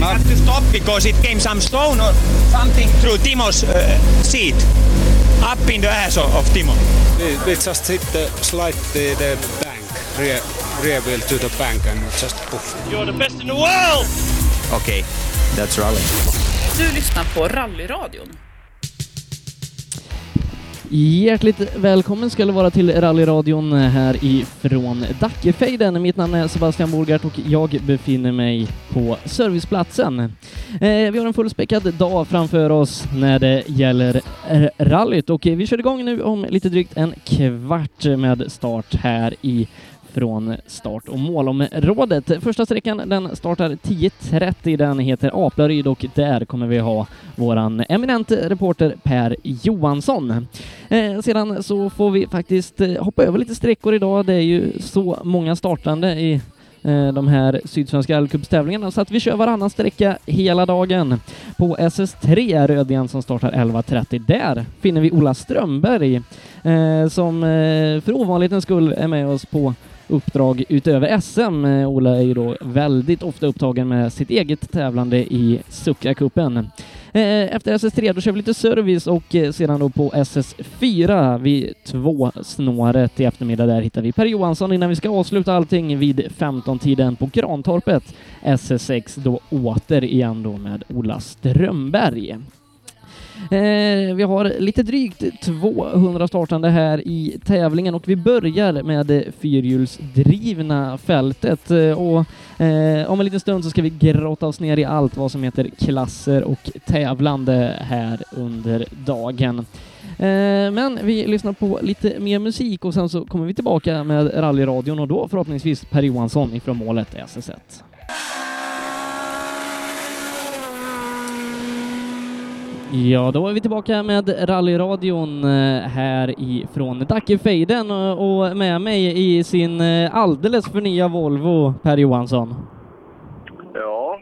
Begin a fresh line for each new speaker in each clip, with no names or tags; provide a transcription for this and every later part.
have to stop because it came some stone or something through Timo's uh, seat. Up in the ass of, of Timo.
They, they just hit the slide the, the bank, rear, rear wheel to the bank and just poof.
You're the best in the world!
Okej, okay. that's rally.
Du lyssnar på Rallyradion.
Hjärtligt välkommen ska du vara till rallyradion här ifrån Dackefejden. Mitt namn är Sebastian Borgart och jag befinner mig på serviceplatsen. Eh, vi har en fullspäckad dag framför oss när det gäller r- rallyt och eh, vi kör igång nu om lite drygt en kvart med start här i från start och målområdet. Första sträckan den startar 10.30. Den heter Aplaryd och där kommer vi ha våran eminente reporter Per Johansson. Eh, sedan så får vi faktiskt eh, hoppa över lite sträckor idag. Det är ju så många startande i eh, de här sydsvenska rallycupstävlingarna så att vi kör varannan sträcka hela dagen. På SS3 Rödjan som startar 11.30. Där finner vi Ola Strömberg eh, som eh, för ovanlighetens skull är med oss på uppdrag utöver SM. Eh, Ola är ju då väldigt ofta upptagen med sitt eget tävlande i Succa-cupen. Eh, Efter SS3 då kör vi lite service och eh, sedan då på SS4 vid två snåret i eftermiddag där hittar vi Per Johansson innan vi ska avsluta allting vid 15-tiden på Grantorpet. SS6 då återigen då med Ola Strömberg. Eh, vi har lite drygt 200 startande här i tävlingen och vi börjar med det fyrhjulsdrivna fältet. Eh, och, eh, om en liten stund så ska vi grotta oss ner i allt vad som heter klasser och tävlande här under dagen. Eh, men vi lyssnar på lite mer musik och sen så kommer vi tillbaka med rallyradion och då förhoppningsvis Per Johansson ifrån målet SS1. Ja, då är vi tillbaka med rallyradion eh, här ifrån Dackefejden eh, och och med mig i sin eh, alldeles för nya Volvo, Per Johansson.
Ja,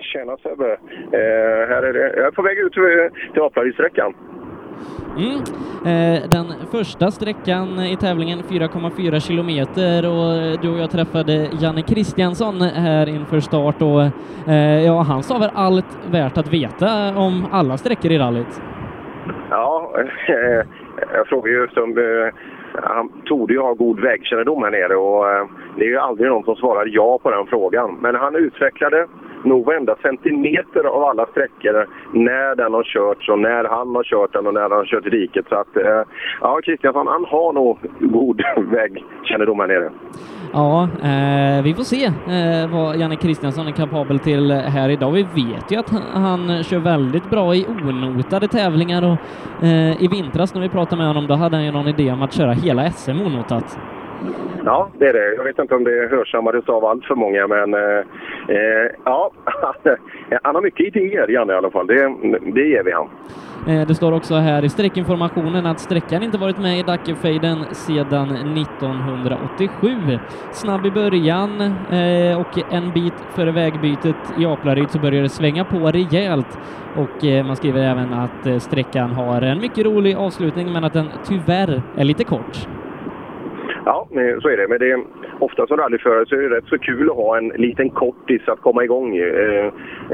tjena Sebbe. Eh, här är det. Jag är på väg ut eh, till- till Aplavidssträckan.
Mm. Eh, Den första sträckan i tävlingen 4,4 kilometer och eh, du och jag träffade Janne Kristiansson här inför start och eh, ja, han sa väl allt värt att veta om alla sträckor i rallyt.
Ja, eh, jag frågade ju eftersom eh, han torde ju ha god vägkännedom här nere och eh, det är ju aldrig någon som svarar ja på den frågan. Men han utvecklade nog varenda centimeter av alla sträckor när den har körts och när han har kört den och när han har kört i diket. Så att, eh, ja, Kristiansson, han har nog god vägkännedom här nere.
Ja, eh, vi får se eh, vad Janne Kristiansson är kapabel till här idag. Vi vet ju att han, han kör väldigt bra i onotade tävlingar och eh, i vintras när vi pratade med honom då hade han ju någon idé om att köra hela SM onotat.
Ja, det är det. Jag vet inte om det hörsammades av allt för många, men eh, eh, ja, han har mycket idéer, Janne i alla fall. Det, det ger vi han.
Eh, Det står också här i sträckinformationen att sträckan inte varit med i Dackefejden sedan 1987. Snabb i början eh, och en bit före vägbytet i Aplaryd så börjar det svänga på rejält och eh, man skriver även att eh, sträckan har en mycket rolig avslutning men att den tyvärr är lite kort.
Ja, eh, så är det. Men det är, ofta som rallyförare så är det rätt så kul att ha en liten kortis att komma igång i. Eh,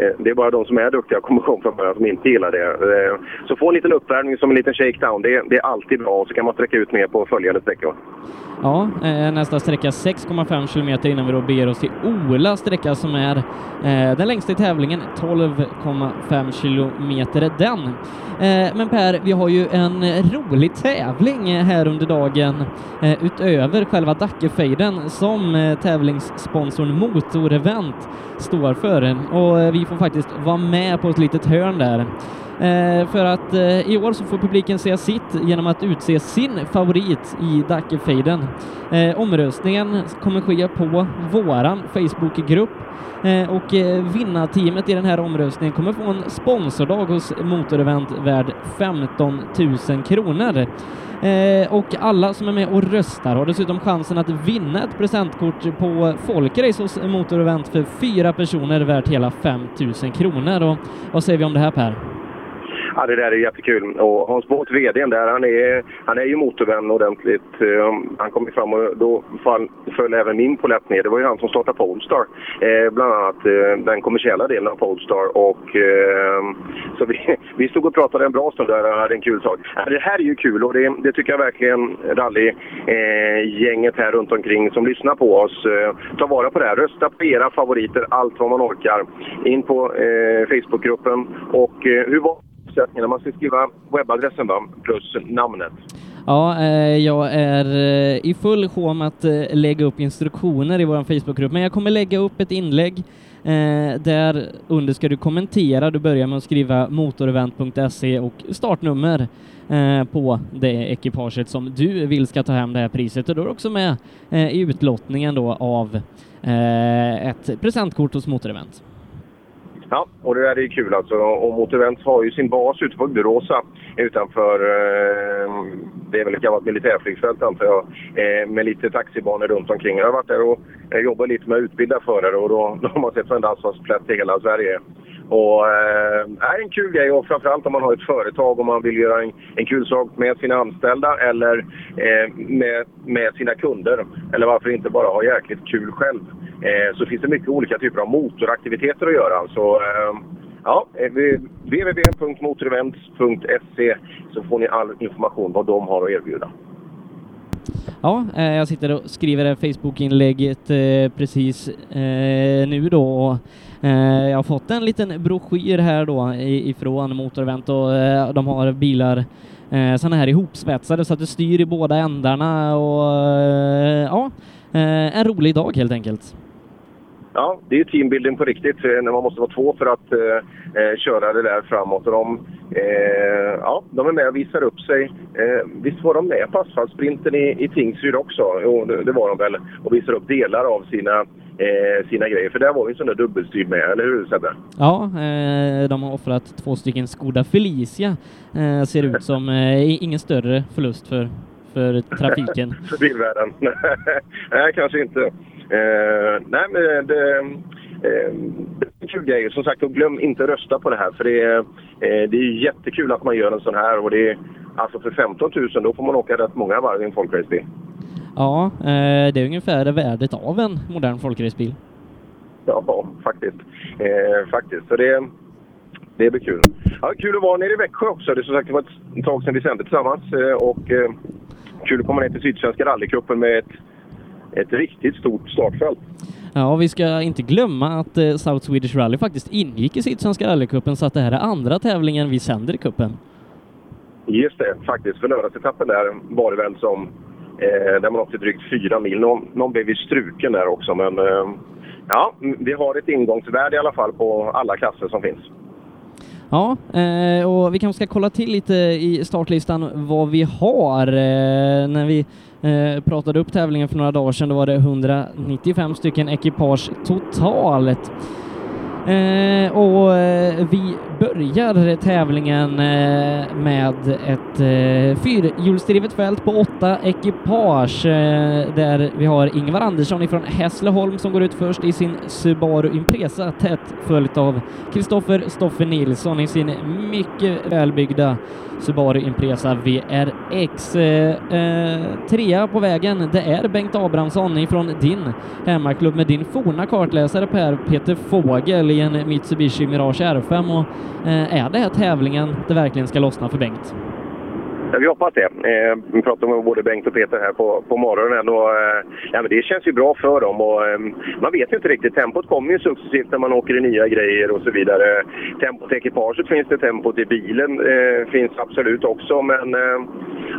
eh, Det är bara de som är duktiga att komma igång från början som inte gillar det. Eh, Så få en liten uppvärmning som en liten shakedown, det, det är alltid bra. Och så kan man sträcka ut mer på följande sträckor.
Ja, eh, nästa sträcka 6,5 kilometer innan vi då beger oss till Ola sträcka som är eh, den längsta i tävlingen, 12,5 kilometer är den. Eh, men Per, vi har ju en rolig tävling eh, här under dagen eh, utöver själva Dackefejden som eh, tävlingssponsorn Motorevent står för och eh, vi får faktiskt vara med på ett litet hörn där. Eh, för att eh, i år så får publiken säga sitt genom att utse sin favorit i Dackefejden. Eh, omröstningen kommer ske på våran Facebookgrupp eh, och eh, vinnarteamet i den här omröstningen kommer få en sponsordag hos Motorevent värd 15 000 kronor. Eh, och alla som är med och röstar har dessutom chansen att vinna ett presentkort på Folkrace hos Motorevent för fyra personer värt hela 5 000 kronor. Och vad säger vi om det här Per?
ja, det där är jättekul. Och Hans Båth, vdn där, han är, han är ju motorvän ordentligt. Eh, Han kom ju fram och då fall, föll även min polett ner. Det var ju han som startade Polestar. Eh, bland annat eh, den kommersiella delen av Polestar. Och, eh, så vi, vi stod och pratade en bra stund där och hade en kul sak. Ja, Det här är ju kul och det, det tycker jag verkligen rallygänget här runt omkring som lyssnar på oss. Eh, ta vara på det här. Rösta på era favoriter allt vad man orkar. In på eh, Facebookgruppen. Och eh, hur var förutsättningarna? Man ska skriva webbadressen va? plus namnet.
Ja, eh, jag är eh, i full sjå med att eh, lägga upp instruktioner i vår Facebookgrupp, men jag kommer lägga upp ett inlägg eh, där under ska du kommentera. Du börjar med att skriva motorevent.se och startnummer eh, på det ekipaget som du vill ska ta hem det här priset och då är du också med eh, i utlottningen då av eh, ett presentkort hos Motorevent.
Ja, och det där är ju kul alltså. Och Motorvent har ju sin bas ute på Buråsa utanför, eh, det är väl ett gammalt militärflygfält antar jag, eh, med lite taxibanor runt omkring. Jag har varit där och eh, jobbat lite med att utbilda förare och då, då har man sett varenda asfaltsplätt i hela Sverige. Och eh, det här är en kul grej och framförallt om man har ett företag och man vill göra en, en kul sak med sina anställda eller eh, med, med sina kunder. Eller varför inte bara ha jäkligt kul själv. Eh, så finns det mycket olika typer av motoraktiviteter att göra. Så eh, ja, eh, vi- www.motorevents.se så får ni all information vad de har att erbjuda.
Ja, eh, jag sitter och skriver det här Facebook-inlägget eh, precis eh, nu då och eh, jag har fått en liten broschyr här då i- ifrån Motorevent och eh, de har bilar eh, sådana här ihopsvetsade så att du styr i båda ändarna och eh, ja, eh, en rolig dag helt enkelt.
Ja, det är ju teambuilding på riktigt eh, när man måste vara två för att eh, eh, köra det där framåt. Och de, eh, ja, de är med och visar upp sig. Eh, visst var de med på asfaltsprinten i, i Tingsryd också? Jo, det, det var de väl. Och visar upp delar av sina, eh, sina grejer. För där var ju en sån där dubbelstyrd med, eller hur Sebbe?
Ja, eh, de har offrat två stycken Skoda Felicia eh, ser ut som eh, i- ingen större förlust för, för trafiken.
för bilvärlden. nej, kanske inte. Eh, nej, men det, eh, det är en kul grej. Som sagt, och glöm inte att rösta på det här. För det, är, eh, det är ju jättekul att man gör en sån här. Och det är, alltså för 15 000, då får man åka rätt många varv i en folkracebil.
Ja, eh, det är ungefär värdet av en modern folkracebil.
Ja, faktiskt. Eh, faktiskt. Så det, det blir kul. Ja, kul att vara nere i Växjö också. Det, är som sagt, det var ett tag sedan vi sände tillsammans. Eh, och, eh, kul att komma ner till Sydsvenska rallycupen med ett, ett riktigt stort startfält.
Ja, vi ska inte glömma att eh, South Swedish Rally faktiskt ingick i Sydsvenska rallycupen så att det här är andra tävlingen vi sänder i cupen.
Just det, faktiskt. För lördagsetappen där var det väl som... Eh, där man åkte drygt fyra mil. Någon, någon blev ju struken där också, men... Eh, ja, m- vi har ett ingångsvärde i alla fall på alla klasser som finns.
Ja, eh, och vi kanske ska kolla till lite i startlistan vad vi har. Eh, när vi eh, pratade upp tävlingen för några dagar sedan då var det 195 stycken ekipage totalt. Eh, och eh, vi börjar tävlingen eh, med ett eh, fyrhjulsdrivet fält på åtta ekipage eh, där vi har Ingvar Andersson ifrån Hässleholm som går ut först i sin Subaru Impresa tätt följt av Kristoffer Stoffer Nilsson i sin mycket välbyggda Subaru Impresa VRX. Eh, eh, trea på vägen, det är Bengt Abrahamsson ifrån din hemmaklubb med din forna kartläsare Per Peter Fågel i en Mitsubishi Mirage R5 och eh, är det här tävlingen det verkligen ska lossna för Bengt?
Ja, vi hoppas det. Eh, vi pratade med både Bengt och Peter här på, på morgonen. Och, eh, ja, men det känns ju bra för dem. Och, eh, man vet ju inte riktigt. Tempot kommer ju successivt när man åker i nya grejer och så vidare. Tempot i ekipaget finns det, tempot i bilen eh, finns absolut också. Men eh,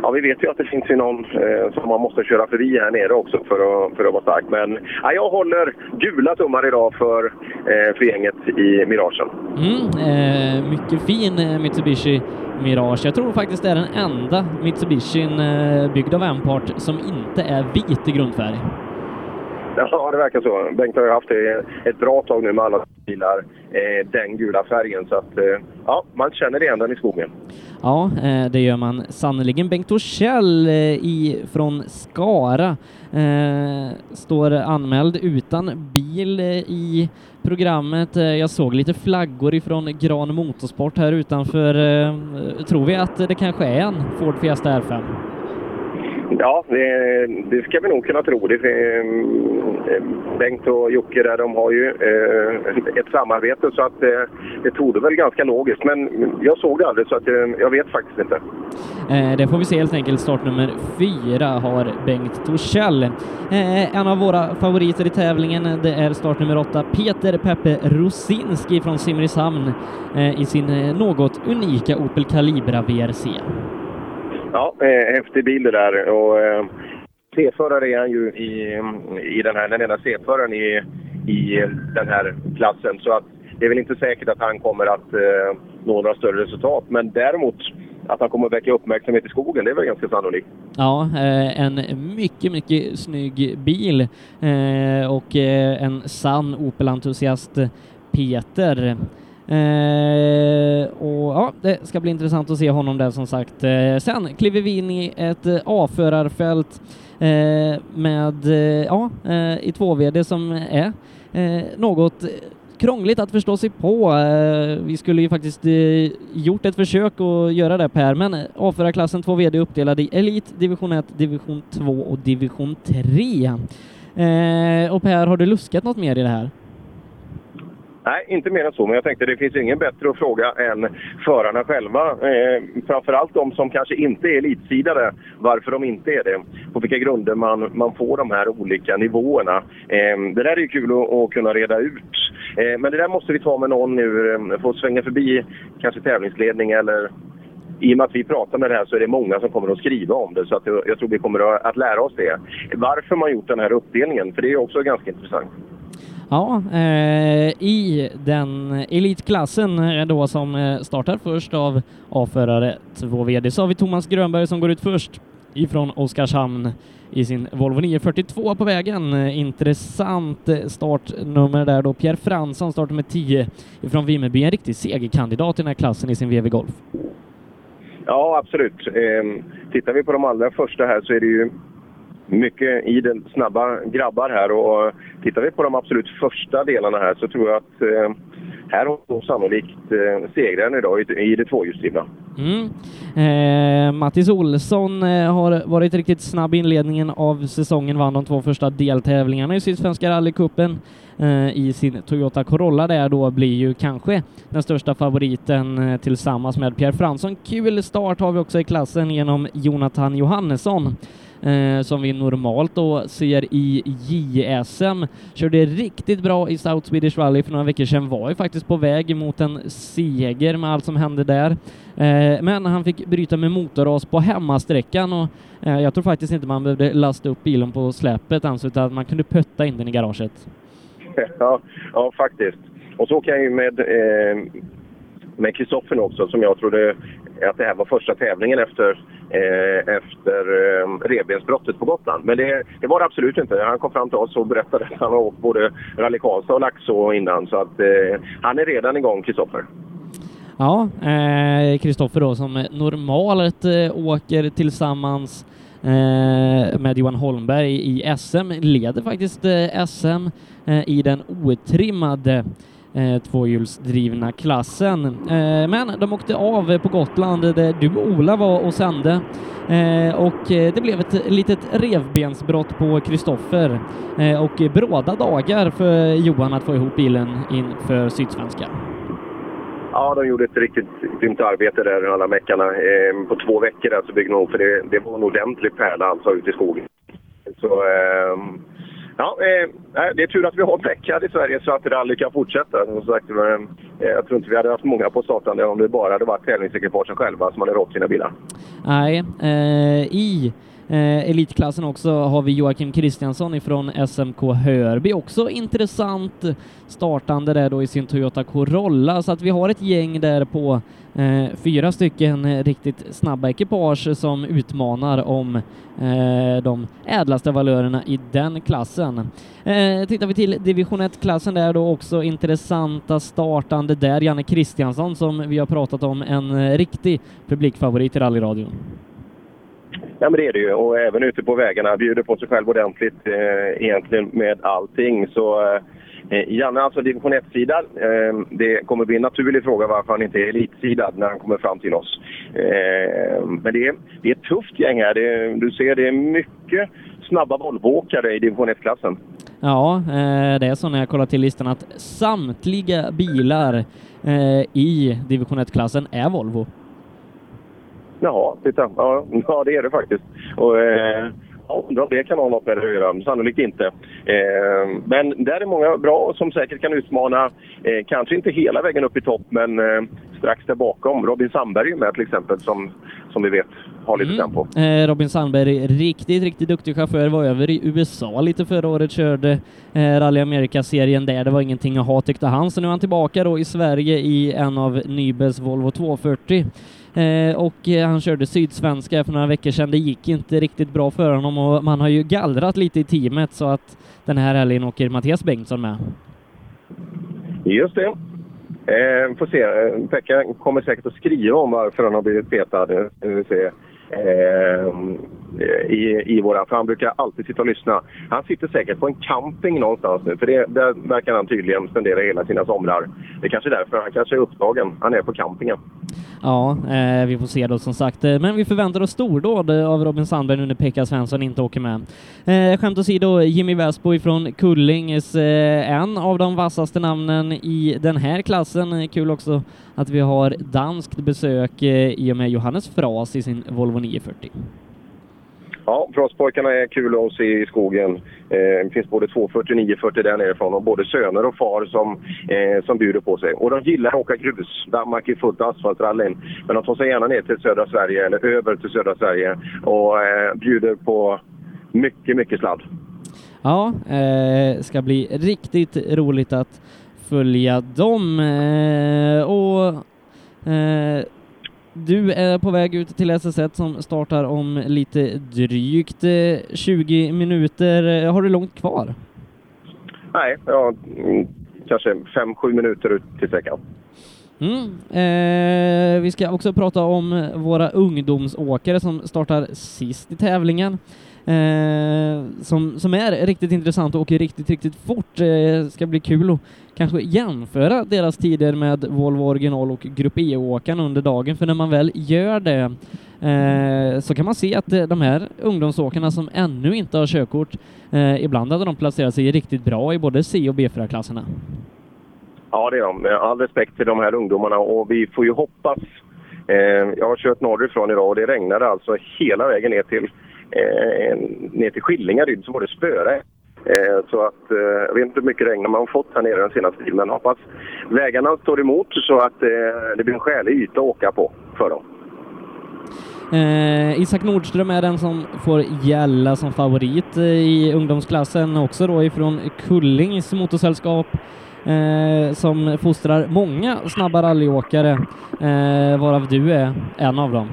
ja, vi vet ju att det finns ju någon eh, som man måste köra förbi här nere också för att, för att vara stark. Men ja, jag håller gula tummar idag för, eh, för gänget i miragen.
Mm, eh, mycket fin eh, Mitsubishi Mirage. Jag tror faktiskt det är den enda Mitsubishin eh, byggd av Ampart som inte är vit i grundfärg.
Ja, det verkar så. Bengt har ju haft det ett bra tag nu med alla bilar, eh, den gula färgen. Så att, eh, ja, man känner igen den i skogen.
Ja, eh, det gör man sannerligen. Bengt Torssell eh, i- från Skara eh, står anmäld utan bil eh, i programmet. Eh, Jag såg lite flaggor ifrån Gran Motorsport här utanför. eh, Tror vi att det kanske är en Ford Fiesta R5?
Ja, det, det ska vi nog kunna tro. Det, eh, Bengt och Jocke där, de har ju eh, ett samarbete så att eh, det torde väl ganska logiskt. Men jag såg det aldrig så att eh, jag vet faktiskt inte.
Eh, Det får vi se helt enkelt. Startnummer fyra har Bengt Torssell. Eh, En av våra favoriter i tävlingen, eh, det är startnummer åtta, Peter Peppe Rosinski från Simrishamn eh, i sin eh, något unika Opel Calibra VRC.
Ja, eh, häftig bil det där. Och, eh, C-förare är han ju i, i den här, den enda C-föraren i, i den här klassen. Så att det är väl inte säkert att han kommer att eh, nå några större resultat. Men däremot att han kommer att väcka uppmärksamhet i skogen, det är väl ganska sannolikt.
Ja, eh, en mycket, mycket snygg bil eh, och eh, en sann Opel-entusiast Peter. Eh, och ja, det ska bli intressant att se honom där som sagt. Eh, sen kliver vi in i ett eh, A-förarfält eh, med, eh, ja, eh, i 2VD som är eh, något krångligt att förstå sig på. Eh, Vi skulle ju faktiskt eh, gjort ett försök att göra det Per, men eh, A4-klassen 2VD är uppdelad i Elit, Division 1, Division 2 och Division 3. Eh, Och Per, har du luskat något mer i det här?
Nej, inte mer än så. Men jag tänkte det finns ingen bättre att fråga än förarna själva. Eh, framförallt de som kanske inte är elitsidare, varför de inte är det. På vilka grunder man, man får de här olika nivåerna. Eh, det där är ju kul att, att kunna reda ut. Eh, men det där måste vi ta med någon nu. eh, Få svänga förbi kanske tävlingsledning eller i och med att vi pratar med det här så är det många som kommer att skriva om det. Så att jag, jag tror vi kommer att, att lära oss det. Varför man gjort den här uppdelningen, för det är ju också ganska intressant.
Ja, eh, i den elitklassen eh, då som eh, startar först av A-förare 2VD så har vi Thomas Grönberg som går ut först ifrån Oskarshamn i sin Volvo 942 på vägen. Eh, Intressant eh, startnummer där då. Pierre Fransson startar med 10 ifrån Vimmerby, en riktig segerkandidat i den här klassen i sin VW Golf.
Ja, absolut. Eh, tittar vi på de allra första här så är det ju mycket idel snabba grabbar här. Och tittar vi på de absolut första delarna här så tror jag att eh, här har de sannolikt eh, segraren idag i, i det tvåhjulsdrivna.
Mm. Eh, Mattis Olsson eh, har varit riktigt snabb i inledningen av säsongen, vann de två första deltävlingarna i Sydsvenska rallycupen eh, i sin Toyota Corolla där då blir ju kanske den största favoriten eh, tillsammans med Pierre Fransson. Kul start har vi också i klassen genom Jonathan Johannesson eh, som vi normalt då ser i JSM. Körde riktigt bra i South Swedish Rally för några veckor sedan, var ju faktiskt på väg mot en seger med allt som hände där. Eh, men han fick bryta med motorras på hemmasträckan och eh, jag tror faktiskt inte man behövde lasta upp bilen på släpet ens utan man kunde pötta in den i garaget.
ja, ja, faktiskt. Och så kan jag ju med, eh, med Kristoffer också, som jag trodde att det här var första tävlingen efter, eh, efter eh, revbensbrottet på Gotland. Men det, det var det absolut inte. Han kom fram till oss och berättade att han har åkt både Rally Karlstad och Laxå innan. Så att, eh, han är redan igång, Kristoffer.
Ja, eh, Kristoffer då som normalt eh, åker tillsammans eh, med Johan Holmberg i SM, leder faktiskt eh, SM eh, i den otrimmade eh, tvåhjulsdrivna klassen. Eh, men de åkte av eh, på Gotland eh, där du Ola var och sände eh, och eh, det blev ett litet revbensbrott på Kristoffer eh, och eh, bråda dagar för Johan att få ihop bilen inför Sydsvenskan.
Ja, de gjorde ett riktigt grymt arbete där alla meckarna. Eh, på två veckor där så byggde de upp, för det, det var en ordentlig pärla alltså ute i skogen. Så, eh, ja, eh, nej, det är tur att vi har meckar i Sverige så att rally kan fortsätta. Som sagt, eh, jag tror inte vi hade haft många på startande om det bara hade varit tävlingsekipagen själva som hade rått sina bilar.
Nej, eh, i Eh, elitklassen också har vi Joakim Kristiansson ifrån SMK Hörby, också intressant startande där då i sin Toyota Corolla, så att vi har ett gäng där på eh, fyra stycken eh, riktigt snabba ekipage som utmanar om eh, de ädlaste valörerna i den klassen. Eh, tittar vi till division 1-klassen där då också intressanta startande där, Janne Kristiansson som vi har pratat om, en eh, riktig publikfavorit i rallyradion.
Ja, men det är det ju. Och även ute på vägarna. Bjuder på sig själv ordentligt eh, egentligen med allting. Så eh, Janne alltså division 1-sidad. Eh, det kommer bli en naturlig fråga varför han inte är elitsidad när han kommer fram till oss. Eh, men det är, det är ett tufft gäng här. Det, du ser, det är mycket snabba Volvoåkare i division 1-klassen.
Ja, eh, det är så när jag kollar till listan att samtliga bilar eh, i division 1-klassen är Volvo.
Jaha, titta. Ja, ja det är det faktiskt. Och, eh, ja, undrar om det kan ha något med det att göra. Sannolikt inte. Eh, men där är många bra som säkert kan utmana. Eh, kanske inte hela vägen upp i topp, men eh, strax där bakom. Robin Sandberg är med till exempel, som, som vi vet har lite tempo.
Eh, Robin Sandberg, riktigt, riktigt duktig chaufför, var över i USA lite förra året, körde eh, Rally America-serien där, det var ingenting att ha tyckte han, så nu är han tillbaka då i Sverige i en av Nybels Volvo 240. Eh, och eh, han körde sydsvenska för några veckor sedan, det gick inte riktigt bra för honom och man har ju gallrat lite i teamet så att den här helgen åker Mattias Bengtsson med.
Just det. Eh, får se. Eh, Pekka kommer säkert att skriva om varför han har blivit petad. Eh, vi får se. Eh, i, i våra, för han brukar alltid sitta och lyssna. Han sitter säkert på en camping någonstans nu, för det, där verkar han tydligen spendera hela sina somrar. Det är kanske är därför han kanske är upptagen. Han är på campingen.
Ja, eh, vi får se då som sagt. Eh, Men vi förväntar oss stordåd eh, av Robin Sandberg nu när Pekka Svensson inte åker med. Eh, skämt åsido, Jimmy Väsbo från Kullings, eh, en av de vassaste namnen i den här klassen. Eh, Kul också att vi har danskt besök eh, i och med Johannes Fras i sin Volvo 940.
Ja, Frostpojkarna är kul att se i skogen. Eh, det finns både 240 och 940 där nerifrån och både söner och far som, eh, som bjuder på sig. Och de gillar att åka grus. Danmark är fullt av asfaltrallyn. Men de tar sig gärna ner till södra Sverige, eller över till södra Sverige och eh, bjuder på mycket, mycket sladd.
Ja, eh, ska bli riktigt roligt att följa dem. Eh, och eh, du är på väg ut till SS1 som startar om lite drygt eh, 20 minuter. Eh, Har du långt kvar?
Nej, ja, mm, kanske 5-7 minuter ut till sträckan.
Mm. Eh, vi ska också prata om våra ungdomsåkare som startar sist i tävlingen. Eh, som, som är riktigt intressant och åker riktigt, riktigt fort. Eh, ska bli kul att kanske jämföra deras tider med Volvo original och Grupp E-åkaren under dagen, för när man väl gör det eh, så kan man se att eh, de här ungdomsåkarna som ännu inte har körkort, eh, ibland hade de placerat sig riktigt bra i både C och B4-klasserna.
Ja, det är de. Med all respekt till de här ungdomarna och vi får ju hoppas. Eh, jag har kört norrifrån idag och det regnade alltså hela vägen ner till, eh, ner till Skillingaryd så var det spöre. Eh, så att, eh, jag vet inte hur mycket regn man har fått här nere den senaste tiden men hoppas vägarna står emot så att eh, det blir en skälig yta att åka på för dem.
Eh, Isak Nordström är den som får gälla som favorit eh, i ungdomsklassen, också då ifrån Kullings motorsällskap eh, som fostrar många snabba rallyåkare, eh, varav du är en av dem.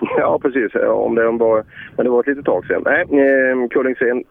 Ja, precis. Ja, Om det var, men det var ett litet tag sedan. Nej, eh, Kullings är en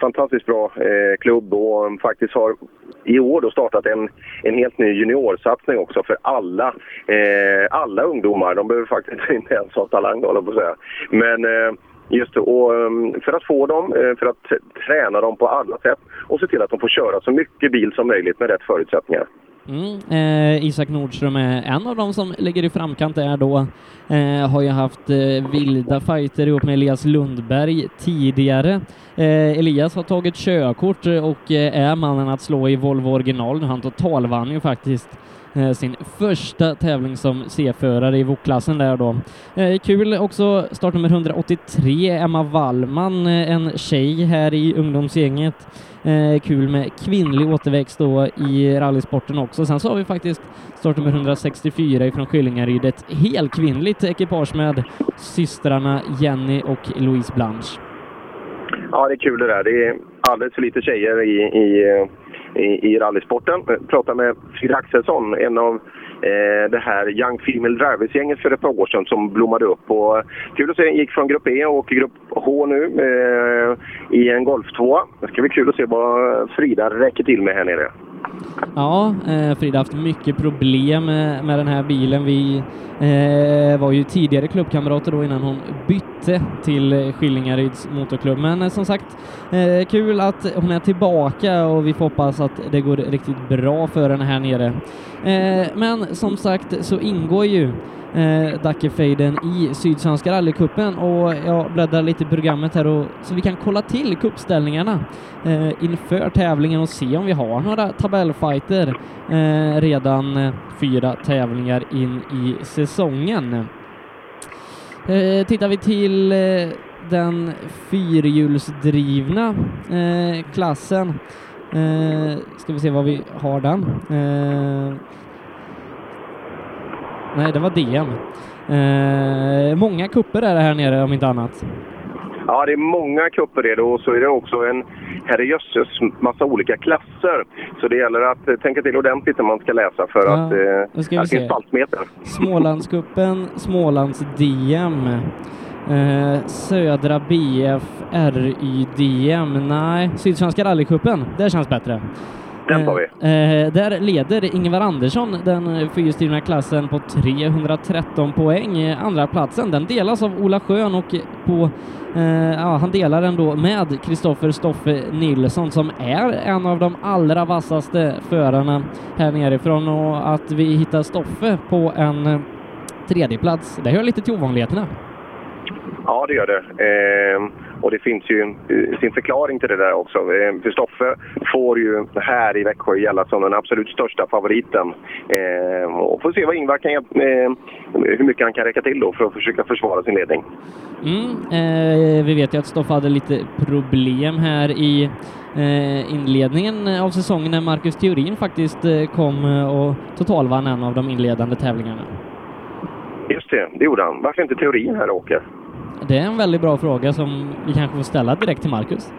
fantastiskt bra eh, klubb och eh, faktiskt har i år då startat en, en helt ny juniorsatsning också för alla, eh, alla ungdomar. De behöver faktiskt inte ens ha talang, håller jag på att säga. Men, eh, Just det, och eh, för att få dem, eh, för att t- träna dem på alla sätt och se till att de får köra så mycket bil som möjligt med rätt förutsättningar.
Mm. Eh, Isak Nordström är en av dem som ligger i framkant där då. Eh, har ju haft eh, vilda fighter ihop med Elias Lundberg tidigare. Eh, Elias har tagit körkort eh, och eh, är mannen att slå i Volvo original nu. Han totalvann ju faktiskt eh, sin första tävling som C-förare i VOK-klassen där då. Eh, kul också startnummer 183, Emma Wallman, eh, en tjej här i ungdomsgänget. Eh, kul med kvinnlig återväxt då i rallysporten också. Sen så har vi faktiskt startnummer 164 ifrån Skillingaryd, ett helkvinnligt ekipage med systrarna Jenny och Louise Blanche.
Ja, det är kul det där. Det är alldeles för lite tjejer i, i, i, i rallysporten. Jag pratade med Frida Axelsson, en av eh, det här Young Female Drivers-gänget för ett par år sedan som blommade upp. Och, kul att se, gick från Grupp E och Grupp H nu eh, i en Golf 2. Det ska bli kul att se vad Frida räcker till med här nere.
Ja, eh, Frida har haft mycket problem eh, med den här bilen. Vi eh, var ju tidigare klubbkamrater då innan hon bytte till eh, Skillingaryds motorklubb. Men eh, som sagt, eh, kul att hon är tillbaka och vi får hoppas att det går riktigt bra för henne här nere. Eh, men som sagt så ingår ju eh, Dackefejden i Sydsvenska rallycupen och jag bläddrar lite i programmet här och, så vi kan kolla till cupställningarna eh, inför tävlingen och se om vi har några tabellfighter eh, redan eh, fyra tävlingar in i säsongen. Eh, tittar vi till eh, den fyrhjulsdrivna eh, klassen. Eh, ska vi se vad vi har den. Eh, nej, det var DM. Eh, många kupper är det här nere om inte annat.
Ja, det är många cuper det och så är det också en herrejösses massa olika klasser. Så det gäller att eh, tänka till ordentligt när man ska läsa för
Ja,
att eh,
då ska vi
att det
se.
finns spaltmeter.
Smålandskuppen, Smålands-DM. Eh, Södra BF, RY-DM. Nej, Sydsvenska rallycupen. Det känns bättre.
Den tar vi.
Eh, eh, där leder Ingvar Andersson den eh, fyrhjulsdrivna klassen på 313 poäng. Eh, Andra platsen den delas av Ola Schön och på, eh, ja, han delar den då med Kristoffer Stoffe Nilsson som är en av de allra vassaste förarna här nerifrån och att vi hittar Stoffe på en eh, tredje plats. det hör lite till ovanligheterna.
Ja, det gör det. Eh, och det finns ju eh, sin förklaring till det där också. Eh, för Stoffe får ju här i Växjö gälla som den absolut största favoriten. Eh, och får se vad Ingvar kan, hjälp- eh, hur mycket han kan räcka till då för att försöka försvara sin ledning.
Mm, eh, vi vet ju att Stoffe hade lite problem här i eh, inledningen av säsongen när Marcus Theorin faktiskt eh, kom eh, och totalvann en av de inledande tävlingarna.
Just det, det gjorde han. Varför inte teorin här åker?
Det är en väldigt bra fråga som vi kanske får ställa direkt till Marcus.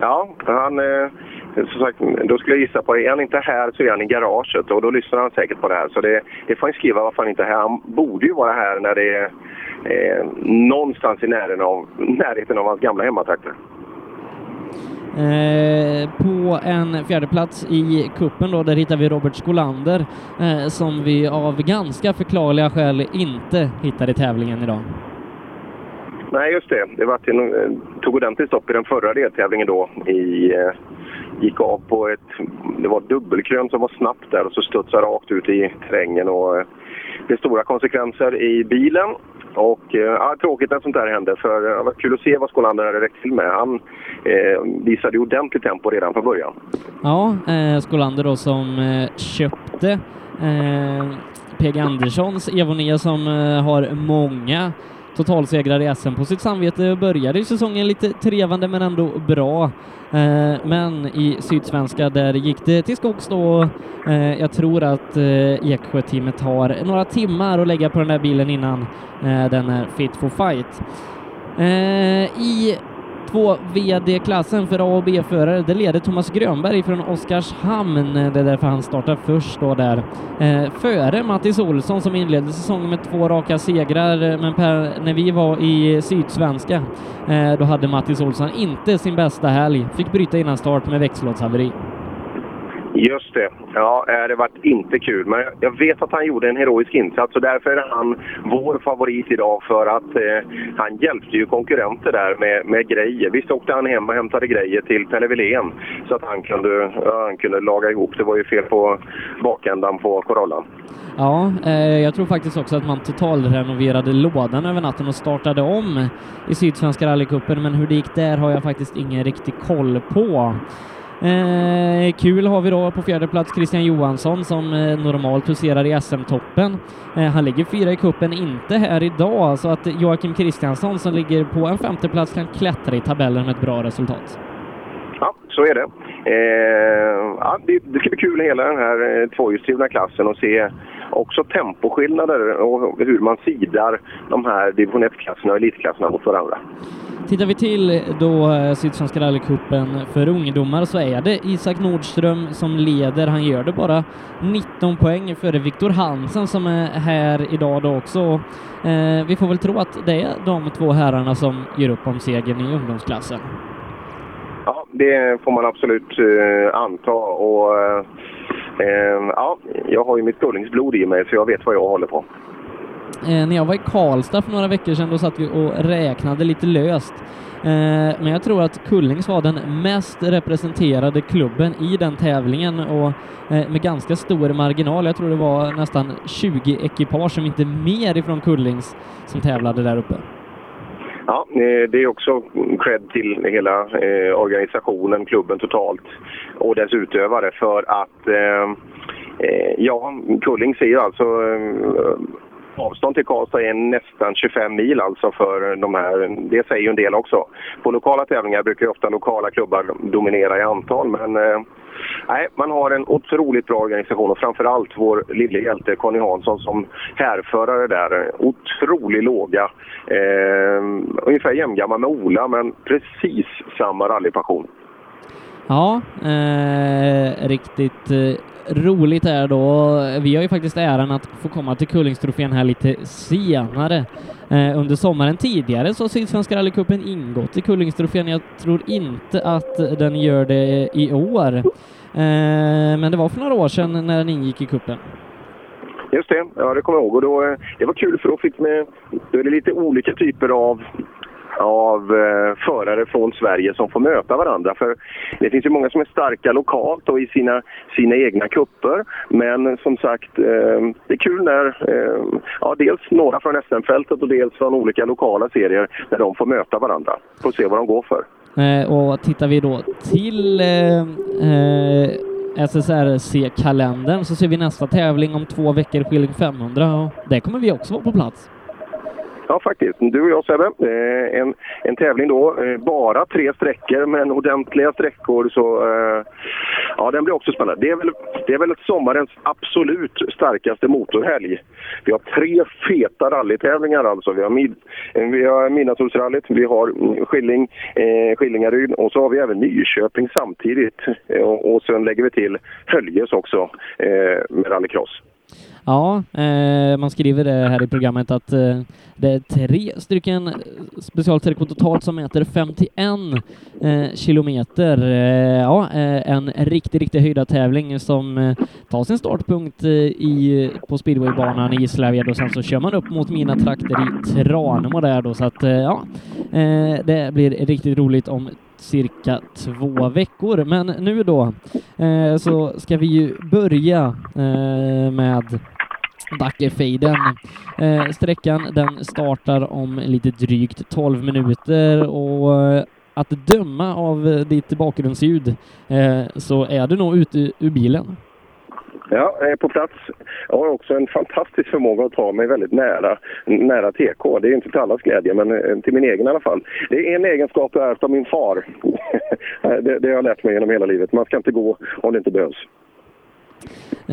Ja, han... Eh, som sagt, då skulle jag gissa på det. Är han inte här så är han i garaget och då lyssnar han säkert på det här. Så det, det får han skriva varför han inte är här. Han borde ju vara här när det är eh, någonstans i närheten av, närheten av hans gamla hemmatrakter.
Eh, på en fjärde plats i kuppen då, där hittar vi Robert Skolander eh, som vi av ganska förklarliga skäl inte hittar i tävlingen idag.
Nej, just det. Det var till, eh, tog ordentligt stopp i den förra deltävlingen då. I, eh, gick av på ett... Det var ett dubbelkrön som var snabbt där och så studsade rakt ut i terrängen. Och, eh, det blev stora konsekvenser i bilen. Och, eh, ja, tråkigt när sånt där hände, för eh, det var kul att se vad Skålander hade räckt till med. Han eh, visade ju ordentligt tempo redan från början.
Ja, eh, Skolander då som eh, köpte eh, PG Anderssons Evo 9 som eh, har många totalsegrar i SM på sitt samvete. Började ju säsongen lite trevande men ändå bra. Eh, men i Sydsvenska där gick det till skogs då. Eh, jag tror att eh, Eksjö-teamet har några timmar att lägga på den där bilen innan eh, den är fit for fight. Eh, I 2 VD-klassen för A och B-förare, det leder Thomas Grönberg från Oskarshamn. Det är därför han startar först då där. Eh, före Mattis Olsson som inledde säsongen med två raka segrar, eh, men per, när vi var i Sydsvenska, eh, då hade Mattis Olsson inte sin bästa helg. Fick bryta innan start med växellådshaveri.
Just det. Ja, eh, det varit inte kul. Men jag- jag vet att han gjorde en heroisk insats och därför är han vår favorit idag för att eh, han hjälpte ju konkurrenter där med, med grejer. Visst åkte han hem och hämtade grejer till Pelle Wilén så att han kunde, ja, han kunde laga ihop. Det var ju fel på bakändan på Corollan.
Ja, eh, jag tror faktiskt också att man totalrenoverade lådan över natten och startade om i Sydsvenska rallycupen, men hur det gick där har jag faktiskt ingen riktig koll på. Eh, kul har vi då på fjärde plats Christian Johansson som eh, normalt huserar i SM-toppen. Eh, han ligger fyra i kuppen, inte här idag, så att Joakim Kristiansson som ligger på en femte plats kan klättra i tabellen med ett bra resultat.
Ja, så är det. Eh, ja, det, det ska bli kul hela den här eh, tvåhjulsdrivna klassen och se också temposkillnader och hur man sidar de här division 1-klasserna och elitklasserna mot varandra.
Tittar vi till då eh, Sydsvenska rallycupen för ungdomar så är det Isak Nordström som leder. Han gör det bara 19 poäng före Viktor Hansen som är här idag då också. Eh, vi får väl tro att det är de två herrarna som gör upp om segern i ungdomsklassen.
Ja, det får man absolut eh, anta. Och, eh, eh, ja, jag har ju mitt Gullings-blod i mig så jag vet vad jag håller på.
Eh, när jag var i Karlstad för några veckor sedan då satt vi och räknade lite löst. Eh, men jag tror att Kullings var den mest representerade klubben i den tävlingen och eh, med ganska stor marginal. Jag tror det var nästan 20 ekipage, som inte mer ifrån Kullings, som tävlade där uppe.
Ja, eh, det är också cred till hela eh, organisationen, klubben totalt och dess utövare för att eh, eh, ja, Kullings är ju alltså eh, Avstånd till Karlstad är nästan 25 mil alltså för de här. Det säger ju en del också. På lokala tävlingar brukar ju ofta lokala klubbar dominera i antal men eh, nej, man har en otroligt bra organisation och framförallt vår lille hjälte Conny Hansson som härförare där. Otroligt låga. Eh, ungefär jämngammal med Ola men precis samma rallypassion.
Ja, eh, riktigt eh, roligt är då. Vi har ju faktiskt äran att få komma till Kullingstrofén här lite senare. Eh, under sommaren tidigare så har Sydsvenska rallycupen ingått i Kullingstrofén. Jag tror inte att den gör det i år. Eh, men det var för några år sedan när den ingick i cupen.
Just det, ja det kommer jag ihåg. Och då, eh, det var kul för då fick med då är det lite olika typer av av eh, förare från Sverige som får möta varandra. För det finns ju många som är starka lokalt och i sina, sina egna kupper. Men som sagt, eh, det är kul när eh, ja, dels några från SM-fältet och dels från olika lokala serier när de får möta varandra. Får se vad de går för.
Eh, och tittar vi då till eh, eh, SSRC-kalendern så ser vi nästa tävling om två veckor, Skilling 500, och där kommer vi också vara på plats.
Ja, faktiskt. Du och jag Sebbe. Eh, en, en tävling då. Eh, bara tre sträckor, men ordentliga sträckor. Så, eh, ja, den blir också spännande. Det är, väl, det är väl sommarens absolut starkaste motorhelg. Vi har tre feta rallytävlingar alltså. Vi har, mid, eh, vi har Midnattssolsrallyt, vi har mm, Skilling, eh, Skillingaryd och så har vi även Nyköping samtidigt. Eh, och, och sen lägger vi till Höljes också eh, med rallycross.
Ja, eh, man skriver det här i programmet att eh, det är tre stycken specialsträckor totalt som mäter 51 eh, kilometer. Eh, ja, eh, en riktig, riktig höjdartävling som eh, tar sin startpunkt eh, i, på speedwaybanan i Gislaved och sen så kör man upp mot mina trakter i Tranemo där då så att eh, ja, eh, det blir riktigt roligt om cirka två veckor. Men nu då eh, så ska vi ju börja eh, med Dackefejden. Eh, sträckan den startar om lite drygt 12 minuter och eh, att döma av eh, ditt bakgrundsljud eh, så är du nog ute ur bilen.
Ja, jag är på plats. Jag har också en fantastisk förmåga att ta mig väldigt nära, nära TK. Det är inte till allas glädje, men eh, till min egen i alla fall. Det är en egenskap jag ärvt av min far. det, det har jag lärt mig genom hela livet. Man ska inte gå om det inte behövs.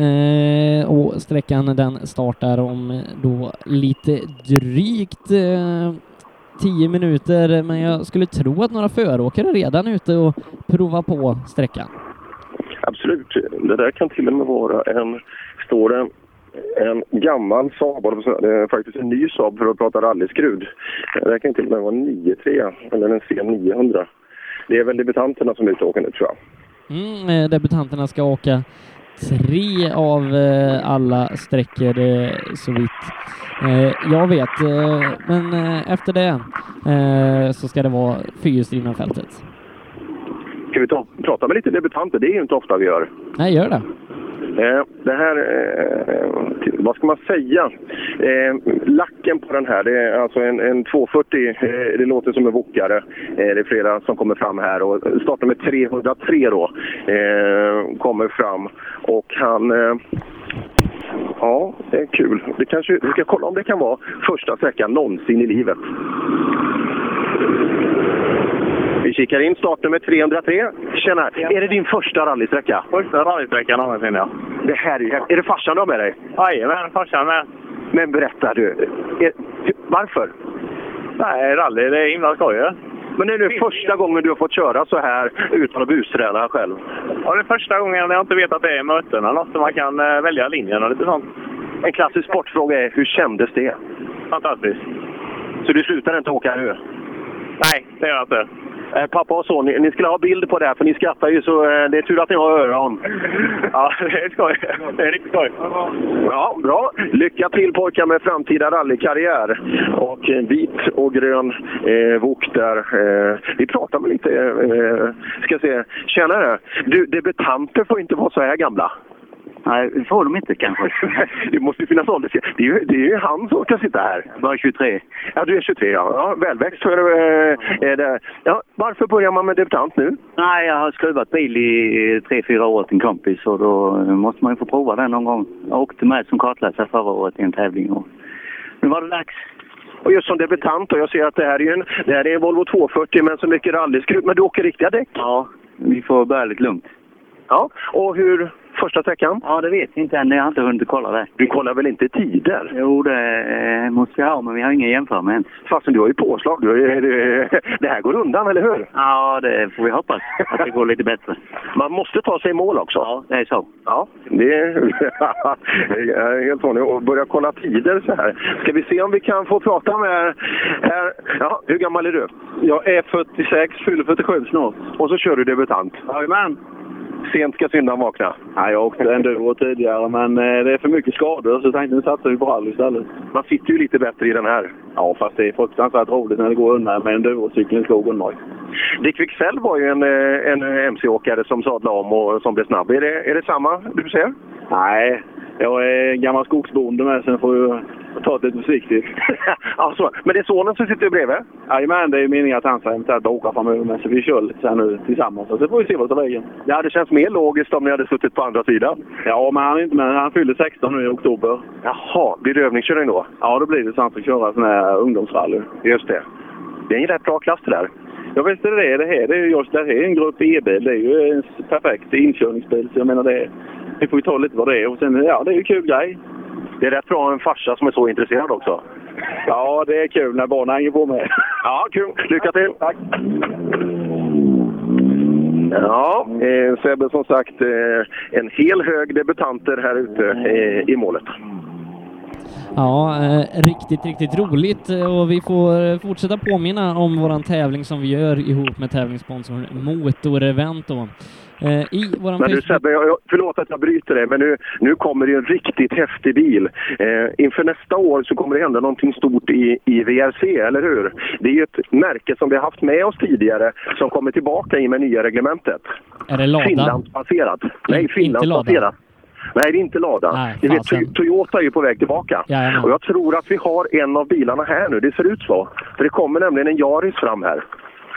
Eh, och sträckan den startar om eh, då lite drygt eh, 10 minuter, men jag skulle tro att några föråkare redan är ute och provar på sträckan.
Absolut. Det där kan till och med vara en... Står det en gammal Saab, eller vad ska jag säga, det är faktiskt en ny Saab för att prata rallyskrud. Det där kan till och med vara en 93 eller en C900. Det är väl debutanterna som är ute och åker nu, tror jag.
Mm, eh, debutanterna ska åka tre av eh, alla sträckor eh, så vitt eh, jag vet. Eh, men eh, efter det eh, så ska det vara fyrhjulsdrivna fältet.
Ska vi ta, prata med lite debutanter? Det är ju inte ofta vi gör.
Nej, gör det.
Eh, Det här, eh, till- vad ska man säga? Eh, Lacken på den här, det är alltså en, en 240, eh, det låter som en wokare. Eh, Det är flera som kommer fram här och startnummer 303 då eh, kommer fram och han eh, Ja, det är kul. Det kanske, vi ska kolla om det kan vara första sträckan någonsin i livet. Vi kikar in startnummer 303. Tjena! Är det din första rallysträcka?
Första rallysträckan någonsin, ja.
Det här är ju häftigt. Är det farsan du har med dig?
Jajamän, farsan med.
Men berätta du, är, varför?
Nej, rally, det är himla skoj ju.
Men det är nu första gången du har fått köra så här utan att busträna själv.
Ja, det är första gången jag inte vet att det är möten eller något, så man kan eh, välja linjen och lite sånt.
En klassisk sportfråga är, hur kändes det?
Fantastiskt.
Så du slutar inte åka nu?
Nej, det gör jag inte.
Eh, pappa och son, ni, ni skulle ha bild på det här för ni skrattar ju så eh, det är tur att ni har öron.
Ja, det är skoj. Det är riktigt skoj.
Ja, bra. Lycka till pojkar med framtida rallykarriär. Och eh, vit och grön eh, wok där. Eh, vi pratar med lite, eh, ska se, tjenare. Du, debutanter får inte vara så här gamla.
Nej, det får de inte kanske.
Det måste ju finnas åldersgräns. Det är ju det är ju han som ska sitta här.
Bara 23.
Ja, du är 23 ja. ja välväxt för eh, är det. Ja, varför börjar man med debutant nu?
Nej, jag har skruvat bil i eh, tre fyra år åt en kompis och då eh, måste man ju få prova den någon gång. Jag åkte med som kartläsare förra året i en tävling och nu var det dags.
Och just som debutant och jag ser att det här är ju en, det här är en Volvo 240 men så mycket rallyskruv. Men du åker riktiga däck?
Ja, vi får börja lite lugnt.
Ja. Och hur, första sträckan?
Ja, det vet jag inte än. Jag har inte hunnit kolla det.
Du kollar väl inte tider?
Jo, det eh, måste vi ha, men vi har ingen jämföra med än.
Fastän du har ju påslag. Du, har ju- du, det här går undan, eller hur?
Ja, det får vi hoppas att det går lite bättre.
Man måste ta sig i mål också.
Ja, det är så.
Ja, det är, jag är helt vanligt att börja kolla tider så här. Ska vi se om vi kan få prata med... Här. Ja, hur gammal är du? Jag är 46, fyller 47 snart. Och så kör du debutant.
Jajamän.
Sent ska syndaren vakna.
Nej, jag åkte en duo tidigare, men eh, det är för mycket skador så jag tänkte nu satsar vi på rally istället.
Man sitter ju lite bättre i den här.
Ja, fast det är fruktansvärt roligt när det går undan med en duocykel i skogen. Mike.
Dick Wicksell var ju en, eh, en mc-åkare som sadlade om och som blev snabb. Är det, är det samma du ser?
Nej, jag är gammal skogsbonde med, så jag får ju ta det lite försiktigt.
alltså, men det är sonen som sitter bredvid?
Jajamän, det är ju meningen att han ska eventuellt åka framöver med, så vi kör lite sen nu tillsammans. Så får vi se vad det tar vägen.
Det hade känts mer logiskt om ni hade suttit på andra sidan.
Ja, men han är inte med. Han fyller 16 nu i oktober.
Jaha, blir det övningskörning då?
Ja, då blir det så han ska köra sån här ungdomsrally.
Just det. Det är en rätt bra klass det där.
Ja, visst är det det. Det här, det är ju just det här är en grupp E-bil. Det är ju en s- perfekt inkörningsbil, så jag menar det. Vi får ju ta lite vad det är. Och sen, ja, det är ju en kul grej.
Det är rätt bra att ha en farsa som är så intresserad också.
Ja, det är kul när barnen hänger på med.
Ja, kul. Lycka till! Tack! Ja, eh, Sebbe som sagt eh, en hel hög debutanter här ute eh, i målet.
Ja, eh, riktigt, riktigt roligt eh, och vi får eh, fortsätta påminna om våran tävling som vi gör ihop med tävlingssponsorn Motorevent då. Eh, I våran
Men du
Facebook-
Sebbe, jag, jag- förlåt att jag bryter dig, men nu, nu kommer det ju en riktigt häftig bil. Eh, inför nästa år så kommer det hända någonting stort i, i VRC, eller hur? Det är ju ett märke som vi har haft med oss tidigare som kommer tillbaka i med nya reglementet.
Är det Lada?
Finlandsbaserat. Nej,
inte Lada.
Finlandsbaserat. Nej, det är inte Lada.
Nej,
Ni vet,
fasen.
Toy- Toyota är ju på väg tillbaka.
Jajamän.
Och jag tror att vi har en av bilarna här nu. Det ser ut så. För det kommer nämligen en Yaris fram här.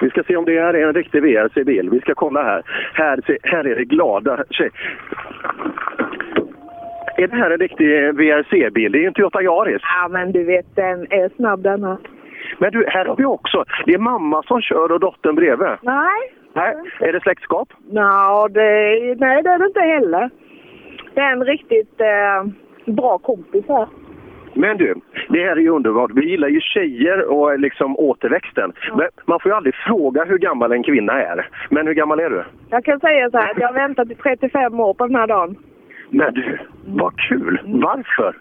Vi ska se om det här är en riktig VRC-bil. Vi ska kolla här. Här, se- här är det glada tjej. Är det här en riktig VRC-bil? Det är ju en Toyota Yaris.
Ja, men du vet, den är snabb den här.
Men du, här har vi också. Det är mamma som kör och dottern bredvid.
Nej,
Här, är det släktskap?
no, det, nej det är det inte heller. Det är en riktigt eh, bra kompis här.
Men du, det här är ju underbart. Vi gillar ju tjejer och liksom återväxten. Men man får ju aldrig fråga hur gammal en kvinna är. Men hur gammal är du?
Jag kan säga så här, att jag har väntat i 35 år på den här dagen.
Men du, vad kul! Varför?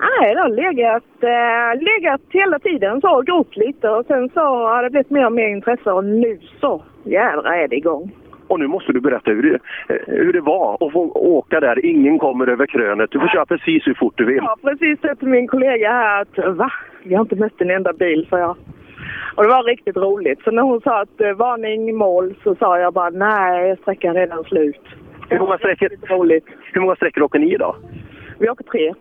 Nej, det har legat, eh, legat hela tiden så och grott lite och sen så har det blivit mer och mer intresse och nu så jädra är det igång.
Och nu måste du berätta hur det, eh, hur det var att få åka där. Ingen kommer över krönet. Du får köra precis hur fort du vill.
Jag har precis sett min kollega här att va? Vi har inte mött en enda bil, sa jag. Och det var riktigt roligt. Så när hon sa att eh, varning, mål, så sa jag bara nej, sträckan är redan slut.
Hur många sträckor,
roligt.
hur många sträckor åker ni idag?
Vi åker tre.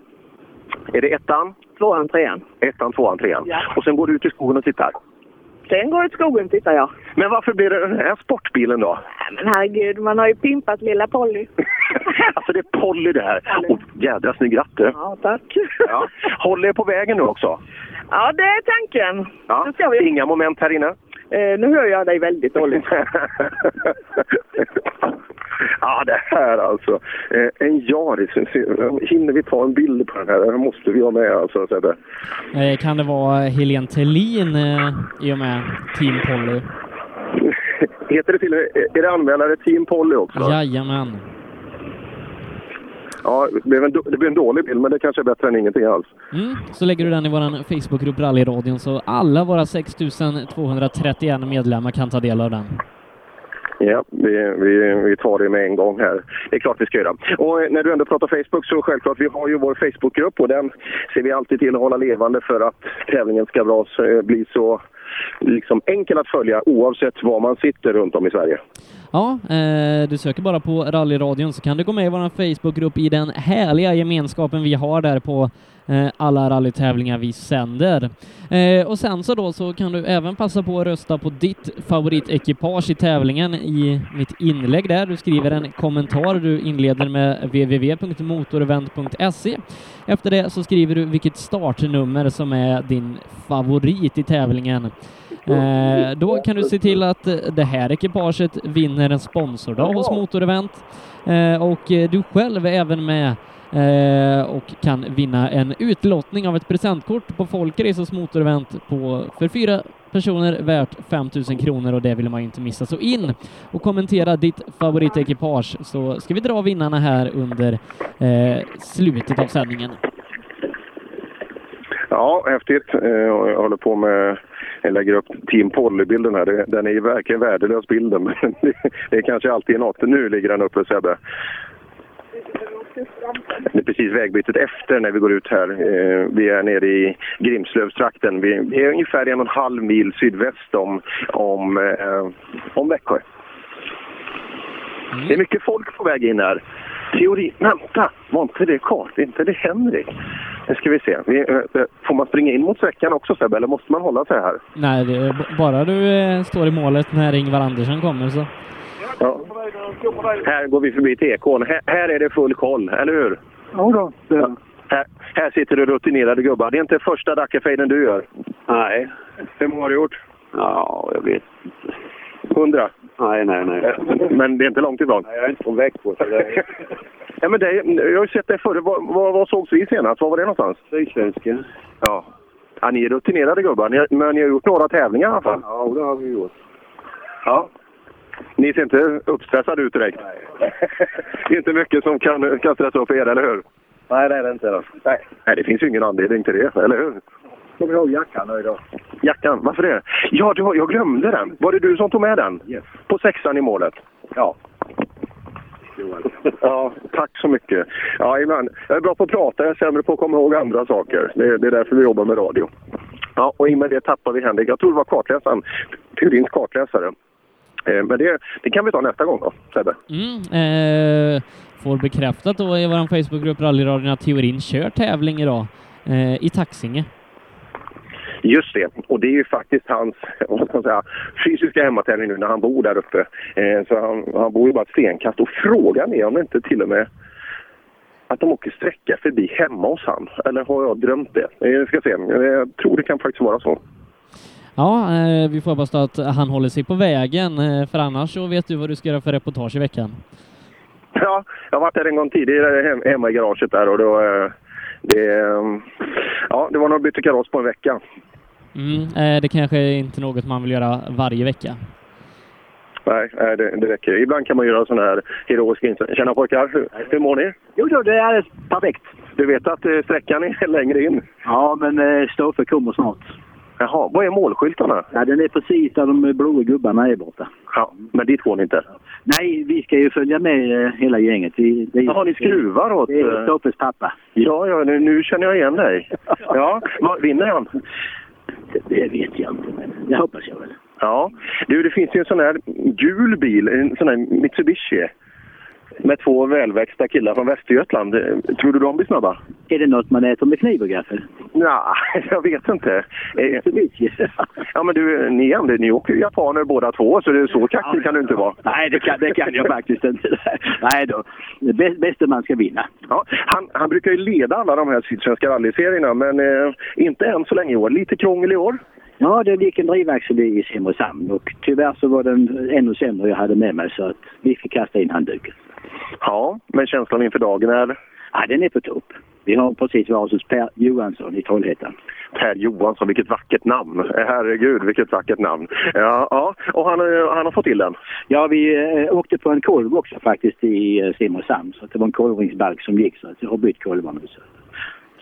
Är det ettan,
Tvåan, trean.
ettan, tvåan, trean?
Ja.
Och sen går du ut i skogen och tittar.
Sen går det åt skogen, tittar jag.
Men varför blir det den här sportbilen då?
Nej, Men herregud, man har ju pimpat lilla Polly.
alltså det är Polly det här. Och jädra snygg ratt du.
Ja, tack.
Ja. Håll er på vägen nu också.
Ja, det är tanken.
Ja.
Nu, ska vi.
Inga moment här inne.
Eh, nu hör jag dig väldigt dåligt.
ja, det här alltså. Eh, en Jaris. Hinner vi ta en bild på den här? Den måste vi ha med alltså. Sebbe.
Eh, Kan det vara Helene Thelin eh, i och med Team Polly?
Heter det till Är det anmälare Team Polly också?
Jajamän.
Ja, det, blev en, då- det blev en dålig bild, men det kanske är bättre än ingenting alls.
Mm, så lägger du den i vår Facebookgrupp Rallyradion så alla våra 6231 medlemmar kan ta del av den.
Ja, vi, vi, vi tar det med en gång här. Det är klart vi ska göra. Och eh, när du ändå pratar Facebook så självklart, vi har ju vår Facebookgrupp och den ser vi alltid till att hålla levande för att tävlingen ska bra, så, eh, bli så liksom enkel att följa oavsett var man sitter runt om i Sverige.
Ja, eh, du söker bara på Rallyradion så kan du gå med i vår Facebookgrupp i den härliga gemenskapen vi har där på eh, alla rallytävlingar vi sänder. Eh, och sen så då så kan du även passa på att rösta på ditt favoritekipage i tävlingen i mitt inlägg där. Du skriver en kommentar, du inleder med www.motorevent.se. Efter det så skriver du vilket startnummer som är din favorit i tävlingen. Eh, då kan du se till att eh, det här ekipaget vinner en sponsordag hos Motorevent. Eh, och eh, du själv är även med eh, och kan vinna en utlottning av ett presentkort på Folkrace hos Motorevent på, för fyra personer värt 5 000 kronor och det vill man ju inte missa. Så in och kommentera ditt favoritekipage så ska vi dra vinnarna här under eh, slutet av sändningen.
Ja, häftigt. Eh, och Jag håller på med, jag lägger upp Team Polly-bilden här. Det- Den är ju verkligen värdelös bilden, men det- det är kanske alltid något. Nu ligger den uppe Sebbe. Det är precis vägbytet efter när vi går ut här. Eh, Vi är nere i Grimslövstrakten. Vi vi är ungefär en och en halv mil sydväst om, om, eh, om Växjö. Det är mycket folk på väg in här. Teori... Vänta! Var inte det Karl? Är inte det Henrik? Nu ska vi se. Vi, eh, eh, får man springa in mot sträckan också Sebbe, eller måste man hålla sig här?
Nej, det är b- bara du eh, står i målet när Ingvar Andersson kommer så
Ja. Här går vi förbi TK'n. Här, här är det full koll, eller hur?
Jo då,
Ja. Här, här sitter det rutinerade gubbar. Det är inte första Dackefejden du gör.
Nej.
Hur många har du gjort?
Ja, jag vet inte.
Hundra?
Nej, nej, nej.
Men det är inte långt ifrån.
Jag är inte från Växjö. så det är
Ja, men det, jag har ju sett dig förr. Var, var, var sågs vi senast? Var var det någonstans?
Sydsvenskan.
Ja. ja ni är rutinerade gubbar, ni, har- men ni har gjort några tävlingar i alla fall.
Ja, det har vi gjort.
Ja. Ni ser inte uppstressade ut direkt. det är inte mycket som kan, kan stressa upp er, eller hur?
Nej, det är det inte. Då. Nej.
Nej, det finns ju ingen anledning till det, eller hur?
Kommer du ihåg jackan nu idag?
Jackan, varför det? Ja, du, har- jag glömde den. Var det du som tog med den?
Yes.
På sexan i målet?
Ja.
Ja, tack så mycket. Ja, ibland. Jag är bra på att prata, jag är sämre på att komma ihåg andra saker. Det, det är därför vi jobbar med radio. Ja, och i och med det tappar vi Henrik. Jag tror det var kartläsaren, Turins kartläsare. Eh, Men det, det kan vi ta nästa gång då, Sebbe.
Mm, eh, får bekräftat då i vår Facebookgrupp Rallyradion att Theorin kör tävling idag eh, i Taxinge.
Just det, och det är ju faktiskt hans vad ska man säga, fysiska hemmatävling nu när han bor där uppe. Eh, så han, han bor ju bara ett stenkast och frågan är om det inte till och med att de åker sträcka förbi hemma hos han. Eller har jag drömt det? Eh, Vi ska se, Eh, jag tror det kan faktiskt vara så.
Ja, eh, vi får hoppas då att han håller sig på vägen, eh, för annars så vet du vad du ska göra för reportage i veckan.
Ja, jag har varit där en gång tidigare hem, hemma i garaget där och då... Eh, det, eh, ja, det var nog bytte kaross på en vecka.
Mm, eh, det kanske är inte något man vill göra varje vecka.
Nej, nej, det, det räcker. Ibland kan man göra sådana här heroiska insatser. Tjena pojkar, hur, hur mår ni?
Jo då, det är alldeles perfekt.
Du vet att eh, sträckan är längre in?
Ja, men eh, Stoffe kommer snart.
Jaha, vad är målskyltarna?
Ja, den är precis där de blåa gubbarna är borta.
Ja, men dit går ni inte?
Nej, vi ska ju följa med eh, hela gänget. Vi, det är,
Jaha, ni skruvar åt...
Det är
eh,
Stoffes pappa.
Ja, ja, nu, nu känner jag igen dig. Ja, vad- vinner han?
Det, det vet jag inte, men det hoppas jag väl.
Ja. Du, det finns ju en sån här gul bil, en sån här Mitsubishi. med två välväxta killar från Västergötland. Eh, Tror du de blir snabba?
Är det något man äter med kniv och gaffel?
Nja, jag vet inte. Eh,
Ceviche.
Ja, men du, ni, Andy, ni åker ju japaner båda två, så det är så kaxig kan du inte vara.
Nej, det kan, det kan jag faktiskt inte. Nej då. Bäst- Bäste man ska vinna.
Ja, han, han brukar ju leda alla de här sydsvenska rallyserierna, men eh, inte än så länge i år. Lite krångel i år.
Ja, det gick en drivaxel i Simrishamn och tyvärr så var den ännu sämre jag hade med mig så att vi fick kasta in handduken.
Ja, men känslan inför dagen är
Ja, den är på topp. Vi har precis varit hos Per Johansson i Trollhättan.
Per Johansson, vilket vackert namn. Eh, Herregud, vilket vackert namn. Ja, ja. och han, eh, han har fått till den.
Ja, vi eh, åkte på en kolv också faktiskt i eh, Simrishamn så att det var en kolvringsbalk som gick så att jag har bytt kolvar nu. Så,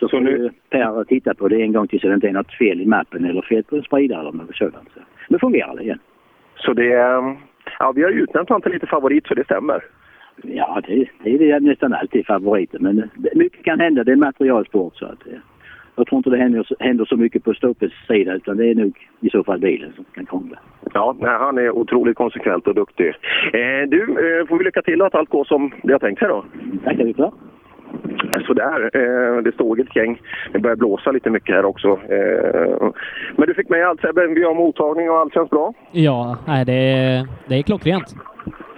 så,
Så
får
nu-
nu... Per titta på det en gång till så det inte är något fel i mappen eller fel på en spridare eller något sådant. Så. Nu fungerar det igen.
Så det... eh, Ja, vi har ju utnämnt honom till lite favorit, så det stämmer.
Ja, det, det är nästan alltid favoriten. Men det- mycket kan hända. Det är en materialsport. Så att, eh, jag tror inte det händer, händer så mycket på stoppets sida utan det är nog i så fall bilen som kan krångla.
Ja, nej, han är otroligt konsekvent och duktig. Eh, du, eh, får vi lycka till att allt går som det har tänkt sig då?
Tackar vi för.
Sådär, eh, det stod ett gäng. Det börjar blåsa lite mycket här också. Eh, men du fick med allt Sebbe, vi har mottagning och allt känns bra.
Ja, nej, det, är- det är klockrent.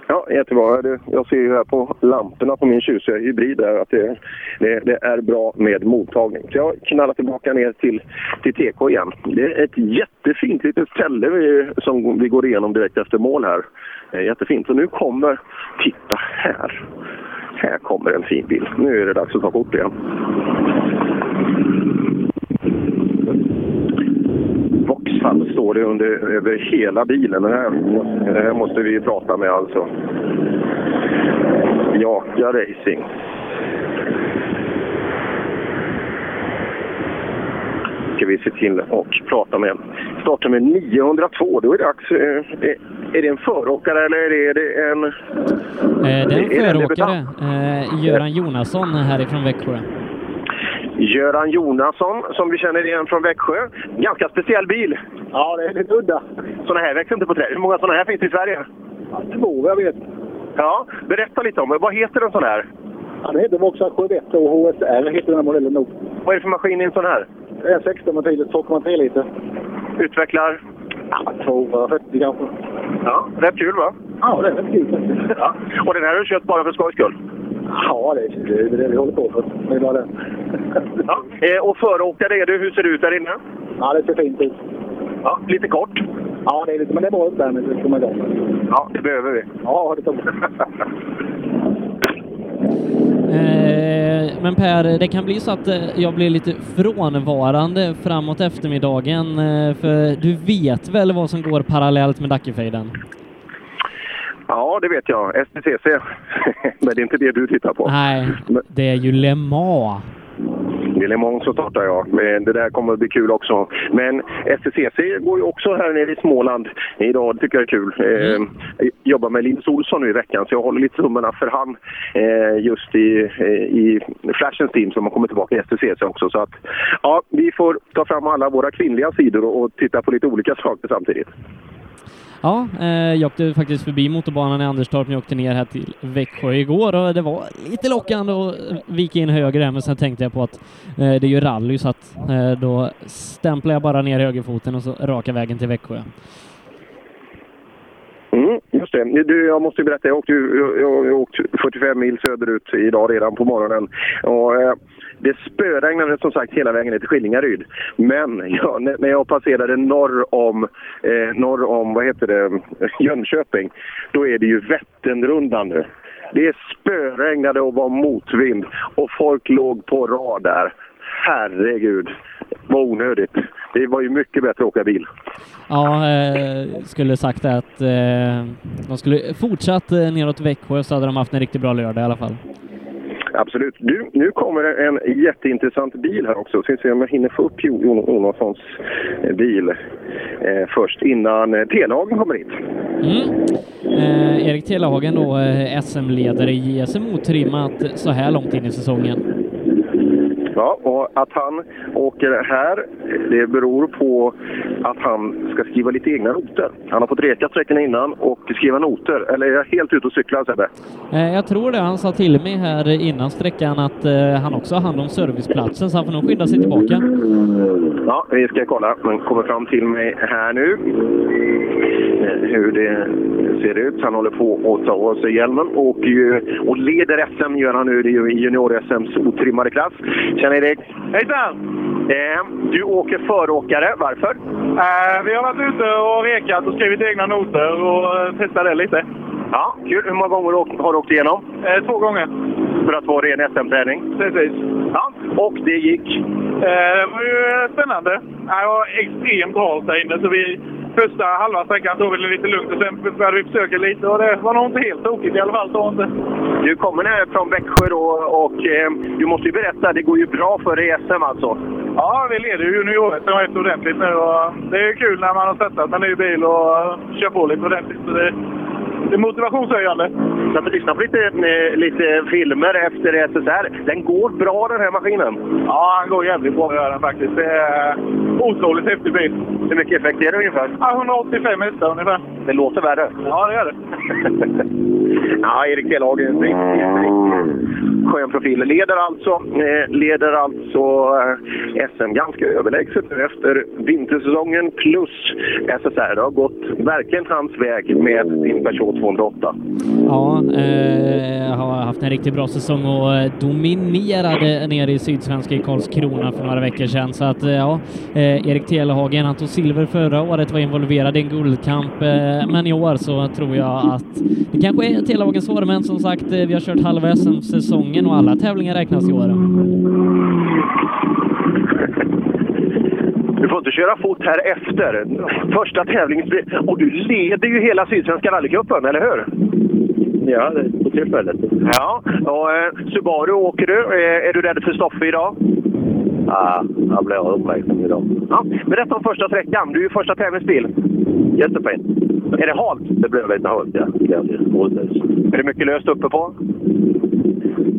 Ja, jättebra. Det- Jag ser ju här på lamporna på min tjusiga hybrid där att det, det, det är bra med mottagning. Så jag knallar tillbaka ner till, till TK igen. Det är ett jättefint litet ställe vi, som vi går igenom direkt efter mål här. Det är Jättefint. Så nu kommer... Titta här! Här kommer en fin bil. Nu är det dags att ta kort igen. Vauxhall står det under, över hela bilen. Det här, det här måste vi ju prata med alltså. Jaka Racing. Ska vi se till och prata med. Startnummer 902, då är det dags. eh, Är, är det en föråkare eller är det en...
Eh, det är en
Det är en
föråkare, eh, Göran Jonasson härifrån Växjö.
Göran Jonasson som vi känner igen från Växjö. Ganska speciell bil. Ja, det är lite udda. Sådana här växer inte på träd. Hur många sådana här finns det i Sverige? två, jag vet. Ja, berätta lite om det. Vad heter en sån här?
Ja, det heter Vauxhall Corvette och HSR heter den här modellen nog.
Vad är det för maskin i en sån här?
Det är 16 motivet, 2,3 liter.
Utvecklar?
Ja, 240 kanske.
Ja, rätt kul va?
Ja, det är rätt kul faktiskt.
Ja. Och den här har du köpt bara för skojs skull?
Ja, det är det, är det vi håller på för. Det är bara det.
Ja. Eh, och föråkare är du. Hur ser det ut där inne?
Ja, det ser fint ut.
Ja, lite kort.
Ja, det är lite, men det är bra uppvärmning så kommer igång.
Ja, det behöver vi.
Ja, det tror jag.
Eh, men Per, det kan bli så att eh, jag blir lite frånvarande framåt eftermiddagen, eh, för du vet väl vad som går parallellt med Dackefejden?
ja, det vet jag. STCC. Men det är inte det du tittar på.
Nej, det är ju Le Mans.
I Le Mans så startar jag. Men det där kommer att bli kul också. Men STCC går ju också här nere i Småland idag. Det tycker jag är kul. Eh, jobbar med Linus Olsson nu i veckan så jag håller lite tummarna för han eh, just i, eh, i Flashens team som har kommit tillbaka i STCC också. Så att, ja, vi får ta fram alla våra kvinnliga sidor och, och titta på lite olika saker samtidigt.
Ja, eh, jag åkte faktiskt förbi motorbanan i Anderstorp när jag åkte ner här till Växjö igår och det var lite lockande att eh, vika in höger här men sen tänkte jag på att eh, det är ju rally så att eh, då stämplar jag bara ner högerfoten och så raka vägen till Växjö.
Mm, just det. Du, jag måste ju berätta, jag åkte, ju- jag, jag, jag åkte 45 mil söderut idag redan på morgonen. Och, eh, det spöregnade som sagt hela vägen ner till Skillingaryd. Men ja, när när jag passerade norr om, eh, norr om vad heter det, Jönköping, då är det ju Vätternrundan nu. Det spöregnade och var motvind och folk låg på rad där. Herregud, vad onödigt. Det var ju mycket bättre att åka bil.
Ja, eh, skulle sagt att eh, de skulle fortsatt eh, neråt Växjö så hade de haft en riktigt bra lördag i alla fall.
Absolut. Du, nu kommer det en jätteintressant bil här också. Ska vi se om jag hinner få upp Jo- Jon- Jonassons eh, bil eh, först innan eh, Telhagen kommer hit.
Mm. Eh, Erik Telehagen då, E eh, SM-ledare i JSM otrimmat så här långt in i säsongen.
Ja, och att han åker här, det beror på att han ska skriva lite egna noter. Han har fått reka sträckorna innan och skriva noter. Eller är jag helt ute och cyklar Sebbe?
Eh, Jag tror det. Han sa till mig här innan sträckan att eh, han också har hand om serviceplatsen, så han får nog skynda sig tillbaka.
Ja, vi ska kolla. Han kommer fram till mig här nu. Eh, Hur det ser ut. Han håller på att ta av sig hjälmen och, ju- och leder SM gör han nu. Det är ju i junior-SMs otrimmade klass. Tjena Erik! Hejsan! Eh, du åker föråkare. Varför?
Eh, vi har varit ute och rekat och skrivit egna noter och eh, testat det lite. Eh,
Ja, kul. Hur många gånger har du åkt- har du åkt igenom? två gånger. För att få ren SM-träning? Precis. Ja, och det gick?
Eh, det var ju eh, spännande. Ja, Det var extremt halt där inne, så vi första halva sträckan tog vi det lite lugnt och sen började vi försöka lite och det var nog inte helt tokigt i alla fall. Då inte.
Du kommer ner från Växjö då och eh, du måste ju berätta, det går ju bra för dig i SM alltså.
Ja, vi leder ju junior-SM rätt ordentligt nu och det är ju kul när man har startat med ny bil och eh, kör på lite ordentligt. Så det, det är motivationshöjande.
Så att vi lyssnar på lite, eh, lite filmer efter E SSR. Den går bra den här maskinen.
Ja, han går jävligt bra att göra den faktiskt. Det är otroligt häftig bil.
Hur mycket effekt är det ungefär?
Ja, 185 hästar ungefär.
Det låter värre.
Ja, det gör det.
ja, Erik Telhage, en riktigt, riktigt skön profil. Leder alltså, eh, leder alltså eh, SM ganska överlägset nu efter vintersäsongen plus SSR. Det har gått verkligen hans väg med sin Peugeot 208.
Ja, eh, har haft en riktigt bra säsong och eh, dominerade nere i Sydsvenska i Karlskrona för några veckor sedan. Så att eh, ja, eh, Erik Telehagen, han tog silver förra året, var involverad i en guldkamp, eh, men i år så tror jag att det kanske är Telehagens år, men som sagt, eh, vi har kört halva SM-säsongen och alla tävlingar räknas i år.
Du får inte köra fort här efter. Första tävlings... Och du leder ju hela Sydsvenska rallycupen, eller hur? Ja, på tillfället. Ja, och eh, Subaru åker du. Eh, är du rädd för Stoffe idag? Ja, jag blir uppmärksam idag. Ja, berätta om första sträckan. Du är ju första tävlingsbil. Jättefint. Är det halt? Det blev lite halt, ja. Är det mycket löst uppe på?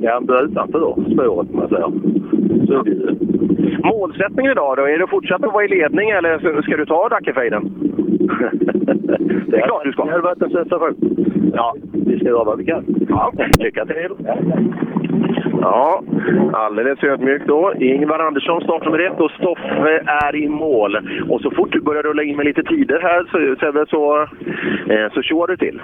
Ja, han blir utanför spåret, man säger. Så Målsättningen idag då? Är det att fortsätta vara i ledning eller ska du ta Dackefejden? Det är klart du ska. Det hade varit en sensation. Ja, vi ska göra vad vi kan. Ja, lycka till. Ja, alldeles ödmjukt då. Ingvar Andersson startnummer ett och Stoffe är i mål. Och så fort du börjar rulla in med lite tider här så, Sebbe, så, eh, så tjoar du till.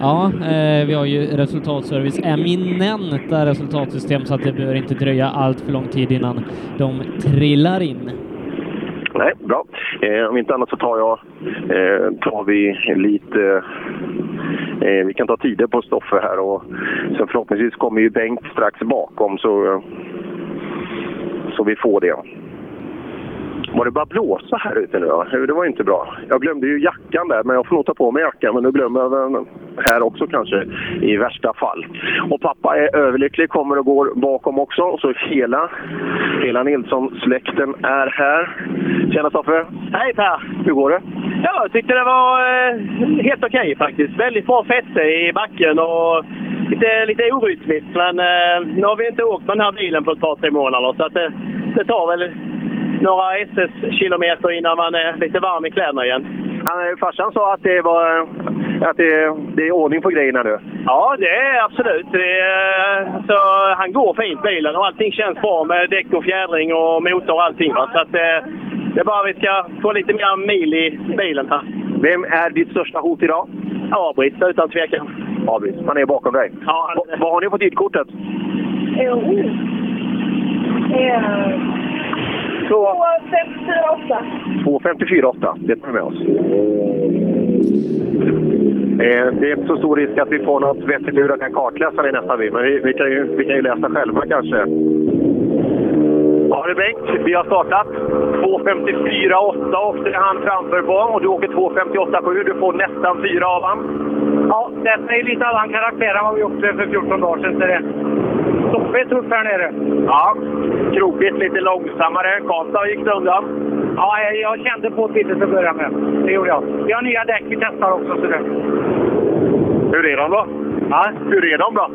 Ja, eh, vi har ju resultatservice eminenta resultatsystem så att det behöver inte dröja allt för lång tid innan de trillar in.
Nej, bra. Eh, om inte annat så tar jag, eh, tar vi lite... Eh, vi kan ta tider på Stoffe här och sen förhoppningsvis kommer ju Bengt strax bakom så, eh, så vi får det. Var det bara blåsa här ute nu då? Det var ju inte bra. Jag glömde ju jackan där, men jag får nog ta på mig jackan. Men nu glömmer jag den här också kanske, i värsta fall. Och pappa är överlycklig, kommer och går bakom också. Och så hela, hela Nilsson-släkten är här. Tjena Stoffe! Hej Per! Hur går det?
Ja, jag tyckte det var eh, helt okej faktiskt. Väldigt bra fäste i backen och lite, lite orytmiskt. Men eh, nu har vi inte åkt med den här bilen på ett par, tre månader så att eh, det, det tar väl några SS-kilometer innan man är lite varm i kläderna igen.
Han, eh, farsan sa att det var att det, det är ordning på grejerna nu.
Ja, det är absolut. Det är, så han går fint bilen och allting känns bra med däck och fjädring och motor och allting. Va? Så att, eh, det är bara vi ska få lite mer mil i bilen här.
Vem är ditt största hot idag?
Abris, utan tvekan.
Abris, han är bakom dig.
Ja,
han... Vad har ni på tidkortet?
Eh. Två, fem, fyra, åtta.
2.54,8. Det tar vi med oss. Eh, Det är inte så stor risk att vi får något vettigt ur den här kartläsaren i nästa bil, men vi, vi, kan ju, vi kan ju läsa själva kanske. Ja du Bengt, vi har startat. 2.54,8 åkte han framför på och du åker 2.58,7. Du får nästan fyra av han.
Ja, detta är lite annan karaktär än vad vi åkte för 14 dagar sedan. Så det Stoffe är tuff här nere.
Ja, krokigt, lite långsammare. Karlstad gick det undan.
Ja, jag, jag kände på det lite till att börja med. Det gjorde jag. Vi har nya däck vi testar också. Så det.
Hur är de då? Ja? Hur är de då?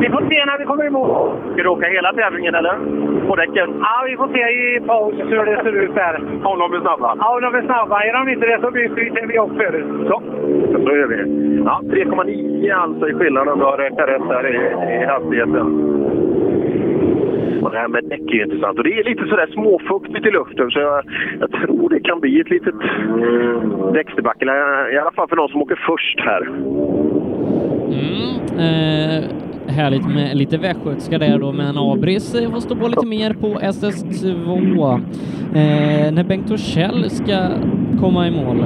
Vi får se när vi kommer emot.
Ska du åka hela tävlingen eller? På däcken?
Ja, vi får se i paus hur det ser ut där.
Om de blir snabba?
Ja, om de är snabba. Är de inte det så byter vi upp förut.
Så, så gör vi. Ja, 3,9 alltså i skillnad om du har räknat rätt där i, i hastigheten. Och det här med däck är ju intressant. Och det är lite sådär småfuktigt i luften så jag, jag tror det kan bli ett litet däcksdebacle. I alla fall för någon som åker först här.
Eh, härligt med lite västgötska där då, men Abris eh, får stå på lite mer på SS2. Eh, när Bengt Torssell ska komma i mål.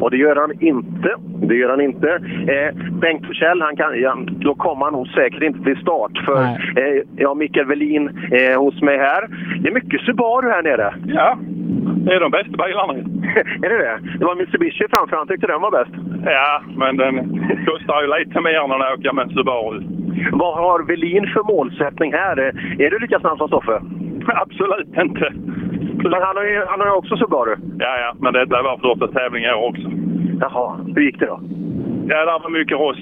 Och det gör han inte. Det gör han inte. Eh, Bengt Forsell, han kan, ja, då kommer han nog säkert inte till start. För eh, jag har Mikael Velin eh, hos mig här. Det är mycket Subaru här nere.
Ja, det är de bästa bilarna.
är det det? Det var Mitsubishi framför, han tyckte den var bäst.
Ja, men den kostar ju lite mer när jag åker med en Subaru.
Vad har Velin för målsättning här? Eh, Är du lika snabb som Stoffe?
Absolut inte.
Men han har ju, han har ju också Subaru.
Ja, ja, men detta var första tävlingen jag också.
Jaha, hur gick det då?
Ja, där var mycket rost.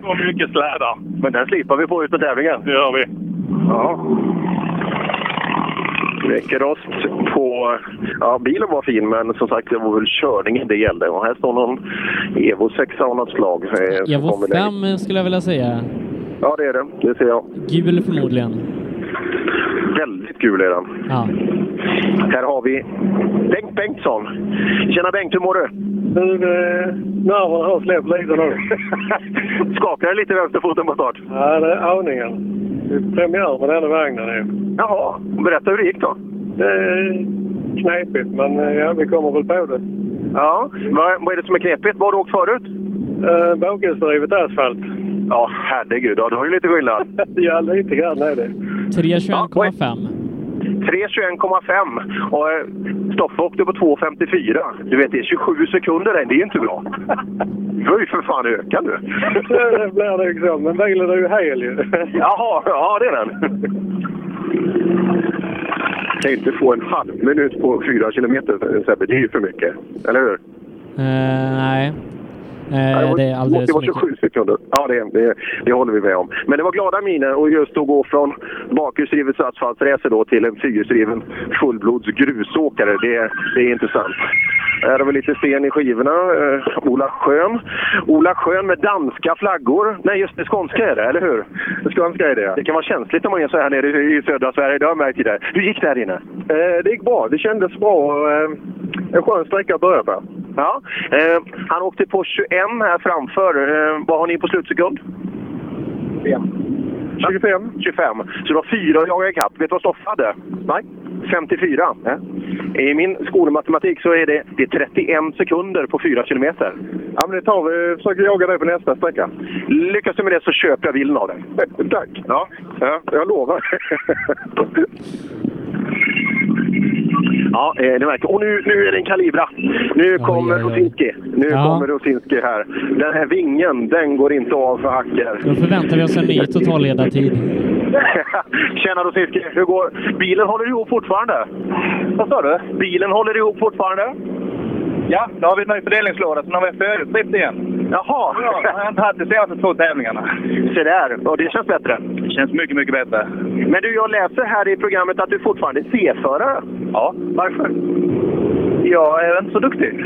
Det var mycket slädar.
Men den slipar vi på ut på tävlingen.
Det gör vi.
Ja. Väckerost på... Ja, bilen var fin, men som sagt, det var väl körningen det gällde. Och här står någon Evo 6 av något slag. eh, som
Evo
kommer längre.
5 skulle jag vilja säga.
Ja, det är det. Det ser jag.
Gul förmodligen.
Väldigt kul är den.
Ja.
Här har vi Bengt Bengtsson. Tjena Bengt, hur mår du?
Nu, eh, nerverna har släppt lite nu.
Skakar det lite i vänsterfoten på start?
Ja, det är aningen. Det är premiär på denna vagnen ju.
Jaha, berätta hur det gick då.
Det är knepigt, men eh, ja, vi kommer väl på det.
Ja, vad, vad är det som är knepigt? Vad har du åkt förut?
Eh, Bakhjulsdrivet asfalt.
Ja, herregud. Ja, du har ju lite skillnad.
ja, lite grann är det.
3.21,5.
3.21,5 och eh, Stoffe åkte på 2.54. Du vet, det är 27 sekunder än. Det är ju inte bra. Du har ju för fan öka nu.
det blir det ju så, men bilen är ju hel ju.
Jaha, ja det är den. Kan ju inte få en halv minut på fyra kilometer, Sebbe. Det är ju för mycket. Eller hur?
Eh, nej. Eh, det är alldeles för
det var
mycket.
27 sekunder. Ja, det, det, det håller vi med om. Men det var glada miner och just att gå från bakhjulsdrivet asfaltracer då till en fyrhjulsdriven fullblods grusåkare. Det, det är intressant. Här har vi lite sten i skivorna. Eh, Ola Schön. Ola Schön med danska flaggor. Nej, just det. Skånska är det, eller hur? Skånska är det, Det kan vara känsligt när man är så här nere i- i södra Sverige. Det har jag märkt i det. Hur gick det här inne?
Eh, det gick bra. Det kändes bra. eh, en skön sträcka att börja på.
Ja. Eh, han åkte på 21 här framför. Eh, vad har ni på slutsekund? 25. 25. Så det var fyra jag jagade ikapp. Vet du vad Stoffe hade? Nej. 54. I min skolmatematik så är det, det är 31 sekunder på 4 kilometer. Ja, men det tar vi. försöker jaga det på nästa sträcka. Lyckas du med det så köper jag bilen av dig. Tack. Ja, ja jag lovar. Ja, eh, det märker Och nu, nu är det en Calibra. Nu kommer Rosinski. Nu
Ja.
kommer Rosinski här. Den här vingen, den går inte av för hacker.
Då förväntar vi oss en ny totalledartid.
Tjena Rosinski, hur går Bilen håller ihop fortfarande? Vad sa du? Bilen håller ihop fortfarande?
Ja, nu har vi en ny fördelningslåda som har varit förutklippt igen.
Jaha!
Ja, det har jag inte haft de senaste två tävlingarna.
Se där, och det känns bättre?
Det känns mycket, mycket bättre.
Men du, jag läser här i programmet att du fortfarande är C-förare. Ja. Varför? Jag är inte så duktig.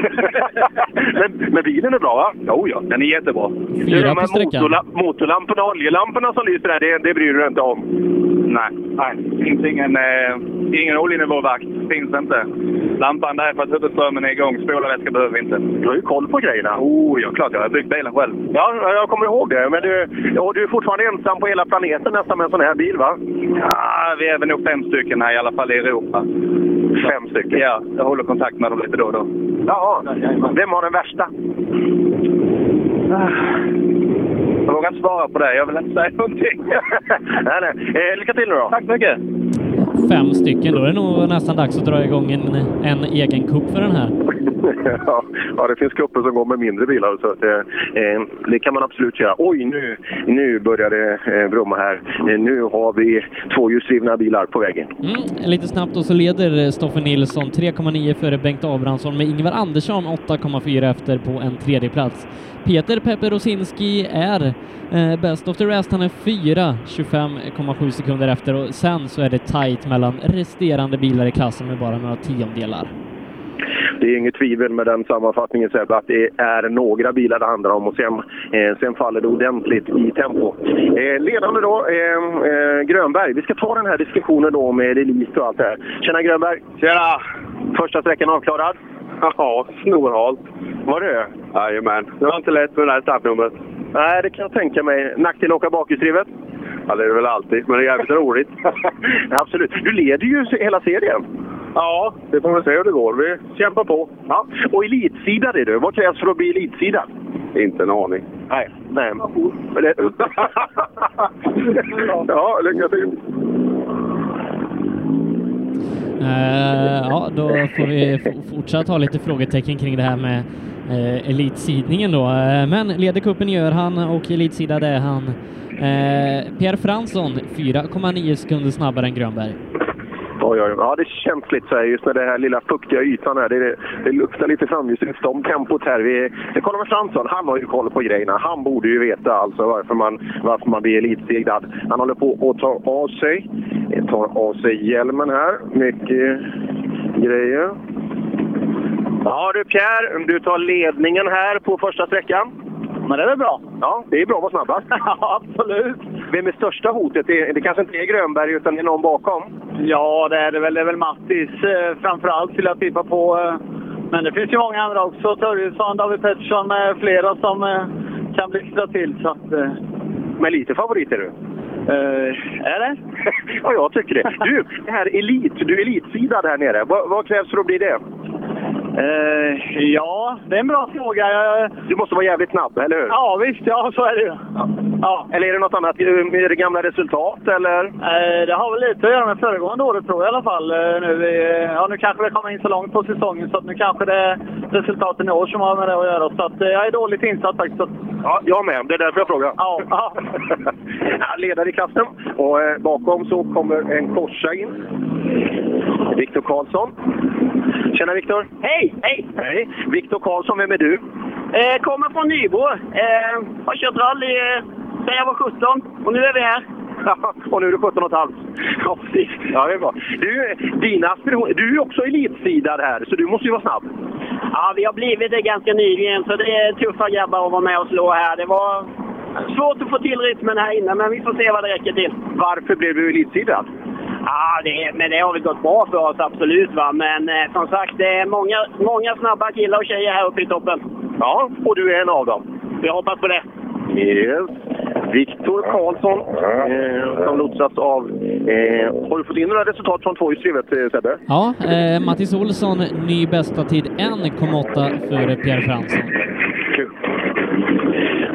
men, men bilen är bra, va? Jo, ja. Den är jättebra.
Fyra
du, de
på
här
sträckan.
motorla- motorlamporna och oljelamporna som lyser där, det, det bryr du dig inte om?
Nej, nej. Det finns ingen, eh, ingen oljenivåvakt. Finns inte. Lampan där för att huvudströmmen är igång. Spolarvätska behöver vi inte.
Du har ju koll på grejerna. Oh, ja, klart. Jag har byggt bilen själv. Ja, jag kommer ihåg det. Men du, och du är fortfarande ensam på hela planeten nästan med en sån här bil, va?
Ja, vi är väl nog fem stycken här i alla fall i Europa.
Fem stycken?
Ja, jag håller kontakt med dem lite då och då.
Jaha. Vem har den värsta?
Jag vågar inte svara på det. Jag vill inte säga någonting.
nej, nej. Eh, lycka till nu då.
Tack så mycket.
Fem stycken, då är det nog nästan dags att dra igång en, en egen cup för den här.
Ja, ja, det finns grupper som går med mindre bilar. Så att, eh, det kan man absolut göra. Oj, nu, nu börjar det eh, brumma här. Eh, nu har vi tvåhjulsdrivna bilar på vägen.
Mm, lite snabbt då så leder eh, Stoffe Nilsson 3,9 före Bengt Abrahamsson med Ingvar Andersson 8,4 efter på en tredje plats. Peter Pepe Rosinski är eh, bäst of the rest. Han är 4, 25,7 sekunder efter och sen så är det tajt mellan resterande bilar i klassen med bara några tiondelar.
Det är inget tvivel med den sammanfattningen Sebbe, att det är några bilar det handlar om och sen, eh, sen faller det ordentligt i tempo. Eh, ledande då, eh, eh, Grönberg. Vi ska ta den här diskussionen då med Elit och allt det här. Tjena Grönberg! Tjena! Första sträckan avklarad? Ja, snorhalt. Var det Jajamän. Det var inte lätt med det här startnumret. Nej, det kan jag tänka mig. Nackdel att åka bakhjulsdrivet? Ja, det är det väl alltid, men det är jävligt roligt. Absolut. Du leder ju hela serien. Ja, vi får väl se hur det går. Vi kämpar på. Ja. Och elitsidad är du. Vad krävs för att bli elitsidad? Inte en aning. Nej. Nej. Men det... ja, lycka till!
Eh, ja, då får vi f- fortsatt ha lite frågetecken kring det här med eh, elitsidningen då. Eh, men leder cupen gör han och elitsidad är han. Eh, Pierre Fransson 4,9 sekunder snabbare än Grönberg.
Oj, oj, oj. Ja, det känns lite så här just med den här lilla fuktiga ytan här. Det, det luktar lite framljusluft om tempot här. Vi, det kollar med Fransson. Han har ju koll på grejerna. Han borde ju veta alltså varför man, varför man blir elitsegrad. Han håller på att ta av sig, tar av sig hjälmen här. Mycket grejer. Ja du Pierre, du tar ledningen här på första sträckan. Men det är väl bra? Ja, det är bra att vara snabbast. absolut! Vem är största hotet? Det, det kanske inte är Grönberg, utan det är någon bakom?
Ja, det är det väl. Det är väl Mattis eh, framförallt skulle jag tippa på. eh. Men det finns ju många andra också. Törjesson, David Pettersson med flera som eh, kan blixtra till. Så att, eh,
Men lite favorit är du?
är det?
ja, jag tycker det. Du, det här elit, du är elitsidad här nere. Vad, vad krävs för att bli det?
Eh, ja, det är en bra fråga.
Du måste vara jävligt snabb, eller hur?
ja, visst. Ja, så är det ju. Ja.
Eller är det något annat? Är det gamla resultat, eller?
Eh, det har väl lite att göra med föregående året tror jag i alla fall. Eh, nu, eh, ja, nu kanske det kommer in så långt på säsongen så att nu kanske det är resultaten i år som har med det att göra. Så att, eh, jag är dåligt insatt faktiskt.
Ja, jag med. Det är därför jag frågar. Ja. ja, ledare i klassen. Och eh, bakom så kommer en korsa in. Viktor Karlsson. Tjena Viktor!
Hej! Hej!
Hej! Viktor Karlsson, vem är du?
Eh, kommer från Nybro. Eh, har kört rally eh, sedan jag var 17 och nu är vi här.
och nu är du 17 och ett halvt. Ja, precis. Ja, det är bra. Du, dina aspirationer. Du är ju också elitsidad här, så du måste ju vara snabb.
Ja, vi har blivit det ganska nyligen så det är tuffa grabbar att vara med och slå här. Det var svårt att få till rytmen här inne men vi får se vad det räcker till.
Varför blev du elitsidad?
Ja, det, men det har väl gått bra för oss absolut va. Men eh, som sagt, det är många, många snabba killar och tjejer här uppe i toppen.
Ja, och du är en av dem.
Jag hoppas på det.
Yes. Viktor Karlsson, eh, som lotsas av... Eh, har du fått in några resultat från tvåhjulsdrivet, eh, Sebbe?
Ja, eh, Mattis Olsson ny bästa tid 1,8 före Pierre Fransson.
Kul.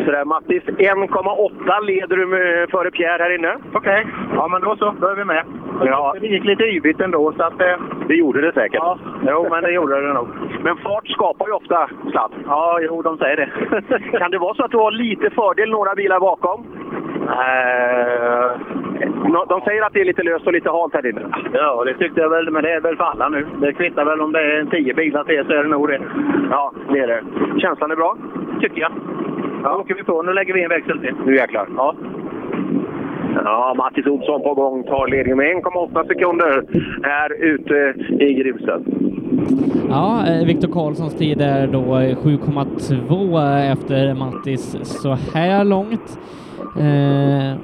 Sådär Mattis, 1,8 leder du med, före Pierre här inne. Okej. Ja, men då så. Då är vi med. Ja. Det gick lite yvigt ändå, så att... Eh... Det gjorde det säkert. Ja. Jo, men det gjorde det nog. Men fart skapar ju ofta sladd. Ja, jo, de säger det. kan det vara så att du har lite fördel några bilar bakom? Eh, Nå- De säger att det är lite löst och lite halt här inne.
Ja, det tyckte jag väl, men det är väl för alla nu. Det kvittar väl om det är tio bilar till så är det nog det.
Ja, det är det. Känslan är bra?
Tycker jag.
Ja. åker vi på. Nu lägger vi en växel till. Nu jäklar. Ja. Ja, Mattis Olsson på gång tar ledningen med 1,8 sekunder här ute i gruset.
Ja, eh, Viktor Karlssons tid är då eh, 7,2 efter Mattis så här långt. Eh,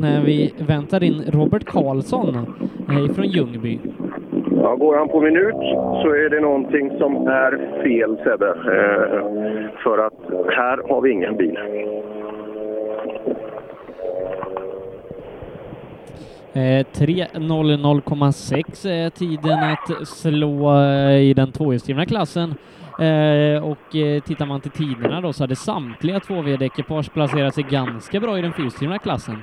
när vi väntar in Robert Karlsson eh, från Ljungby.
Ja, går han på minut så är det någonting som är fel, Sebbe. Eh, för att här har vi ingen bil.
Eh, 3.00,6 är tiden att slå eh, i den tvåhjulsdrivna klassen. Eh, och eh, tittar man till tiderna då så hade samtliga två VD-ekipage placerat sig ganska bra i den fyrhjulsdrivna klassen.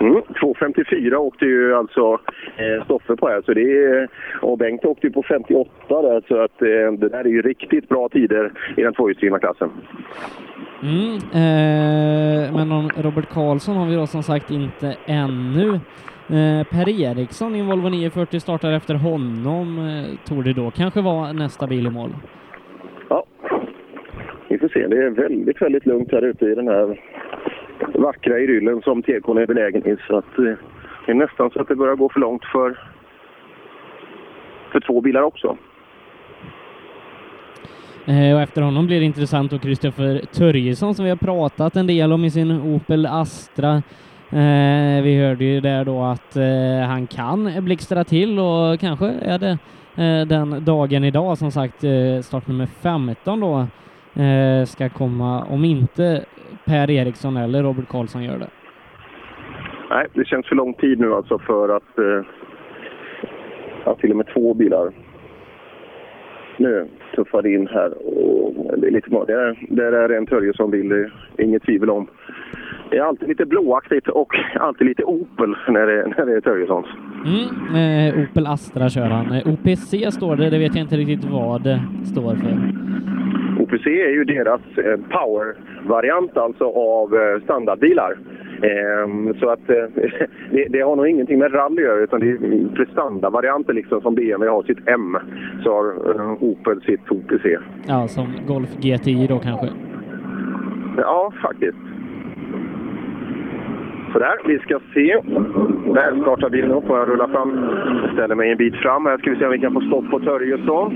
Mm, 2.54 åkte ju alltså eh, Stoffe på här, så det är, och Bengt åkte ju på 58 där, så att eh, det där är ju riktigt bra tider i den tvåhjulsdrivna klassen.
Mm, eh, men om Robert Karlsson har vi då som sagt inte ännu. Eh, per Eriksson i en Volvo 940 startar efter honom, eh, tror det då kanske vara nästa bil i mål.
Ja, vi får se. Det är väldigt, väldigt lugnt här ute i den här vackra idyllen som TK'n är belägen i. Så att, eh, det är nästan så att det börjar gå för långt för, för två bilar också.
Eh, och efter honom blir det intressant då Kristoffer Törjesson som vi har pratat en del om i sin Opel Astra. Eh, vi hörde ju där då att eh, han kan blixtra till och kanske är det eh, den dagen idag som sagt eh, start nummer 15 då eh, ska komma om inte Per Eriksson eller Robert Karlsson gör det.
Nej, det känns för lång tid nu alltså för att, eh, att till och med två bilar. Nu tuffar det in här. Och det är lite mörkt. Där, där är en Törjesson-bil, det är eh, inget tvivel om. Det är alltid lite blåaktigt och alltid lite Opel när det, när det är Törjessons.
Mm, eh, Opel Astra kör han. Eh, OPC står det, det vet jag inte riktigt vad det står för.
OPC är ju deras eh, power-variant alltså av eh, standardbilar. Ehm, så att eh, det, det har nog ingenting med rally att göra utan det är prestandavarianter liksom som BMW har sitt M så har eh, Opel sitt OPC.
Ja, som Golf GTI då kanske.
Ja, faktiskt. Sådär, vi ska se. Där startar bilen upp och jag rullar fram. Jag ställer mig en bit fram. Här ska vi se om vi kan få stopp på Törjesson.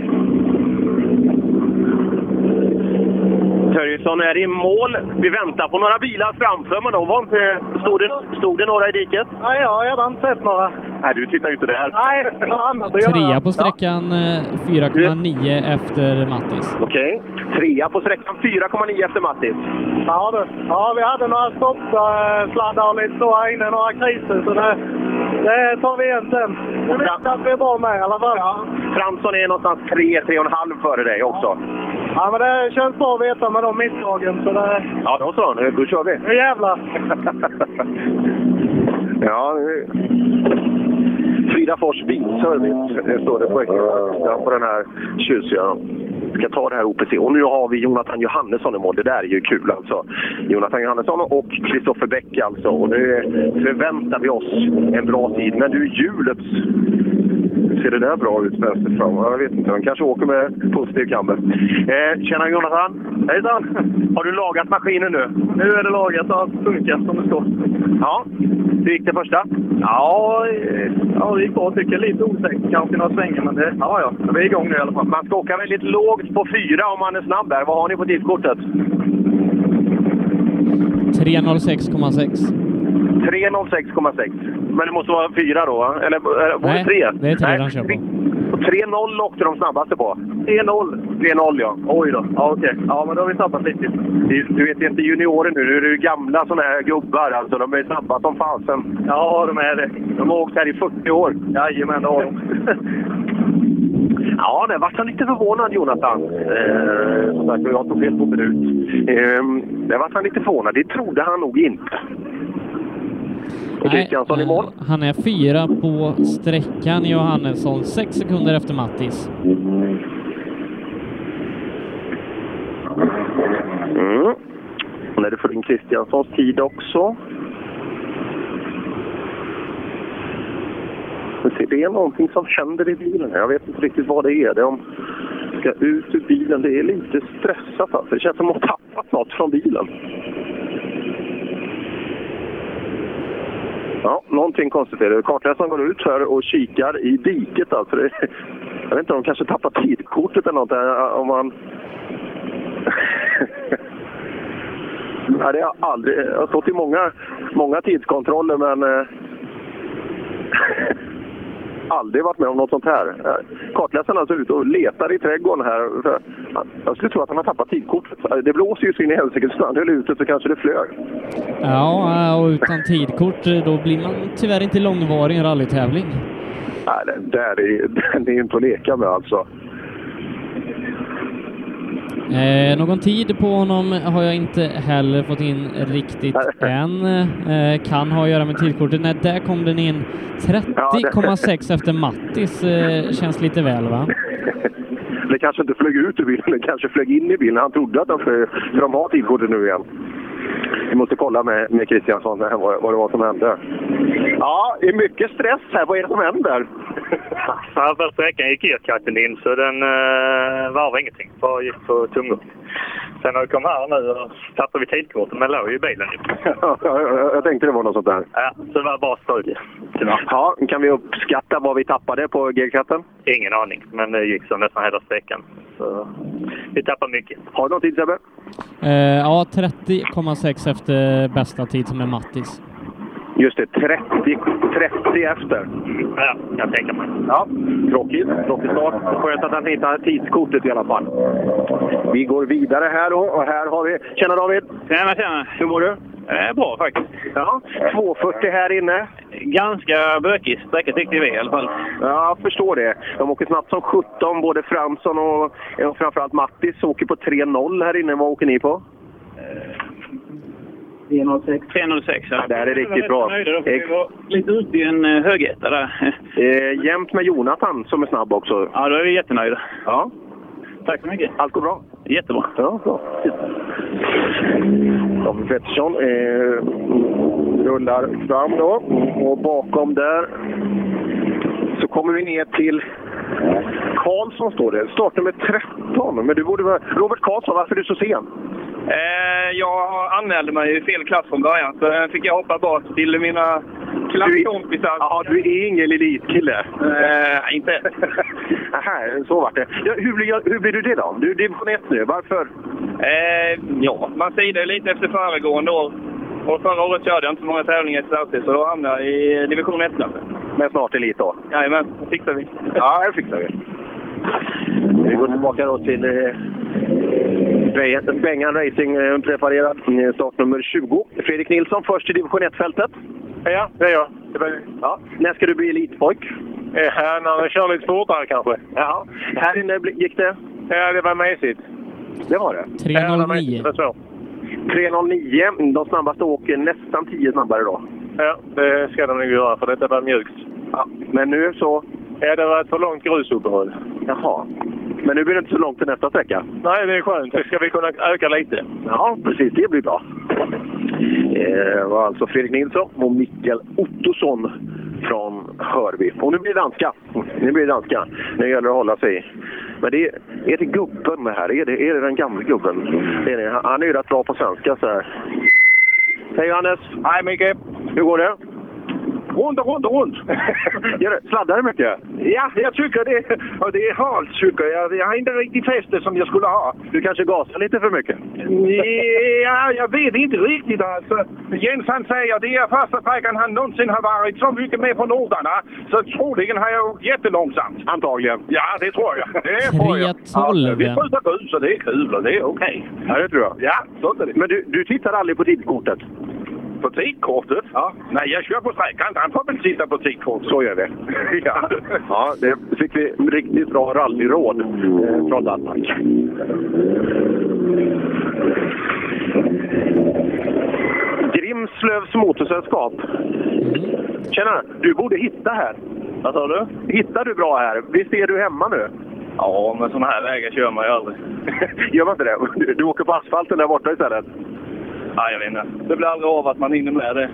Törjesson är i mål. Vi väntar på några bilar framför, men de var inte... Stod det, stod det några i diket?
Nej, ja, jag har inte sett några.
Nej, du tittar ju inte där.
Nej, jag har annat att göra.
Trea på sträckan, eh, 4,9 efter Mattis.
Okej. Trea på sträckan, 4,9 efter Mattis.
Ja, du. ja, vi hade några stoppsladdar och lite så här inne, några kriser. Så det, det tar vi igen sen. Vi vet att vi är bra med i alla fall. Ja,
Fransson är någonstans 3-3,5 före dig också.
men det känns bra att veta med de misstagen. Så det,
Ja, då så. Nu, då kör vi.
nu jävlar!
Ja, nu- Fridafors Bilservice det står det på extrasidan på den här tjusiga. Vi ska ta det här OPC. Och nu har vi Jonathan Johannesson i mål. Det där är ju kul alltså. Jonathan Johannesson och Kristoffer Bäck alltså. Och nu förväntar vi oss en bra tid. Men du, hjulet! Ser det där bra ut vänster fram? Ja, Jag vet inte, de kanske åker med positiv kamber. Eh, tjena Jonathan! Hejsan! Har du lagat maskinen nu?
Nu är det lagat och allt funkar som det står.
Ja. Hur gick det första?
Ja, eh, ja det gick bra tycker jag. Lite osäkert kanske i några svängar, men det, ja, ja. Men vi är igång nu i alla fall.
Man ska åka väldigt lågt på fyra om man är snabb där. Vad har ni på tidskortet?
306,6.
3.06,6. Men det måste vara fyra då, va? eller eh, var det
Nej,
tre?
det är tre
Nej.
de kör på.
Och 3.0 åkte de snabbaste på. 3.0? 3.0 ja. Oj då. Ja, okej. Ja, men då har vi tappat lite. Du, du vet, det är inte juniorer nu. Nu är det ju gamla såna här gubbar. Alltså, de är snabba som fasen. Ja, de är det. De har åkt här i 40 år. Jajamän, det har de. Ja, det vart jag lite förvånad, Jonathan. Eh, som sagt, jag tog fel på minut. Eh, det vart han lite förvånad. Det trodde han nog inte. Och Kristiansson i mål.
eh, Han är fyra på sträckan, Johannesson, sex sekunder efter Mattis.
Mm. Och när du får in Kristianssons tid också. Men se, Det är någonting som händer i bilen. här. Jag vet inte riktigt vad det är. Det är om jag ska ut ur bilen. Det är lite stressat. Alltså. Det känns som att man har tappat något från bilen. Ja, någonting konstigt är det. Kartläsaren går ut här och kikar i diket. Alltså. Det, jag vet inte, de kanske tappar tidkortet eller något. eh, Om man... Nej, det har jag aldrig. Jag har stått i många, många tidskontroller, men eh, aldrig varit med om något sånt här. Eh, Kartläsaren är alltså ute och letar i trädgården här. För- Jag skulle tro att han har tappat tidkortet. Eh, Det blåser ju så in i helsike, så när han höll ute så kanske det flög.
Ja, eh, och utan tidkort eh, då blir man tyvärr inte långvarig i en rallytävling.
Nej, den där är, den är inte att leka med alltså.
Eh, någon tid på honom har jag inte heller fått in riktigt än. Eh, kan ha att göra med tidkortet. Nej, där kom den in. 30,6 efter Mattis eh, känns lite väl, va?
Det kanske inte flög ut ur bilen, det kanske flög in i bilen. Han trodde att de, flög, för de har tidkortet nu igen. Vi måste kolla med, med Kristiansson här, vad, vad det var som hände. Ja, det är mycket stress här. Vad är det som händer?
Ja, första sträckan gick elkatten in så den eh, varvade ingenting. Bara gick på tomgång. Sen när vi kom här nu och tappade vi tidkortet men låg ju i bilen.
Ja, jag, jag tänkte det var något sånt där.
Ja, så det var bara strul.
Ja, kan vi uppskatta vad vi tappade på G-katten?
Ingen aning, men det gick så nästan hela sträckan. Så vi tappade mycket.
Har du någon tid Sebbe?
Eh, ja, 30,6 efter bästa tid som är Mattis.
Just det, 30, 30 efter.
Ja, jag tänker mig.
Ja, tråkigt. Tråkig start. Skönt att han hittar tidskortet i alla fall. Vi går vidare här då och här har vi... Tjena David!
Tjena, tjena!
Hur mår du?
Eh, bra faktiskt.
Ja, 240 här inne.
Ganska bökig sträcka tyckte vi i alla fall.
Ja, jag förstår det. De åker snabbt som 17, både Fransson och, och framförallt Mattis åker på 3.0 här inne. Vad åker ni på?
306. 306, ja.
det här är riktigt bra.
Jag är nöjd, då får vi vara lite ute i en eh, högetta där.
Eh, jämt med Jonathan som är snabb också.
Ja, då är vi jättenöjda.
Ja.
Tack så mycket.
Allt går bra?
Jättebra.
Ja, bra. David Pettersson eh, rullar fram då. Och bakom där så kommer vi ner till Karlsson står det. Startnummer 13. Men du borde vara... Robert Karlsson, varför är du så sen?
Eh, jag anmälde mig i fel klass från början, så eh, fick jag hoppa bak till mina klasskompisar.
Ja, du är ingen elitkille.
Eh, inte.
Aha, så vart det. Ja, hur, blir jag, hur blir du det då? Du är division 1 nu. Varför?
Eh, ja, man sidade lite efter föregående år. Och förra året körde jag inte så många tävlingar i Sverige, så då hamnade jag i division 1-klassen.
Men snart elit då?
Jajamän, det fixar vi.
Ja, det fixar vi. Vi går tillbaka då till eh, Be- Bengan Racing eh, preparerat eh, startnummer 20. Fredrik Nilsson först i division 1-fältet.
Ja, det är jag. Det är
Ja. När ska du bli elitpojk?
Ja, när vi kör lite fortare kanske.
Ja. Här inne bli- gick det?
Ja, det var mesigt.
Det var det.
309.
3.09. De snabbaste åker nästan 10 snabbare då.
Ja, det ska de nog göra för detta var mjukt.
Ja, men nu så...
Ja, det var ett för långt grusuppehåll.
Jaha. Men nu blir det inte så långt till nästa sträcka.
Nej, det är skönt. Det ska vi kunna öka lite.
Ja, precis. Det blir bra. Det var alltså Fredrik Nilsson och Mikael Ottosson från Hörby. Och nu blir det danska. Nu blir det danska. Nu gäller det att hålla sig. Men det är, är det gubben det här? Är det, är det den gamla gubben? Det är det. Han- Han är ju rätt bra på svenska så här. Hej Johannes!
Hej Micke!
Hur går det?
Runt och runt och runt!
Gör det? Sladdar det mycket?
Ja, jag tycker det. Och det är halt tycker jag. Jag har inte riktigt fäste som jag skulle ha.
Du kanske gasar lite för mycket?
Ja, jag vet inte riktigt alltså. Jens han säger det är första sträckan han någonsin har varit så mycket med på noterna. Så troligen har jag åkt jättelångsamt.
Antagligen.
Ja, det tror jag. Det tror jag.
312.
Ja, vi skjuter på ut så det är kul och det är okej.
Ja, det tror jag.
Ja, sånt är det.
Men du, du tittar aldrig på tidkortet?
På tidkortet? Ja. Nej, jag kör på sträckan. Han får väl titta på tidkortet.
Så gör vi.
ja.
Ja, det fick vi riktigt bra rallyråd eh, från Danmark. Grimslövs motorsällskap. Tjena! Du borde hitta här.
Mm. Vad sa du?
Hittar du bra här? Visst är du hemma nu?
Ja, men sådana här vägar kör man ju aldrig.
Gör man inte det? Du, du åker på asfalten där borta istället?
Nej, jag vet inte. Det blir aldrig av att man hinner med det.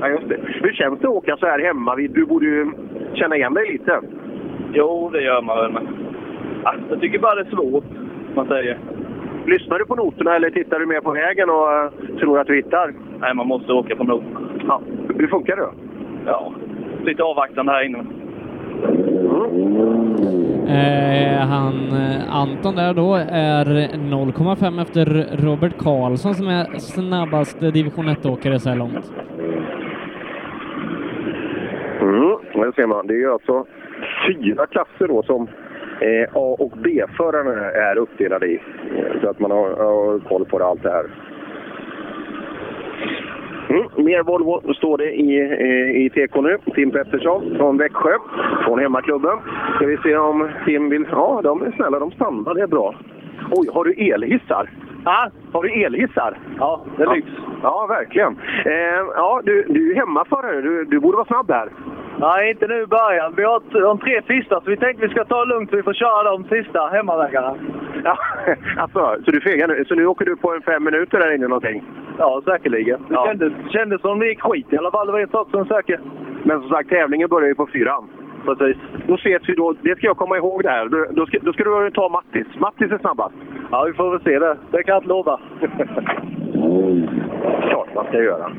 Ja, just det. Hur känns det att åka så här hemma? vid? Du borde ju känna igen dig lite.
Jo, det gör man väl, men... Ah, Jag tycker bara det är svårt, man säger.
Lyssnar du på noterna eller tittar du mer på vägen och eh, tror att du hittar?
Nej, man måste åka på nog.
Ja. Hur funkar det då?
Ja, lite avvaktande här inne.
Eh, han, eh, Anton där då är 0,5 efter Robert Karlsson som är snabbaste division 1-åkare så här långt.
Mm, det ser man. Det är ju alltså fyra klasser då som eh, A och B-förarna är uppdelade i. Eh, Så att man har, har koll på det, allt det här. Mm, mer Volvo står det i, eh, i TK nu. Tim Pettersson från Växjö, från hemmaklubben. Ska vi se om Tim vill... Ja, de är snälla. De stannar. Det är bra. Oj, har du elhissar? Ja. Har du elhissar? Ja, det är lyx. Ja, verkligen. Eh, ja, du, du är hemmaförare. Du, du borde vara snabb här.
Nej, inte nu i början. Vi har t- de tre sista, så vi tänkte vi ska ta det lugnt så vi får köra de sista hemmavägarna.
Ja, alltså, så du fegar nu? Så nu åker du på en fem minuter där inne någonting? Ja, säkerligen. Det kändes, kändes som det gick skit i alla fall. Det var ju trots som säker. Men som sagt, tävlingen börjar ju på fyran. Precis. Då ses vi då. Det ska jag komma ihåg det här. Då- Då ska, då ska du ta Mattis. Mattis är snabbast. Ja, vi får väl se det. Det kan jag inte lova. Klart man ska göra.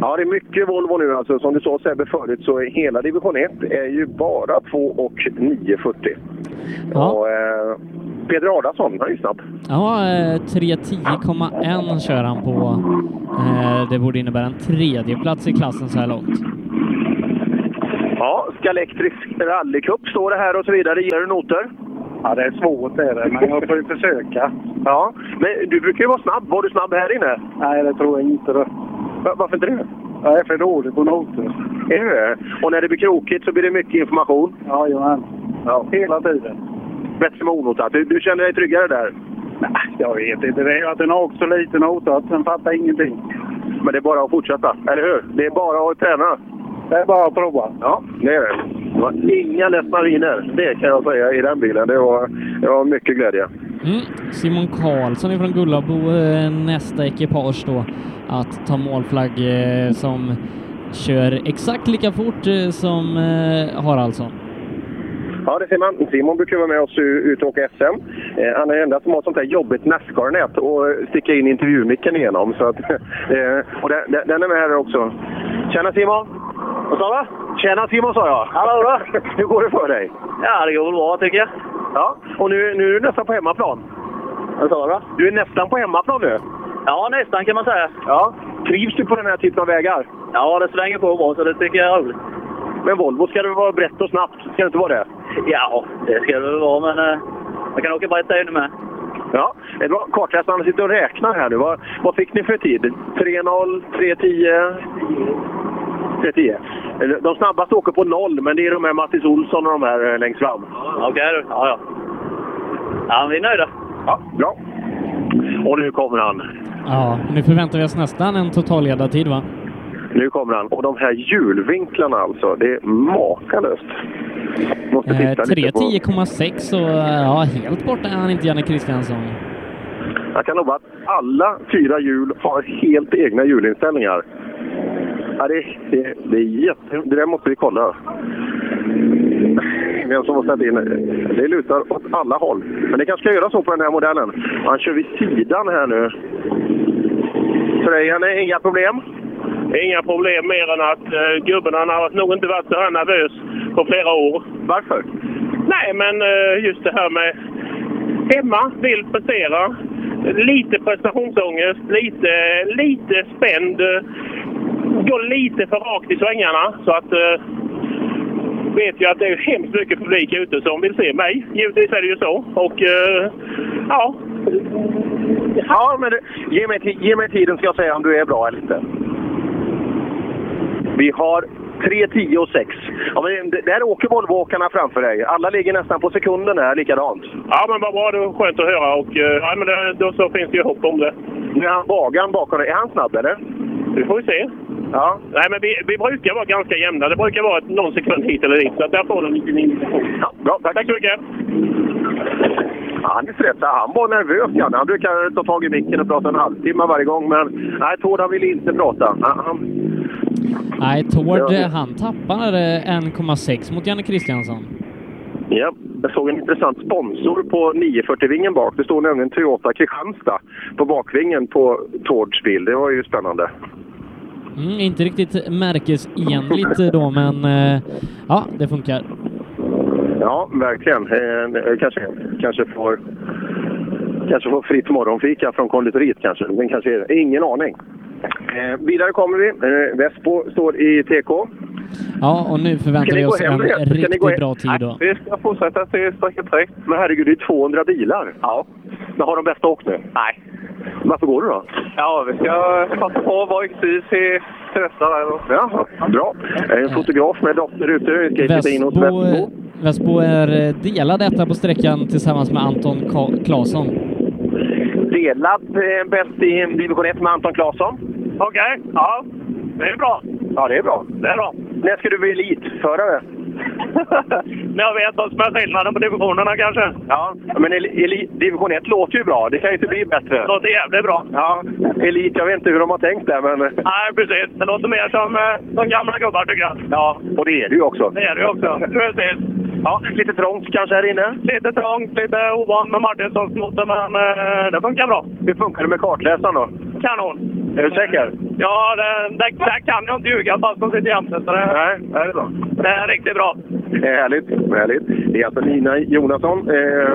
Ja, det är mycket Volvo nu. Alltså, som du sa Sebbe förut så är hela division 1 är ju bara 2 och 940.
Ja.
Och, eh, Peder Adasson, han är ju snabb.
Ja, eh, 3.10,1 kör han på. Eh, Det borde innebära en tredje plats i klassen så här långt.
Ja, Skalektrisk rallycup står det här och så vidare. Gillar du noter? Ja, det är svårt det är det, men jag får ju försöka. Ja, men du brukar ju vara snabb. Var du snabb här inne? Nej, det tror jag inte. Varför inte det? Jag är för dålig på noter. Är du det? Och när det blir krokigt så blir det mycket information? Jajamän. Ja. Hela tiden. Bättre med onotat. Du, du känner dig tryggare där? Nej, jag vet inte. Det är ju att den har också lite notat, sen fattar ingenting. Men det är bara att fortsätta, eller hur? Det är bara att träna. Det är bara att prova. Ja, det är det. Det var inga lättmariner, det kan jag säga, i den bilen. Det var, det var mycket glädje.
Mm. Simon Karlsson från Gullabo, eh, nästa ekipage då, att ta målflagg eh, som kör exakt lika fort eh, som eh, Haraldsson.
Ja, det ser man. Simon brukar vara med oss u- ut och åka SM. Eh, han är den enda som har sånt här jobbigt Nascar-nät och eh, sticka in intervjumicken igenom. Så att, eh, och den, den- den är med här också. Tjena Simon! Vad sa du? Tjena Simon sa jag! Hallå då! Hur går det för dig? Ja, det går väl bra tycker jag. Ja, och nu, nu är du nästan på hemmaplan. Vad sa du? Du är nästan på hemmaplan nu.
Ja, nästan kan man säga.
Ja. Trivs du på den här typen av vägar?
Ja, det svänger på bra, så det tycker jag är roligt.
Men Volvo ska det vara brett och snabbt? Ska det inte vara det?
Ja, det ska det väl vara, men eh, man kan åka brett där inne med.
Ja, det är bra. Kartläsaren sitter och räknar här nu. Vad, vad fick ni för tid? 3.0, 3.10? 3.10. De snabbaste åker på noll, men det är de här Mattis Olsson och de här eh, längst fram.
Okej då. Ja, ja. Ja, vi är nöjda.
Ja, bra. Och nu kommer han.
Ja, nu förväntar vi oss nästan en totalledartid va?
Nu kommer han. Och de här hjulvinklarna alltså. Det är makalöst. Måste
Eh,
titta lite på...
3.10,6 och eh, ja, helt borta är han inte, Janne Kristiansson.
Jag kan lova att alla fyra hjul har helt egna hjulinställningar. Ja, det, det, det är jätte... Det där måste vi kolla. Vem som har ställt in. Det lutar åt alla håll. Men det kanske ska göra så på den här modellen. Han kör vid sidan här nu. Tröjan är inga problem.
Inga problem mer än att eh, gubben han har nog inte varit så här nervös på flera år.
Varför?
Nej, men eh, just det här med hemma, vill prestera. Lite prestationsångest, lite, lite spänd. eh, Går lite för rakt i svängarna. Så att... Eh, vet ju att det är hemskt mycket publik ute som vill se mig. Givetvis är det ju så. Och eh, ja,
Ja, men det, ge, mig, ti- ge mig tiden ska jag säga om du är bra eller inte. Vi har 3, 10 och 6. Ja, men det- där åker Volvoåkarna framför dig. Alla ligger nästan på sekunden här likadant.
ja men vad bra. Det var skönt att höra. Och eh, ja, men det, då så finns det ju hopp om det.
Nu är han Bagan bakom dig. Är han snabb eller?
Vi får ju se.
Ja.
Nej, men vi, vi brukar vara ganska jämna. Det brukar vara ett- någon sekund hit eller dit. Så att där får de en liten indikation.
Ja, bra, tack.
tack så mycket.
Ja, Han är stressad. Han var nervös, Janne. Han brukar ta tag i micken och prata en halvtimme varje gång. Men nej, Tord han ville inte prata. Han, han,
Nej, Tord,
Ja.
eh, han tappar eh, 1,6 mot Janne Kristiansson.
ja, jag såg en intressant sponsor på 940-vingen bak. Det stod nämligen Toyota Kristianstad på bakvingen på Tords bil. Det var ju spännande.
Mm, inte riktigt märkesenligt eh, då, men eh, ja, det funkar.
Ja, verkligen. Eh, eh, kanske, kanske, får, kanske får fritt morgonfika från konditoriet kanske. Men kanske ingen aning. Eh, vidare kommer vi. Eh, Vespo står i TK.
Ja, och nu förväntar
Ska ni
vi
gå
oss
hem
en
nu? Ska ni
riktigt
gå hem?
bra tid då.
Vi ska fortsätta till sträcka 3. Men herregud, det är 200 bilar. Ja. Men har de bästa åkt nu? Nej. Varför går du då?
Ja, vi ska passa på att vara exis i Trösta där.
Ja, bra. Jag är en fotograf med dotter ute. Vi ska titta in hos
Västbo eh,
Västbo.
Vespo är eh, delad etta på sträckan tillsammans med Anton Ka- Claesson.
Delad eh, bäst i division 1 med Anton Claesson. Okej, ja. Det är bra. Ja, det är bra. Det är bra. När ska du bli elitförare?
När jag vet vad som är skillnaden på divisionerna kanske.
Ja, men eli- eli- division 1 låter ju bra. Det kan ju inte bli bättre.
Låter jävligt bra.
Ja, elit. Jag vet inte hur de har tänkt där, men...
Nej, precis. Det låter mer som eh, de gamla gubbar tycker jag.
Ja, och det är det ju också.
Det är det ju också. Precis.
Ja, lite trångt kanske här inne?
Lite trångt, lite ovan med Martinssons motor, men eh, det funkar bra.
Hur funkar det med kartläsaren då?
Kanon.
Är du säker?
Ja, det, det, där kan jag inte ljuga fast de sitter jämte. så det-
Nej, det är bra.
Det är riktigt bra.
Det är Härligt, härligt. Det är alltså Nina Jonasson, eh,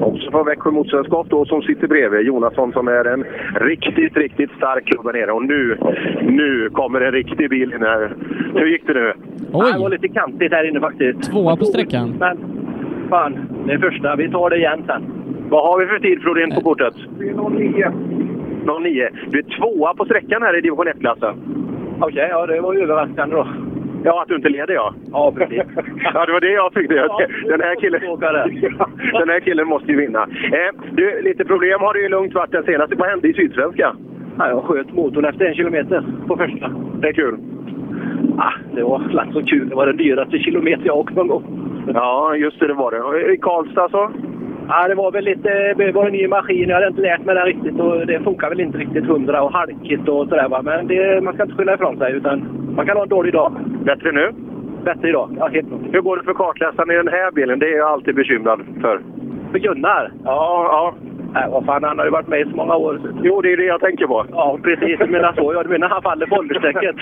också från Växjö Motorsällskap då, som sitter bredvid. Jonasson som är en riktigt, riktigt stark klubb här nere. Och nu, nu kommer en riktig bil in här. Hur gick det nu?
Oj.
Det var lite kantigt här inne faktiskt.
Tvåa på sträckan.
Men fan, det är första. Vi tar det igen sen. Vad har vi för tid, Flodén, på kortet? 09. 09. Du är tvåa på sträckan här i division 1-klassen. Okej, ja det var ju överraskande då. Ja, att du inte leder ja. Ja, precis. ja, det var det jag tyckte. Jag- Den här killen, den här killen måste ju vinna. Eh, du, lite problem har det ju lugnt varit den senaste. Vad hände i Sydsvenska? jag sköt motorn efter en kilometer på första. Det är kul. Ah, det var slags så kul. Det var den dyraste kilometer jag åkt någon gång. Ja, just det, det var det. Och I Karlstad så?
Ja, det var väl lite, det var en ny maskin, jag hade inte lärt mig den riktigt och det funkar väl inte riktigt hundra och halkigt och sådär va. Men det, man ska inte skylla ifrån sig utan man kan ha en dålig dag.
Bättre nu?
Bättre idag, ja helt
Hur går det för kartläsaren i den här bilen? Det är jag alltid bekymrad för.
För Gunnar?
Ja, ja.
Nej, vad fan, han har ju varit med i så många år.
Jo, det är det jag tänker på.
Ja, precis. Du menar så. Ja, du menar han faller på åldersstrecket.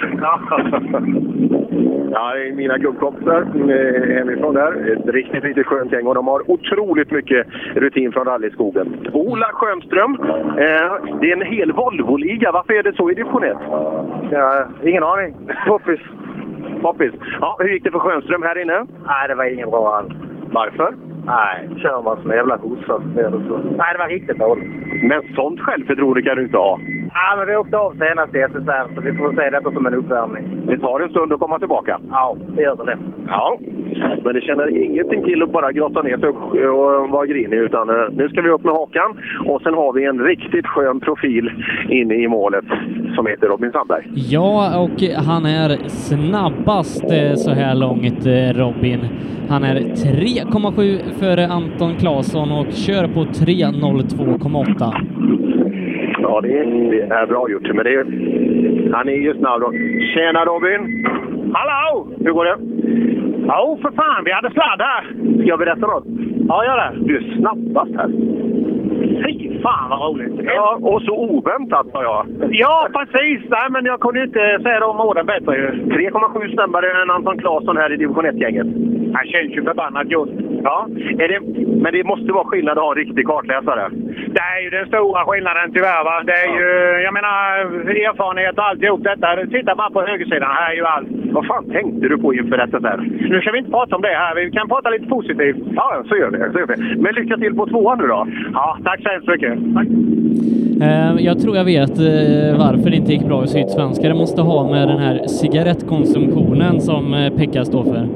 Ja, det är mina kubbkompisar eh, hemifrån där. Ett riktigt, riktigt skönt gäng och de har otroligt mycket rutin från rallyskogen. Ola Sjöström, eh, det är en hel Volvo-liga. Varför är det så i division 1? ingen aning. Poppis. Poppis. Ja, hur gick det för Sjöström här inne? Nej, det var ingen bra alls. Varför? Nej, kör man som en jävla kossa. Nej, det var riktigt dåligt. Men sånt självförtroende kan du inte ha.
Ja, men vi åkte av senast i SSR så vi får se detta som en uppvärmning.
Det tar en stund att komma tillbaka.
Ja, det gör det.
Ja, men det känner ingenting till att bara grotta ner sig och och vara grinig. Utan eh, nu ska vi upp med hakan och sen har vi en riktigt skön profil inne i målet som heter Robin Sandberg.
Ja, och han är snabbast eh, så här långt, eh, Robin. Han är 3,7 före Anton Claesson och kör på 3.02,8.
Ja, det är, det är bra gjort. Men det är, han är ju snabb. då. Tjena Robin! Hallå! Hur går det? Ja, för fan, vi hade sladd här. Ska jag berätta något? Ja, gör det. Du är snabbast här. Fy fan vad roligt! Ja, och så oväntat sa jag.
Ja, precis. Nej, men jag kunde inte säga de orden bättre ju.
3,7 snabbare än Anton Claesson här i division 1-gänget. Han känns ju förbannat just. Ja, är det, men det måste vara skillnad att ha en riktig kartläsare.
Det är ju den stora skillnaden tyvärr. Va? Det är ju, jag menar, erfarenhet och alltihop detta. Titta bara på högersidan. Här är ju allt.
Vad fan tänkte du på inför detta där?
Nu ska vi inte prata om det här. Vi kan prata lite positivt.
Ja, så gör vi. Så gör vi. Men lycka till på tvåan nu då.
Ja, tack så hemskt mycket.
Eh, Jag tror jag vet eh, varför det inte gick bra i Sydsvenska. Det måste ha med den här cigarettkonsumtionen som eh, Pekka står för.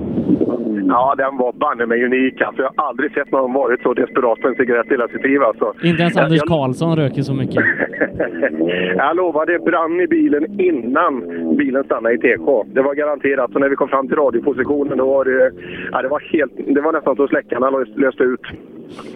Ja, den var banne mig unik alltså. Jag har aldrig sett någon varit så desperat på en cigarett i hela sitt liv alltså.
Inte ens
Jag-
Anders
jag-
Karlsson röker så mycket.
Mm. Jag lovar, det brann i bilen innan bilen stannade i TK. Det var garanterat. Så när vi kom fram till radiopositionen, då var det, ja, det, var helt, det var nästan så släckarna lös- löste ut.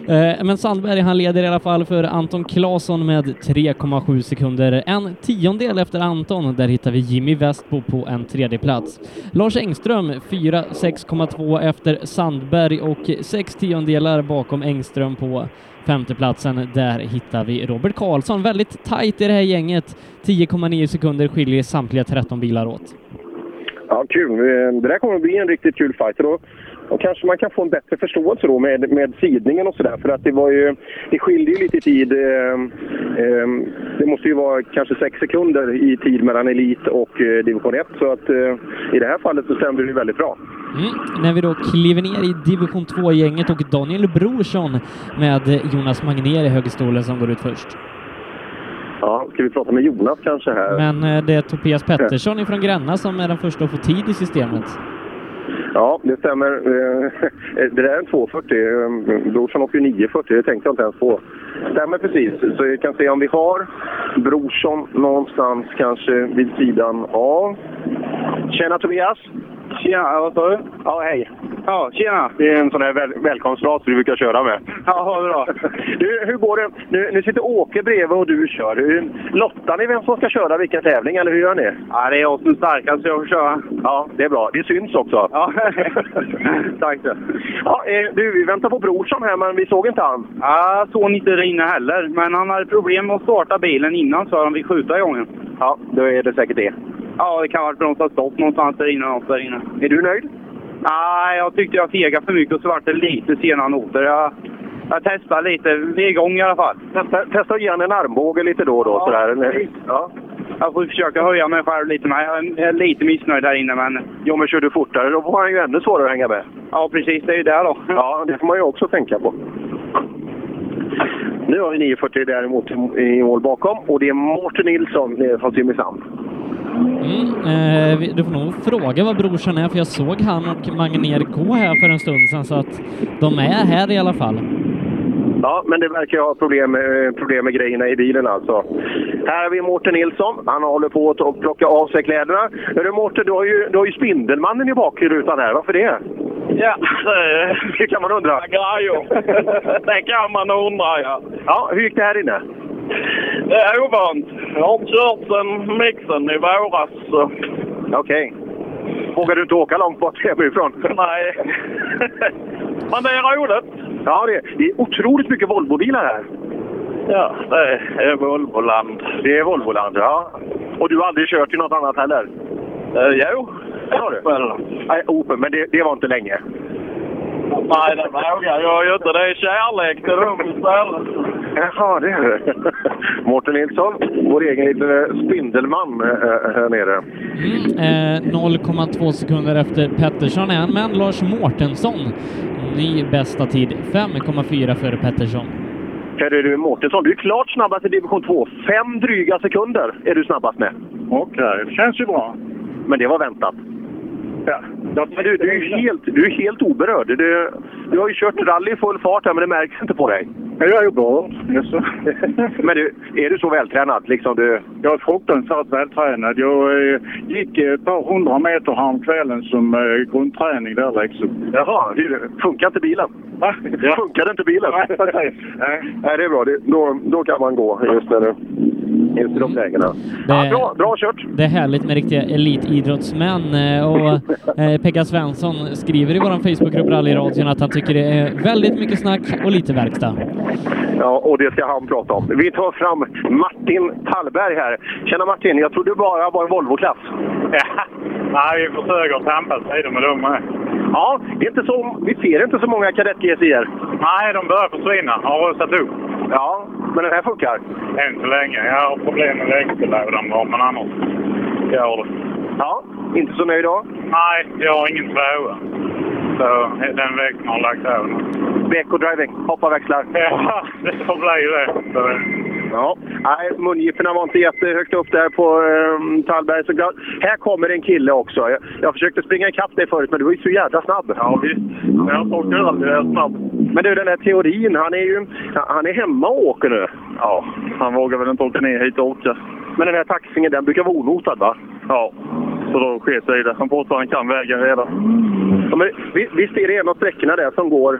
Eh, Men Sandberg, han leder i alla fall för Anton Claesson med 3,7 sekunder. En tiondel efter Anton. Där hittar vi Jimmy Westbo på en tredje plats. Lars Engström 4, 6,2 efter Sandberg och sex tiondelar bakom Engström på femteplatsen. Där hittar vi Robert Karlsson. Väldigt tajt i det här gänget. 10,9 sekunder skiljer samtliga 13 bilar åt.
Ja, kul. Eh, Det där kommer att bli en riktigt kul fight. Och då, och kanske man kan få en bättre förståelse då med, med sidningen och sådär. För att det var ju... Det skilde ju lite i tid. Eh, eh, det måste ju vara kanske sex sekunder i tid mellan elit och eh, division 1. Så att eh, i det här fallet så stämde det ju väldigt bra.
Mm. När vi då kliver ner i division 2-gänget och Daniel Brorsson med Jonas Magnér i högerstolen som går ut först.
Ja, ska vi prata med Jonas kanske här?
Men eh, det är Tobias Pettersson ifrån Gränna som är den första att få tid i systemet.
Ja, det stämmer. Eh, Det där är en 240. Eh, Brorsson åker ju 940, det tänkte jag inte ens på. Stämmer precis. Så vi kan se om vi har Brorsson någonstans kanske vid sidan av. Tjena Tobias!
Tjena, vad sa du? Ja, hej. Ja, tjena.
Det är en sån här väl välkomstras vi brukar köra med.
Ja, bra.
Du, hur går det? Nu, nu sitter Åke bredvid och du kör. Hur, lottar ni vem som ska köra vilken tävling, eller hur gör ni?
Ja, det är jag som är starkast, så jag får köra.
Ja, det är bra. Det syns också.
Ja, tack så.
Ja, eh, du, vi väntar på Brorsson här, men vi såg inte han.
Ja, jag såg inte Rine heller, men han hade problem med att starta bilen innan så han fick skjuta igång den.
Ja, då är det säkert det.
Ja, det kan vara för att de tar stopp någonstans där innan också där inne.
Är du nöjd?
Nej, jag tyckte jag fegade för mycket och så vart det lite sena noter. Jag, jag testade lite. Vi är igång i alla fall.
Testa, testa att ge en armbåge lite då och då.
Ja,
sådär. Ja.
Jag får försöka höja mig själv lite, men jag är- jag är lite missnöjd där inne. Men...
Jo, men kör du fortare då får han ju ännu svårare att hänga med.
Ja, precis. Det är ju där då.
Ja, det får man ju också tänka på. Nu har vi 940 däremot i mål bakom och det är Mårten Nilsson nere från Simrishamn.
Eh, vi- du får nog fråga vad brorsan är, för jag såg han och Magnér gå här för en stund sedan, så att de är här i alla fall.
Ja, men det verkar ju ha problem, eh, problem med grejerna i bilen alltså. Här har vi Mårten Nilsson. Han håller på att plocka av sig kläderna. Hörru Mårten, du har ju, du har ju Spindelmannen i bakrutan här. Varför det?
Ja, eh,
det kan man undra.
Det kan man undra, ja.
Ja, hur gick det här inne?
Det är ovant. Jag har inte kört sen mixen i våras. Så.
Okej. Vågar du inte åka långt bort hemifrån?
Nej. Men det är roligt.
Ja, det, det är otroligt mycket Volvobilar här.
Ja, det är Volvoland.
Det är Volvoland, ja. Och du har aldrig kört i något annat heller?
Uh, jo.
Har du? Nej, Opel, men det, det var inte länge.
Nej, det vågar jag ju inte. Det är kärlek till dem istället.
Jaha, det är det. Mårten Nilsson, vår egen lille spindelman eh, här nere.
Eh, 0,2 sekunder efter Pettersson är han, men Lars Mårtensson, ny bästa tid, 5,4 före Pettersson.
Hörru du Mårtensson, du är klart snabbast i division 2. Fem dryga sekunder är du snabbast med. Okej, det känns ju bra. Men det var väntat. Ja. Men du, du, är ju helt, du är helt oberörd. Du, du har ju kört rally i full fart här, men det märks inte på dig. Jag är ju bra. men du, är du så vältränad? Liksom du...
Jag är fruktansvärt vältränad. Jag eh, gick ett par hundra meter häromkvällen som eh, grundträning där liksom.
Jaha, hur- funkar inte bilen? Va? Funkade inte bilen? Nej, Nej, det är bra. Det, då, då kan man gå just, när, det- just i de lägena.
Det-
Ja, bra, bra kört!
Det är härligt med riktiga elitidrottsmän eh, och eh, Pekka Svensson skriver i vår Facebookgrupp Rallyradion att han tycker det är väldigt mycket snack och lite verkstad.
Ja, och det ska han prata om. Vi tar fram Martin Tallberg här. Tjena Martin, jag trodde bara var en Volvo-klass.
Nej, vi försöker tampas lite med dem med.
Ja, det är inte så, vi ser inte så många kadett GSI'er.
Nej, de börjar försvinna. Har rusat upp.
Ja, men den här funkar?
Än så länge. Jag har problem med växellådan bra, men annars gör det.
Ja, inte så nöjd då?
Nej, jag har ingen tvåa. Så den växeln har lagt över.
Back och driving, hoppa växlar.
Ja, det får bli det. Så-
Ja, nej, mungiporna var inte jättehögt upp där på um, Tallberg. Så glad. Här kommer en kille också. Jag, jag försökte springa ikapp dig förut, men du var ju så jävla snabb. Ja, visst. Jag såg ju att du är snabb. Men du, den här teorin, han är ju han är hemma och åker nu. Ja, han vågar väl inte åka ner hit och åka. Men den här taxingen, den brukar vara onotad, va? Ja, så då sker sig det. Han påstår han kan vägen redan. Ja, men vi- visst är det en av sträckorna där som går...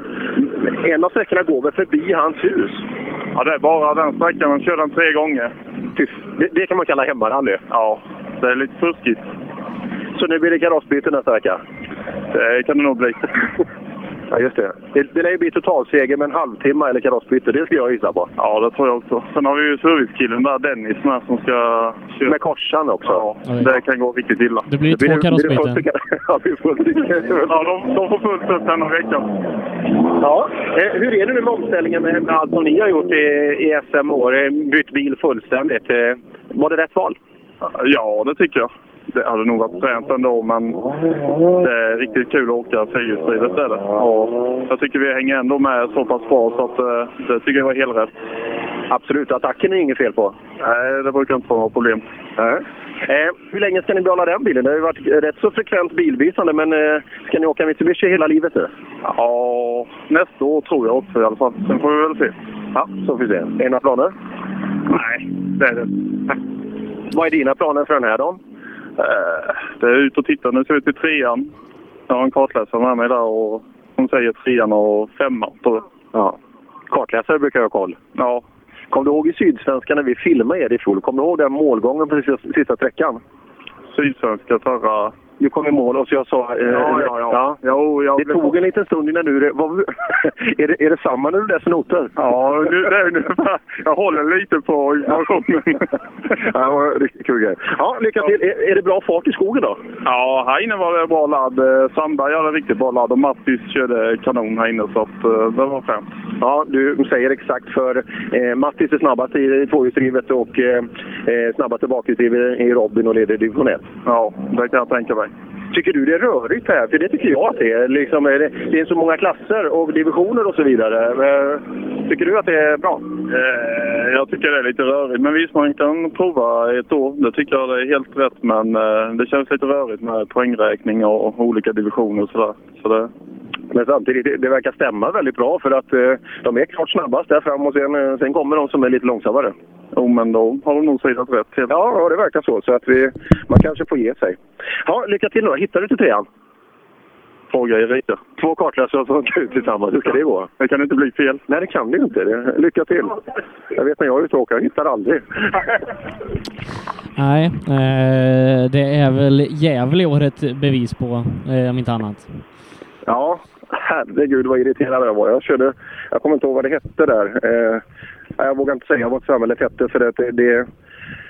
En av sträckorna går väl förbi hans hus? Ja, det är bara den sträckan. Man kör den tre gånger. Det, det kan man kalla hemmarally. Ja, det är lite fuskigt. Så nu blir det karossbyte nästa vecka? Det kan det nog bli. Ja, just det. Det, det lär ju bli totalseger med en halvtimme eller karossbyte. Det skulle jag gissa på. Ja, det tror jag också. Sen har vi ju servicekillen där, Dennis, med som ska köra. Med korsan också? Ja, det kan gå riktigt illa.
Det blir ju två karossbyten.
fullt i kar- Ja, det blir fullt i kar- Ja, de, de får fullt upp denna veckan. Ja, eh, hur är det nu med omställningen med med allt som ni har gjort i, i SM år? Eh, Bytt bil fullständigt. Eh, Var det rätt val?
Ja, det tycker jag. Det hade nog varit fränt ändå, men det är riktigt kul att åka fyrhjulsdrivet är det. Och jag tycker vi hänger ändå med så pass bra så att eh, det tycker jag var helt rätt.
Absolut, attacken är inget fel på.
Nej, det brukar inte vara några problem.
Nej. Eh, hur länge ska ni behålla den bilen? Det har ju varit rätt så frekvent bilbytande, men eh, ska ni åka Mitsubishi hela livet nu?
Ja, nästa år tror jag också i alla fall. Sen får vi väl se.
Ja, så får vi se. Är det några planer?
Nej, det är det
Vad är dina planer för den här dagen?
Eh, Det är ut och titta. Nu ska vi till trean. Jag har en kartläsare med mig där och hon säger trean och femman tror jag.
Ja. Kartläsare brukar jag ha koll.
Ja.
Kommer du ihåg i Sydsvenskan när vi filmade er i fjol? Kommer du ihåg den målgången på sista, sista sträckan?
Sydsvenska förra...
Du kom i mål och så jag sa... eh,
Ja, ja, ja. Jo, jag
det
blev-
tog en liten stund innan du... Vad, är, det, är det samma när du läser noter?
Ja, nu, det är ungefär... Jag håller lite på informationen.
Ja, det var riktigt kul grej. Ja, lycka till. Är, är det bra fart i skogen då?
Ja, här inne var det bra ladd. Eh, Sandberg hade riktigt bra ladd och Mattis körde kanon här inne så att eh, det var främt.
Ja, du säger exakt för eh, Mattis är snabbast i tvåhjulsdrivet och eh, eh, snabbast i bakhjulsdrivet i Robin och leder division 1.
Ja, det kan jag tänka mig.
Tycker du det är rörigt här? För det tycker jag att det är. Liksom, är det, det är så många klasser och divisioner och så vidare. Eh, Tycker du att det är bra?
Eh, Jag tycker det är lite rörigt, men visst man kan prova ett år. Det tycker jag det är helt rätt, men eh, det känns lite rörigt med poängräkning och olika divisioner och sådär. Så det...
Men samtidigt, det, det verkar stämma väldigt bra för att eh, de är klart snabbast där fram och sen, eh, sen kommer de som är lite långsammare.
Jo, men då har de nog sidat rätt.
Ja, ja, det verkar så. Så att vi, man kanske får ge sig. Ja, lycka till då. Hittar du till trean?
Fråga Erika.
Två kartläsare som åker ut tillsammans. Hur ska det gå?
Det kan inte bli fel.
Nej, det kan det ju inte. Det- Lycka till. Jag vet när jag är ute och åker, jag hittar aldrig.
Nej, eh, det är väl Gävle i år ett bevis på, eh, om inte annat.
Ja, herregud vad irriterad jag var. Jag körde, jag kommer inte ihåg vad det hette där. Eh, nej, jag vågar inte säga vad samhället hette för att det, det,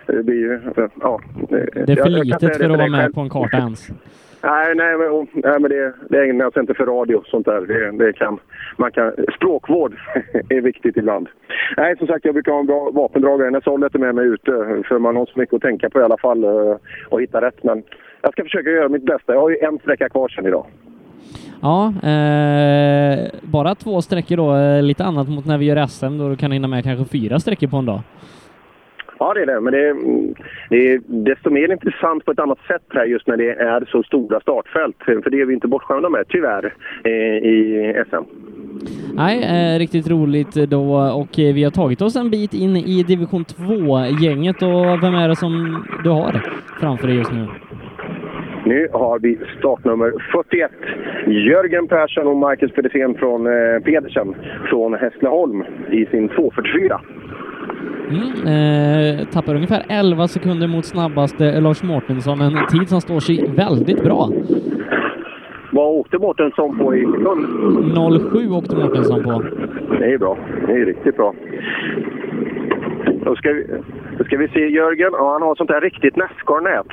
det blir ju... Ja,
Det är för litet för att vara med
själv.
på en karta ens.
Nej, nej, men, och- nej, men det, det ägnar sig inte för radio och sånt där. Det, det kan, man kan, språkvård är viktigt ibland. Nej, som sagt, jag brukar ha en bra vapendragare. När Sollet är med mig ute, för man har så mycket att tänka på i alla fall eh, och hitta rätt. Men jag ska försöka göra mitt bästa. Jag har ju en sträcka kvar sen idag.
Ja, eh, bara två sträckor då, eh, lite annat mot när vi gör SM då du kan hinna med kanske fyra sträckor på en dag.
Ja, det är det. Men det är, mm, det är desto mer intressant på ett annat sätt här just när det är så stora startfält. För det är vi inte bortskämda med, tyvärr, eh, i SM.
Nej, eh, riktigt roligt då och eh, vi har tagit oss en bit in i division 2-gänget och vem är det som du har framför dig just nu?
Nu har vi startnummer 41. Jörgen Persson och Marcus Pedersen från eh, Pedersen från Hässleholm i sin 244.
Mm, eh, tappar ungefär 11 sekunder mot snabbaste Lars Mårtensson, en tid som står sig väldigt bra.
Vad åkte Mårtensson på i sekund?
07 åkte Mårtensson på.
Det är bra. Det är riktigt bra. Då ska vi, då ska vi se Jörgen. Ja, han har sånt där riktigt Nascar-nät.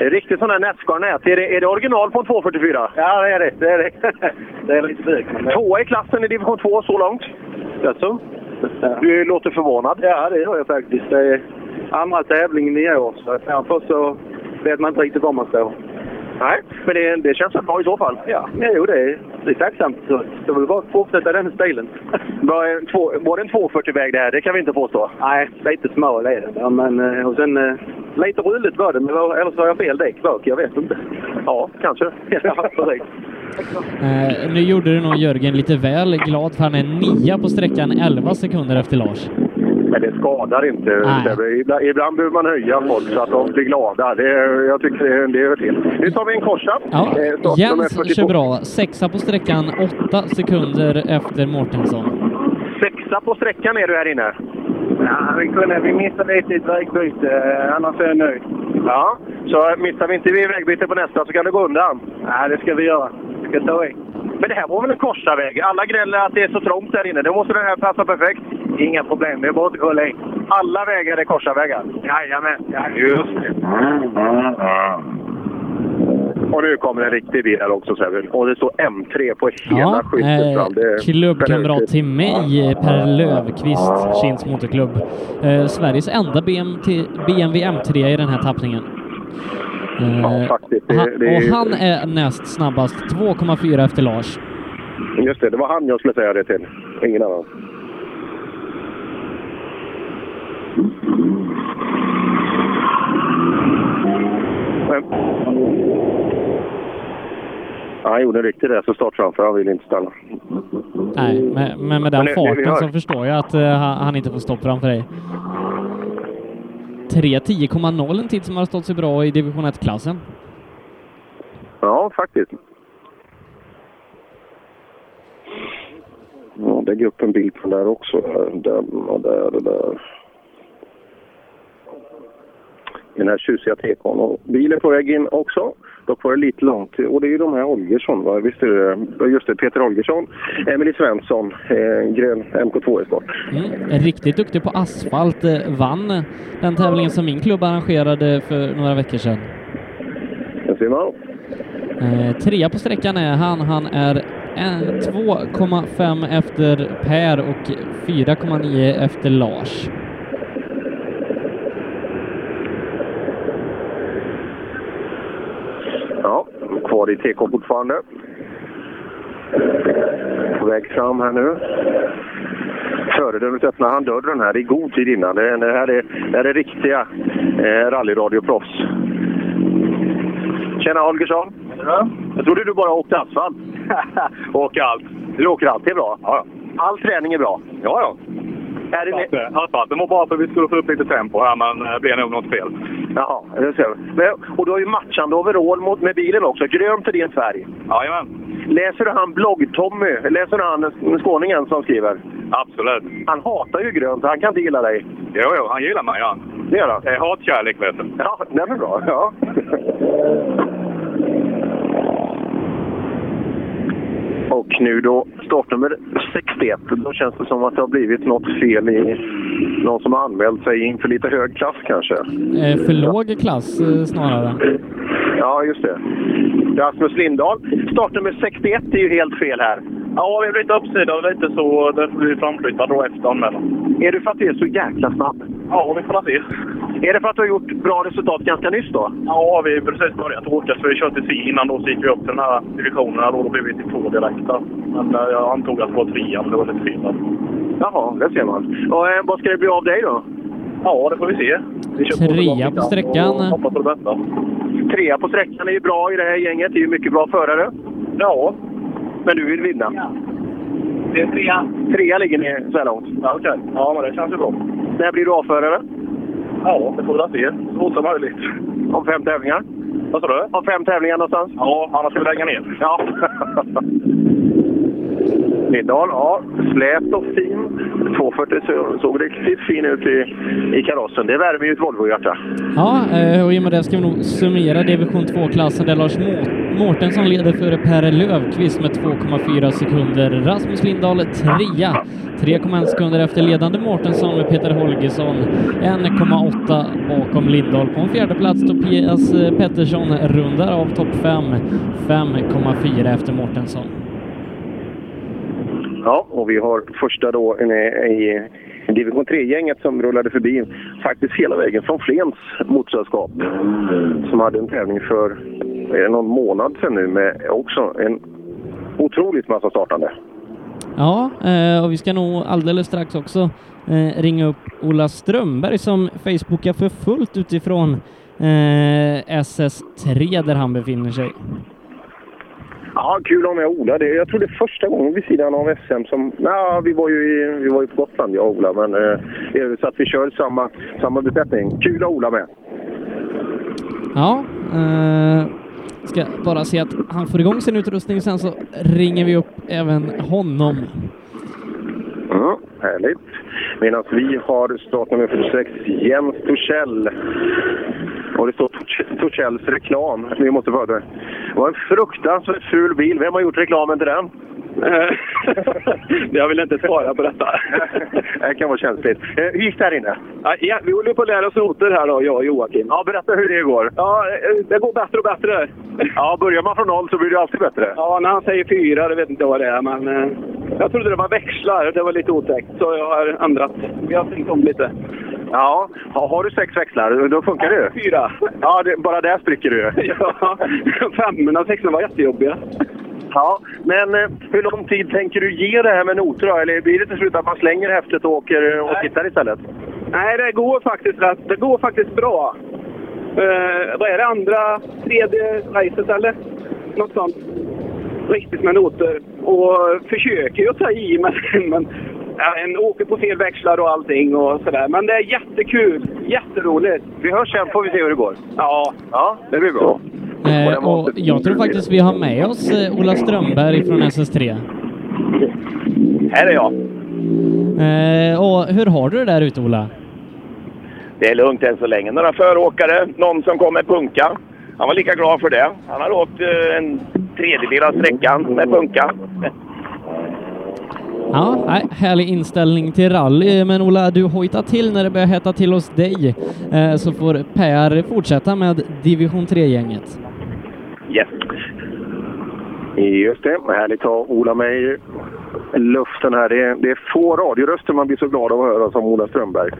Riktigt sånt där Nascar-nät. Är det, är det original på en 244? Ja, det är det. Det är, det. Det är lite drygt. Tvåa i klassen i division 2 så långt. Jaså? Du låter förvånad.
Ja, det gör jag faktiskt. Det är andra tävlingen i år, så därför så vet man inte riktigt var man står.
Nej, men det, det känns bra i så fall.
Ja, jo, det är, det är tacksamt. Så det är väl bara att fortsätta den stilen.
Var, en två, var det en 240-väg det här? Det kan vi inte påstå.
Nej, lite smal är den. Ja, men, eh, och sen eh, lite rulligt var det, men var- eller så har jag fel däck bak. Jag vet inte.
Ja, kanske.
ja, precis.
Eh, nu gjorde du nog Jörgen lite väl glad för han är nia på sträckan 11 sekunder efter Lars.
Men det skadar inte. Ibland, ibland behöver man höja folk så att de blir glada. Det, jag tycker det, det hör till. Nu tar vi en korsa.
Ja,
Eh, startnummer
Jens
42.
kör bra. Sexa på sträckan 8 sekunder efter Mårtensson.
Sexa på sträckan är du här inne.
Ja, vi, kunde, vi missade lite i ett vägbyte, Eh, annars är jag nöjd.
Ja, så missar vi inte vi vägbyte på nästa så kan det gå undan.
Ja, det ska vi göra. ska ta i.
Men det här var väl en korsarväg? Alla gnäller att det är så trångt där inne. Då måste den här passa perfekt.
Inga problem, det är bara att kolla in.
Alla vägar är korsarvägar.
Jajamän. Ja.
Just det. Och nu kommer en riktig bil här också, Sevin. Och det står M3 på hela
Ja,
skylten
eh,
fram. Det-
klubbkamrat till mig, eh, Per Löfqvist, Kinds Motorklubb. Eh, Sveriges enda BMT, BMW M3 i den här tappningen. Eh,
Ja, faktiskt. Det,
han,
det,
och han är näst snabbast, 2,4 efter Lars.
Just det, det var han jag skulle säga det till. Ingen annan. Ja, han gjorde en riktig resa start framför. Han ville inte stanna.
Nej, men, men med den
Mm. Men det- det vi
farten
hör.
så förstår jag att eh, han, han inte får stopp framför dig. 3.10,0 en tid som har stått sig bra i division 1-klassen.
Ja, faktiskt. Ja, lägg upp en bild på den där också. Den och där och där. Den här tjusiga tekon. Och Bilen är på väg in också. Dock var det lite långt. Och det är ju de här Holgersson, va? Visst är det? ja, Just det, Peter Holgersson, Emily Svensson, eh, grön MK2 e-sport.
Mm, riktigt duktig på asfalt. Eh, vann eh, den tävlingen som min klubb arrangerade för några veckor sedan.
Där ser man.
Eh, trea på sträckan är han. Han är en- 2,5 efter Per och 4,9 efter Lars.
Ja, kvar i TK fortfarande. På väg fram här nu. Föredömligt öppnade han dörren här i god tid innan. Det det här är, det här är riktiga eh, rallyradioproffs. Tjena Holgersson! Jag trodde du bara åkte asfalt. åker allt. Du åker allt, det är bra. All träning är bra. Ja, ja. Är det
Asfalten var bara för att vi skulle få upp lite tempo här, men det blev nog något fel.
Jaha, det ser vi. Men, och du har ju matchande overall mot, med bilen också. Grönt är din färg.
Jajamän.
Läser du han blogg-Tommy? Läser du han skåningen som skriver?
Absolut.
Han hatar ju grönt, han kan inte gilla dig.
Jo, jo, han gillar mig, ja.
Det gör han?
Det är hatkärlek, vet du.
Ja, det är bra. Ja. Och nu då startnummer 61. Då känns det som att det har blivit något fel i någon som har anmält sig inför lite hög klass kanske.
Eh, för låg klass eh, snarare.
Ja, just det. Rasmus Lindahl. Startnummer 61 är ju helt fel här.
Ja, vi har blivit uppsidade lite så därför blir vi framflyttade då efter anmälan.
Är det för att du är så jäkla snabb?
Ja, vi får se.
Är det för att du har gjort bra resultat ganska nyss då?
Ja, vi har precis börjat åka så vi körde C innan då så gick vi upp till den här divisionen här då. Då blev vi till två direkt där. Men eh, jag antog att det var trea, men det var lite fel. där.
Jaha, det ser man. Och, eh, vad ska det bli av dig då?
Ja, det får vi se. Vi kör på så långt vi
Trea
kan
på
och
sträckan.
Hoppas på det bästa.
Trea på sträckan är ju bra i det här gänget. Det är ju mycket bra förare. Ja. Men du vill vinna? Det är trea. Trea ligger ni så här långt? Ja, okej. Ja, men det känns ju bra. När blir du A-förare? Ja, det får vi se. Så fort som möjligt. Om fem tävlingar? Vad sa du? Om fem tävlingar någonstans? Ja, annars ska vi lägga ner. Ja. Lindahl, ja. Slät och fin. 240 så- såg riktigt fin ut i, i karossen. Det värmer ju ett Volvo-hjärta.
Ja, eh, och i och med det ska vi nog summera division 2-klassen där Lars Må- Mårtensson leder före Per Löfqvist med 2,4 sekunder. Rasmus Lindahl trea, 3,1 sekunder efter ledande Mårtensson med Peter Holgersson. 1,8 bakom Lindahl. På en fjärde plats Tobias eh, Pettersson rundar av topp 5, 5,4 efter Mårtensson.
Ja, och vi har första då i- i division 3-gänget som rullade förbi faktiskt hela vägen från Flens motorsällskap som hade en tävling för är det någon månad sedan nu med också en otroligt massa startande.
Ja, eh, och vi ska nog alldeles strax också eh, ringa upp Ola Strömberg som facebookar för fullt utifrån eh, SS3 där han befinner sig.
Ja, kul om jag och Ola. Det, jag tror det är första gången vid sidan av SM som... Nej, vi var ju, i, vi var ju på Gotland, jag och Ola, men eh, det är väl så att vi kör samma, samma besättning. Kul att ha Ola med.
Ja, eh, ska bara se att han får igång sin utrustning sen så ringer vi upp även honom.
Mm, härligt. Medan vi har startnummer 46, Jens Torssell. Och det står Torch- Torssells reklam. Vi måste få det. Det var en fruktansvärt ful bil. Vem har gjort reklamen till den? Jag vill inte svara på detta. det kan vara känsligt. Eh, Hur gick det här inne?
Ja, vi håller på att lära oss noter här då, jag och Joakim.
Ja, berätta hur det går.
Ja, eh, det går bättre och bättre.
Ja, börjar man från noll så blir det alltid bättre.
Ja, när han säger fyra, det vet inte vad det är, men... eh, Jag trodde det var växlar, det var lite otäckt, så jag har ändrat. Vi har tänkt om lite.
Ja, ha- har du sex växlar, då funkar det ju.
Fyra.
Ja, det, bara där spricker du
Ja, femmorna och sexorna var jättejobbiga.
Ja, men eh, hur lång tid tänker du ge det här med noter då? Eller blir det till slut att man slänger häftet och åker eh, och tittar istället?
Nej, det går faktiskt rätt. Det går faktiskt bra.
Eh, vad är det? Andra, tredje racet eller? Något sånt. Riktigt med noter. Och försöker ju ta i men, men ja, en åker på fel växlar och allting och sådär. Men det är jättekul. Jätteroligt.
Vi hörs sen får vi se hur det går.
Ja.
Ja, det blir bra.
Eh, och jag tror faktiskt vi har med oss eh, Ola Strömberg från SS3.
Här är jag.
Eh, och hur har du det där ute Ola?
Det är lugnt än så länge. Några föråkare, någon som kom med punka. Han var lika glad för det. Han hade åkt eh, en tredjedel av sträckan med punka.
Ja, nej, härlig inställning till rally. Men Ola, du hojtar till när det börjar hetta till hos dig. Eh, så får Per fortsätta med division 3-gänget.
Yes. Just det. Härligt att ha Ola med i luften här. Det är, det är få radioröster man blir så glad av att höra som Ola Strömberg.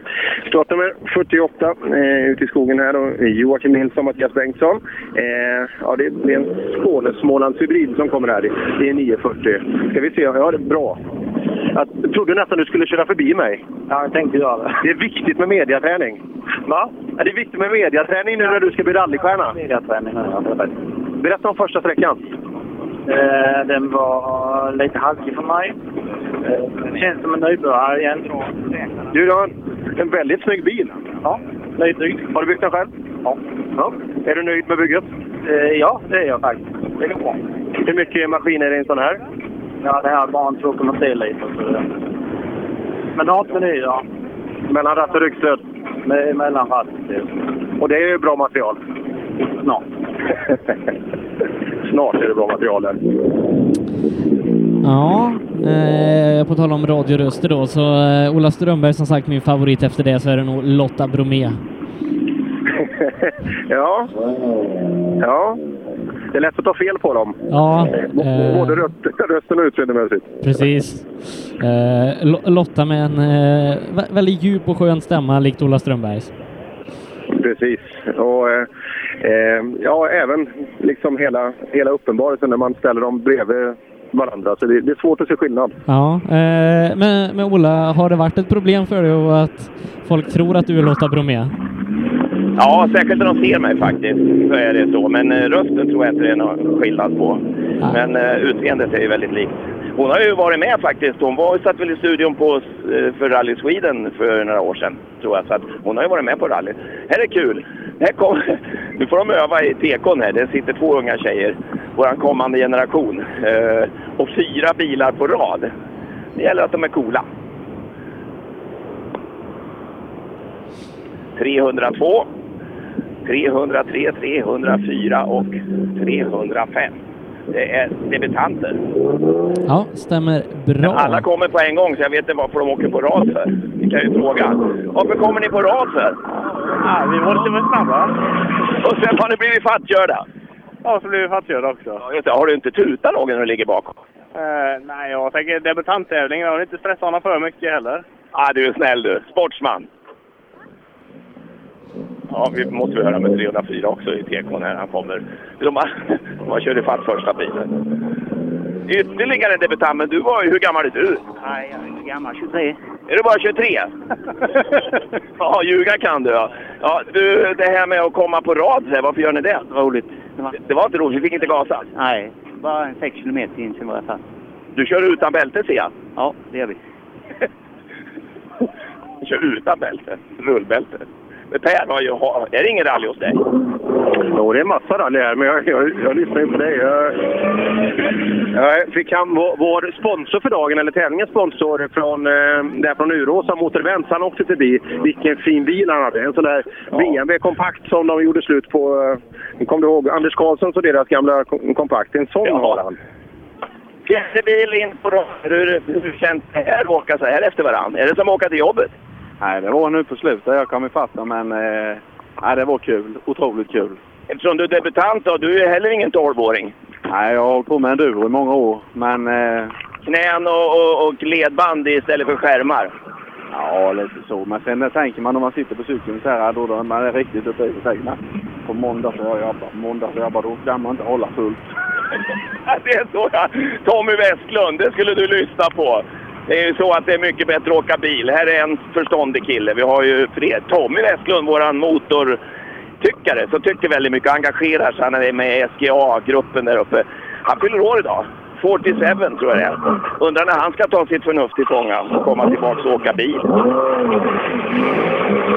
Startnummer 48 eh, ute i skogen här. Och Joakim Nilsson och Mattias Bengtsson. Eh, ja, det, det är en Skåne-Smålandshybrid som kommer här. Det- Det är 9.40. Ska vi se? Ja, det är bra. Jag trodde nästan du skulle köra förbi mig. Ja, jag tänkte göra det. Det är viktigt med mediaträning. Va? Är det är viktigt med mediaträning nu när du ska bli rallystjärna. Mediaträning, ja. Berätta om första sträckan.
Eh, den var lite halkig för mig. Eh, känns som en nybörjare igen.
Du, du har en, en väldigt snygg bil. Ja, lite drygt. Har du byggt den själv? Ja. Är du nöjd med bygget? ja, det är jag faktiskt. Det går bra. Hur mycket maskin är det i en sån här?
Ja, det här var en 2,3 liter. Så det... Men har inte ny, ja.
Mellan ratt och ryggstöd?
Med, mellan ratt.
Och det är ju bra material. Snart. Snart är det bra material där.
Ja, eh, på tal om radioröster då, så eh, Ola Strömberg som sagt min favorit efter det så är det nog Lotta Bromé.
ja. Ja. Det är lätt att ta fel på dem.
Ja, Eh.
B- Både röst- rösten och utseendemässigt.
precis. Eh, Lo- Lotta med en eh, vä- väldigt djup och skön stämma likt Ola Strömbergs.
Precis. Och, eh, eh, ja, även liksom hela, hela uppenbarelsen när man ställer dem bredvid varandra. Så det, det är svårt att se skillnad.
Ja, eh, men, men Ola, har det varit ett problem för dig och att folk tror att du är Lotta Bromé?
Ja, särskilt när de ser mig faktiskt så är det så. Men eh, rösten tror jag inte det är någon skillnad på. Men eh, utseendet är ju väldigt likt. Hon har ju varit med faktiskt. Hon var, satt väl i studion på, eh, för Rally Sweden för några år sedan, tror jag. Så att hon har ju varit med på rally. Här är kul! Här kom, nu får de öva i tekon här. Det sitter två unga tjejer, vår kommande generation, eh, och fyra bilar på rad. Det gäller att de är coola. 302. 303, 304 och 305. Det är debutanter.
Ja, stämmer
Men
bra.
alla kommer på en gång, så jag vet inte varför de åker på rad för. Vi kan ju fråga. Varför kommer ni på rad för?
Ja, vi måste vara snabba.
Och sen har ni blivit fattkörda.
Ja, så blir vi fattigare också.
Ja, just det. Har du inte tutat någon när du ligger bakom?
Eh, nej, jag tänker debutanttävlingen. Jag vill inte stressa honom för mycket heller.
ah, du är snäll du. Sportsman. Ja, vi måste väl höra med 304 också i tekon här. Han kommer. De, har- de har kört ifatt första bilen. Ytterligare en debutant, men du var ju... Hur gammal är du?
Nej, jag är inte gammal. 23.
Är du bara 23? ja, ljuga kan du ja. ja. Du, det här med att komma på rad, så här, varför gör ni det? Det var roligt. Det var inte roligt, vi fick inte gasa.
Nej, bara en 6 kilometer in sen var jag fast.
Du kör utan bälte ser jag.
Ja, det gör vi.
Du kör utan bälte, rullbälte. Men Per, har ju, har, är det ingen rally hos dig?
Jo, det är massa rally här, men jag, jag, jag lyssnar ju på dig. Jag, jag fick han vår, vår sponsor för dagen, eller tävlingens sponsor, från, eh, där från Uråsa, Motorvents. Han åkte förbi. Vilken fin bil han hade. En sån där BMW kompakt som de gjorde slut på. eh, Kommer du ihåg Anders Karlssons och deras gamla kom- kompakt? En sån har han.
Fjärde bil in på rad. Hur, hur känns det här att åka så här efter varandra? Är det som att åka till jobbet?
Nej, det var nu på slutet jag kom ifatt dem, men eh, nej, det var kul. Otroligt kul.
Eftersom du är debutant och du är heller ingen 12-åring.
Nej, jag har hållit på med enduro i många år, men eh,
Knän och, och, och ledband istället för skärmar.
ja, lite så. Men sen när tänker man när man sitter på cykeln så här, då, då man är riktigt uppe i sig. Nej, På måndag får jag jobba, på måndag får jag jobba, då kan man inte hålla fullt.
Det är så ja. Tommy Westlund, det skulle du lyssna på. Det är ju så att det är mycket bättre att åka bil. Här är en förståndig kille. Vi har ju Fred. Tommy Westlund, våran motor
tyckare som tycker väldigt mycket och engagerar sig. Han är med i SGA-gruppen där uppe. Han fyller år idag. 47 tror jag det är. Undrar när han ska ta sitt förnuft till fånga och komma tillbaka och åka bil.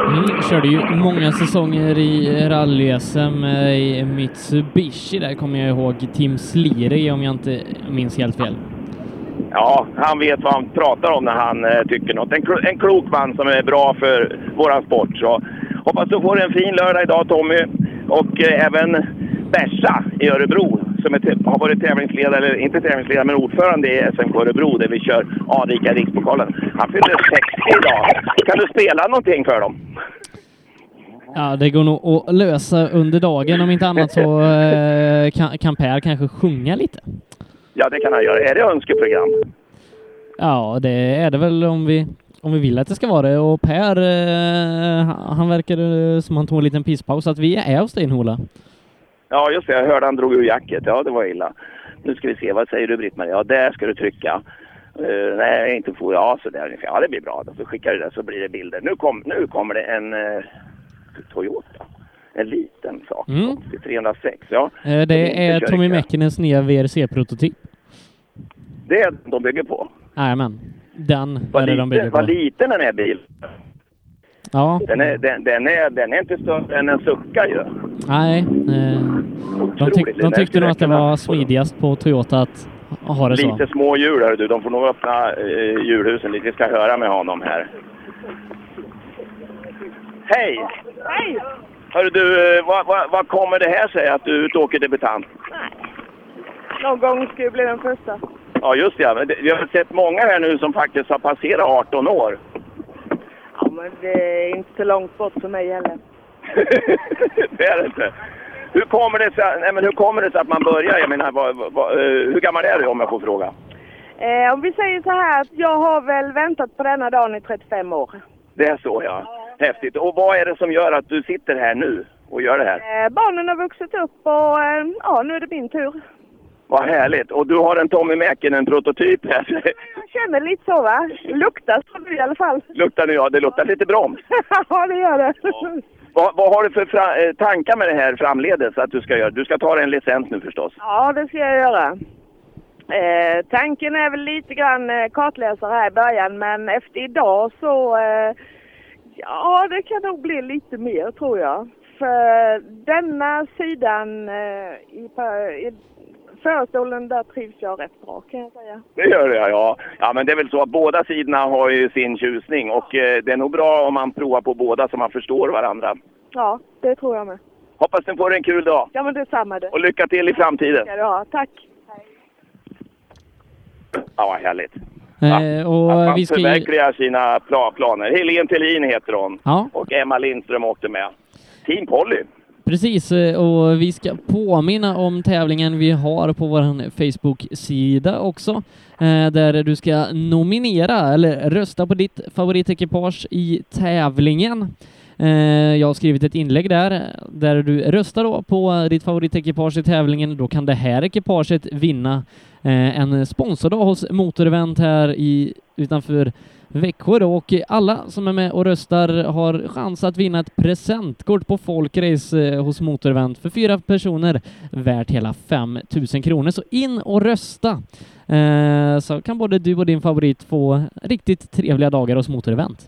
Mm, körde ju många säsonger i rally-SM i Mitsubishi. Där kommer jag ihåg Tim Sliri om jag inte minns helt fel.
Ja, han vet vad han pratar om när han eh, tycker något. En, klo- en klok man som är bra för våran sport. Så hoppas du får en fin lördag idag Tommy. Och eh, även Bersa i Örebro som är, t- har varit tävlingsledare, eller inte tävlingsledare, men ordförande i SMK Örebro där vi kör anrika rikspokalen. Han fyller 60 idag. Kan du spela någonting för dem?
Ja, det går nog att lösa under dagen. Om inte annat så eh, kan, kan Per kanske sjunga lite.
Ja, det kan han göra. Är det önskeprogram?
Ja, det är det väl om vi, om vi vill att det ska vara det. Och Per, eh, han han verkar eh, som han tog en liten pisspaus, så att vi är hos dig Eh, Hola.
Ja, just det. Jag hörde han drog ur jacket. Ja, det var illa. Nu ska vi se. Vad säger du, Britt-Marie? Ja, där ska du trycka. Eh, nej, inte får jag. Så där. Ja, det blir bra. Då Så skickar du det så blir det bilder. Nu, kom, nu kommer det en eh, Toyota. En liten sak.
Mm.
Det är 306, ja.
Eh, Det är
inte
Tommy Mäkkinens nya VRC-prototyp.
Det är de bygger på.
Jajamän. Den är
Vad,
det de bygger
liten, vad
på.
liten den är bilen.
Ja,
Den är, den, den, är, den är inte större än en sucka ju.
nej. eh, De, tyck, de tyckte nog att det var smidigast på Toyota att ha det så.
Lite små hjul, hör du. De får nog öppna eh, hjulhusen lite. Vi ska höra med honom här. Hej!
Hej!
Hörru du, eh, vad, vad, vad kommer det här sig att du utåker debutant?
Någon gång ska jag bli den första.
Ja, just det. ja. Men det- Vi har sett många här nu som faktiskt har passerat 18 år.
Ja, men det är inte så långt bort för mig heller.
det är det inte. Hur kommer det sig, nej, men hur kommer det sig att man börjar? Jag menar, vad, vad, eh, hur gammal är du om jag får fråga?
Eh, om vi säger så här, att jag har väl väntat på denna dagen i 35 år.
Det är så, ja. Häftigt. Och vad är det som gör att du sitter här nu och gör det här?
Eh, barnen har vuxit upp och eh, ja, nu är det min tur.
Vad härligt! Och du har en Tommy Mäkinen-prototyp här.
Jag känner lite så va? Luktar så nu i alla fall.
luktar nu, ja, det luktar lite broms.
ja, det gör det.
Vad, vad har du för fra- eh, tankar med det här framledes att du ska göra? Du ska ta dig en licens nu förstås.
ja, det ska jag göra. Eh, tanken är väl lite grann eh, kartläsare här i början, men efter idag så... Eh, ja, det kan nog bli lite mer tror jag. För denna sidan eh, i, pa- i förstolen, där trivs jag rätt bra kan jag säga.
Det gör jag, ja. Ja, men det är väl så att båda sidorna har ju sin tjusning och eh, det är nog bra om man provar på båda så man förstår varandra.
Ja, det tror jag med.
Hoppas ni får en kul dag
Ja, men detsamma det.
och lycka till i framtiden!
ska du ha. Tack.
Ja, vad härligt.
Eh, Och
Man
vi ska ju...
förverkligar sina pla- planer. Helene Thelin heter hon
Ja.
och Emma Lindström åkte med. Team Polly!
Precis, eh, och vi ska påminna om tävlingen vi har på vår Facebook-sida också, eh, där du ska nominera eller rösta på ditt favoritekipage i tävlingen. Eh, Jag har skrivit ett inlägg där, där du röstar då på ditt favoritekipage i tävlingen. Då kan det här ekipaget vinna eh, en sponsordag hos Motorevent här i, utanför Växjö då, och alla som är med och röstar har chans att vinna ett presentkort på Folkrace eh, hos Motorevent för fyra personer värt hela 5 000 kronor. Så in och rösta! Eh, så kan både du och din favorit få riktigt trevliga dagar hos Motorevent.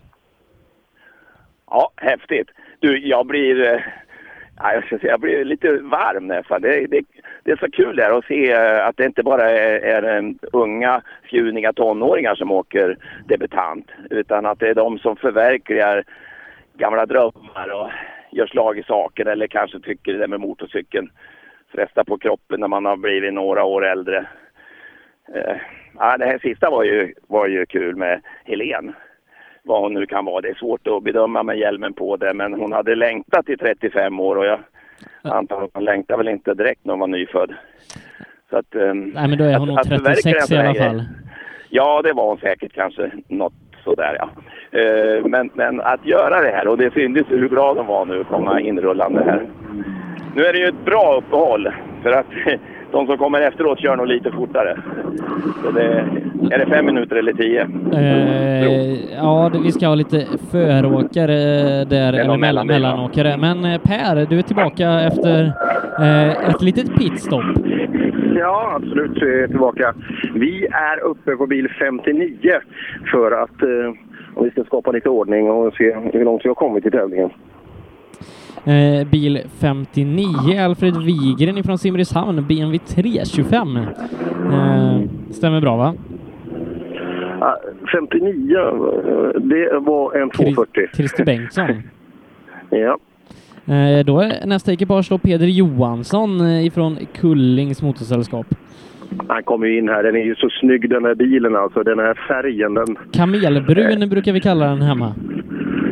Ja, häftigt. Du, jag blir, eh, ja, jag, ska säga, jag blir lite varm nästan. Det, det, det är så kul där att se eh, att det inte bara är, är eh, unga, fjuniga tonåringar som åker debutant. Utan att det är de som förverkligar gamla drömmar och gör slag i saker eller kanske tycker det där med motorcykeln frestar på kroppen när man har blivit några år äldre. Eh, Ja, det här sista var ju, var ju kul med Helen vad hon nu kan vara. Det är svårt att bedöma med hjälmen på det, men hon hade längtat i 35 år och jag antar att hon längtar väl inte direkt när hon var nyfödd. Så att, ehm,
Nej men då är hon nog
att förverkliga
36 i
en sån här
alla
grej.
fall.
Ja, det var hon säkert kanske. Något sådär ja. Eh, men, men att göra det här, och det syntes hur glad hon var nu att komma inrullande här. Nu är det ju ett bra uppehåll för att de som kommer efteråt kör nog lite fortare. Så det,
Är det fem minuter eller tio?
Eh, ja, det- vi ska ha lite föråkare eh, där, eller mellan,
mellanbil, va?
mellanåkare. Men eh, Per, du är tillbaka efter eh, ett litet pitstop.
Ja, absolut. Vi är tillbaka. Vi är uppe på bil 59 för att eh, om vi ska skapa lite ordning och se hur långt vi har kommit i tävlingen.
Eh, bil 59, Alfred Wigren ifrån Simrishamn, BMW 325. Eh, stämmer bra va?
Ah, 59, eh, det var en 240.
Christer Bengtsson.
Ja.
Eh, då är nästa ekipage då Peder Johansson eh, ifrån Kullings motorsällskap.
Han kommer ju in här. Den är ju så snygg den här bilen alltså. Den här färgen. Den,
Kamelbrun brukar vi kalla den hemma.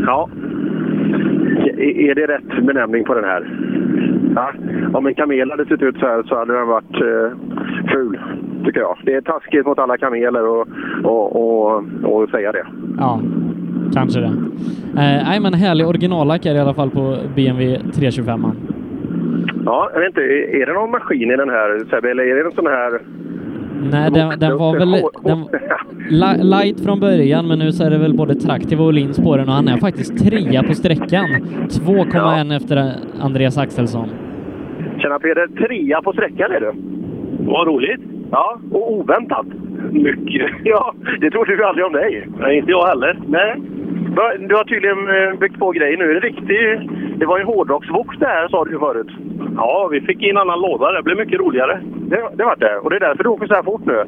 ja. I- Är det rätt benämning på den här? Ja. Om en kamel hade sett ut så här så hade den varit eh, ful, tycker jag. Det är taskigt mot alla kameler och, och, och, och säga det.
Ja, kanske det. Eh, Nej, men härlig originallack är det i alla fall på BMW 325.
Ja, jag vet inte, är är det någon maskin i den här Sebbe, eller är det en sån här...
Nej, den, den var väl den, la- light från början, men nu så är det väl både traktiv och lins på den och han är faktiskt trea på sträckan. 2,1 efter eh, Andreas Axelsson.
Tjena Peder, trea på sträckan är du. Vad roligt! Ja, och oväntat. Mycket. Ja, det trodde vi aldrig om dig. Nej, inte jag heller. Nej. Va, Du har tydligen eh, byggt på grejer nu. Är det riktigt? Det var ju en hårdrocksvox det här sa du ju förut. Ja, vi fick in annan låda. Det blev mycket roligare. Det, det var det. Och det är därför du åker så här fort nu?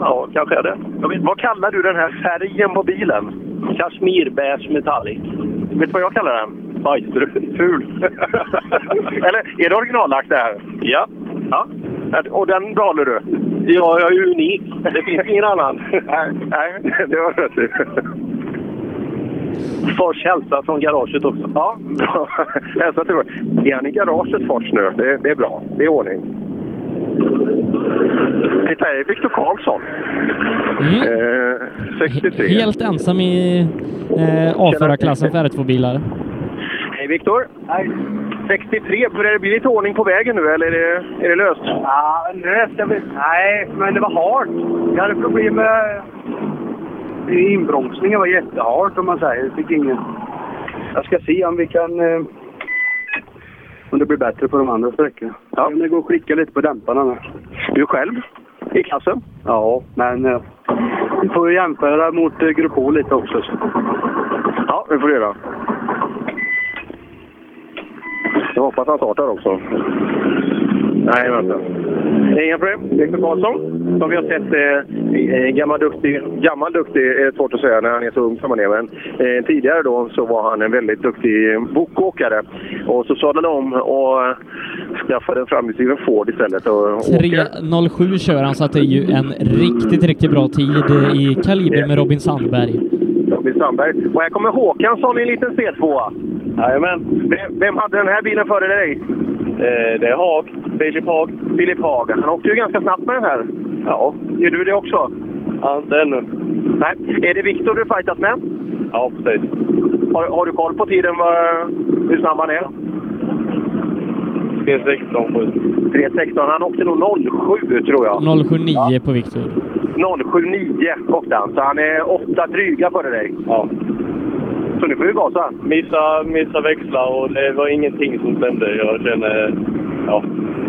Ja, kanske är det. Jag vet, vad kallar du den här färgen på bilen? Kashmirbeige metallic. Vet du vad jag kallar den? Bajsbrun. Ful. Eller är det originallack det här? Ja. ja. Och den behåller du? Ja, jag är unik. Det finns ingen annan. nej, nej, det var rätt i. Fors hälsa från garaget också. Ja, bra. hälsa till Fors. Är han i garaget Fors nu? Det, det är bra. Det är ordning. Titta, här är Viktor Karlsson. Eh, 63.
Mm. Helt ensam i eh, avförarklassen för R2-bilar.
Hej Viktor! Hej! 63, börjar det bli lite ordning på vägen nu eller är det, är det löst?
Ja, löst. Jag vet- Nej, men det var hårt. Jag hade problem med... Inbromsningen var jättehårt om man säger. Jag fick ingen... Jag ska se om vi kan... eh, Om det blir bättre på de andra sträckorna. Ja. Det går att klicka lite på dämparna med.
Du själv? I klassen?
Ja, men... eh, Vi får ju jämföra mot eh, Grupp H lite också. Så.
Ja, det får du göra. Jag hoppas han startar också. Nej, vänta. Det är inga problem. Viktor Karlsson, som vi har sett, eh, eh, gammal duktig. Gammal duktig är svårt att säga när han är så ung som han är, men eh, tidigare då så var han en väldigt duktig bokåkare. Och så sadlade han om och eh, skaffade en framhjulsdriven Ford istället. Och, och
3.07 kör han, så att det är ju en riktigt, riktigt bra tid eh, i kaliber med Robin Sandberg.
Robin Sandberg. Och här kommer Håkansson i en liten C2. Jajamän. Vem, vem hade den här bilen före dig? det är Haag. Filip Haag. Filip Haag. Han åkte ju ganska snabbt med den här. Ja. Gör du det också? Ja, inte ännu. Nej. Är det Viktor du fightat med? Ja, precis. Har, har du koll på tiden, vad, hur snabb han är? 3.16. 3.16. Han åkte nog 07, tror jag.
079 på Viktor.
079 åkte han, så han är åtta dryga före dig. Ja. Så nu får vi gasa.
Missa, missa växlar och det var ingenting som stämde. Jag känner... Ja,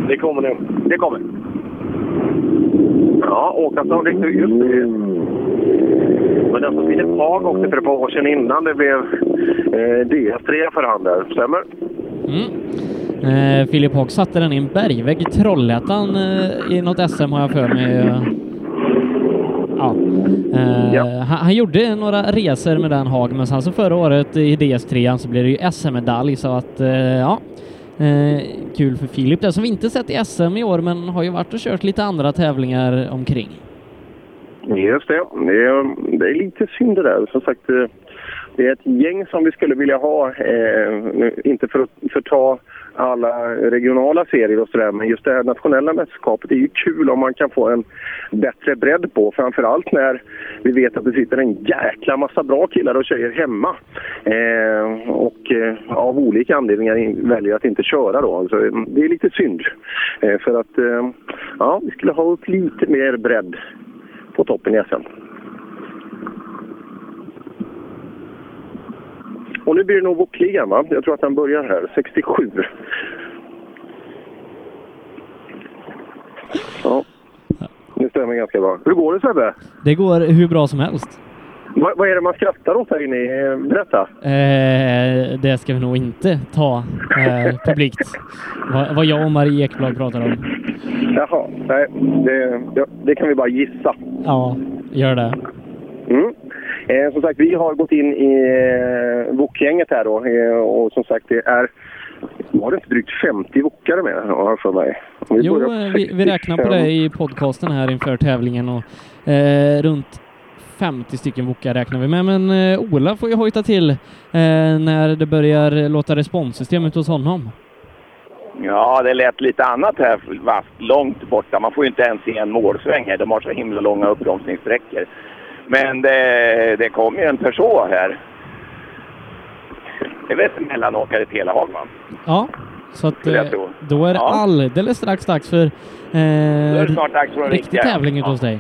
det kommer nog.
Det kommer. Ja, Åkesson riktigt just det. Men den som Filip Haag åkte för ett par år sedan innan det blev eh, DS3 för han där. Stämmer?
Eh, Filip Haag satte den i en bergvägg i Trollhättan eh, i något SM har jag för mig. eh. Ja. Eh, han, han gjorde några resor med den Haag, men sen så förra året i DS3 så blev det ju SM-medalj så att eh, ja. Eh, kul för Filip där som vi inte sett i SM i år men har ju varit och kört lite andra tävlingar omkring.
Just det. Det är, det är lite synd det där. Som sagt, eh, det är ett gäng som vi skulle vilja ha. Eh, nu, inte för att förta alla regionala serier och sådär, men just det här nationella mästerskapet är ju kul om man kan få en bättre bredd på. Framförallt när vi vet att det sitter en jäkla massa bra killar och tjejer hemma. Eh, och eh, av olika anledningar in- väljer att inte köra då. Alltså, eh, det är lite synd. Eh, för att, eh, ja, vi skulle ha upp lite mer bredd
på toppen i SM. Och nu blir det nog Wokligan va? Jag tror att den börjar här. 67. Ja, det stämmer ganska bra. Hur går det Sebbe?
Det går hur bra som helst.
Va, vad är det man skrattar åt här inne? i- Berätta.
Eh, det ska vi nog inte ta eh, publikt. Vad, vad jag och Marie Ekblad pratar om.
Jaha, nej. Det, det, det kan vi bara gissa.
Ja, gör det.
Mm. Eh, som sagt, vi har gått in i eh, wokgänget här då. Eh, och som sagt, det är... Var det inte drygt 50 wokare med har jag för mig? Om vi
Jo,
börjar
eh, vi, vi räknar på
65.
det i podcasten här inför tävlingen och eh, runt 50 stycken bokar räknar vi med, men eh, Ola får ju hojta till eh, när det börjar låta responssystemet hos honom.
Ja, det lät lite annat här fast långt borta. Man får ju inte ens se en målsväng här. De har så himla långa uppbromsningssträckor. Men det, det kom ju en Peugeot här. Det är väl en mellanåkare till hela va?
Ja, så att
Skulle jag
eh,
tro.
då är det alldeles strax dags för
Då är
eh,
det snart dags för den
riktig
riktiga.
tävling ute hos dig.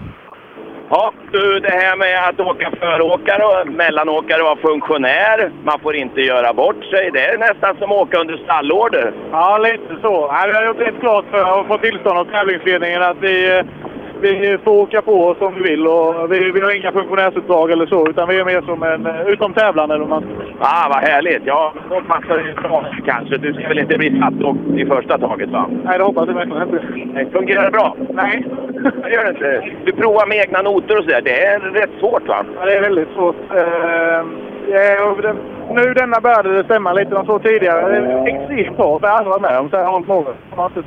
Ja, du, det här med att åka föråkare och mellanåkare och vara funktionär. Man får inte göra bort sig. Det är nästan som att åka under stallorder.
Ja, lite så. Nej, vi har gjort rätt klart för att få tillstånd av tävlingsledningen att vi, eh, vi får åka på som vi vill. Och vi, vi har inga funktionärsuppdrag eller så, utan vi är mer som en eh, utom tävlande. Om man...
Ah, vad härligt! Ja, då passar det ju bra kanske. Du ska väl inte bli satt i första taget va?
Nej, det hoppas jag verkligen inte.
Nej, Fungerar det bra? Nej, det gör det inte. Du provar med egna noter och sådär. Det är rätt svårt va?
Ja, det är väldigt svårt. Eh, ja, och det, nu denna började det stämma lite. De två tidigare, det är extremt hårt. Det har jag aldrig varit med om så här hårt mål.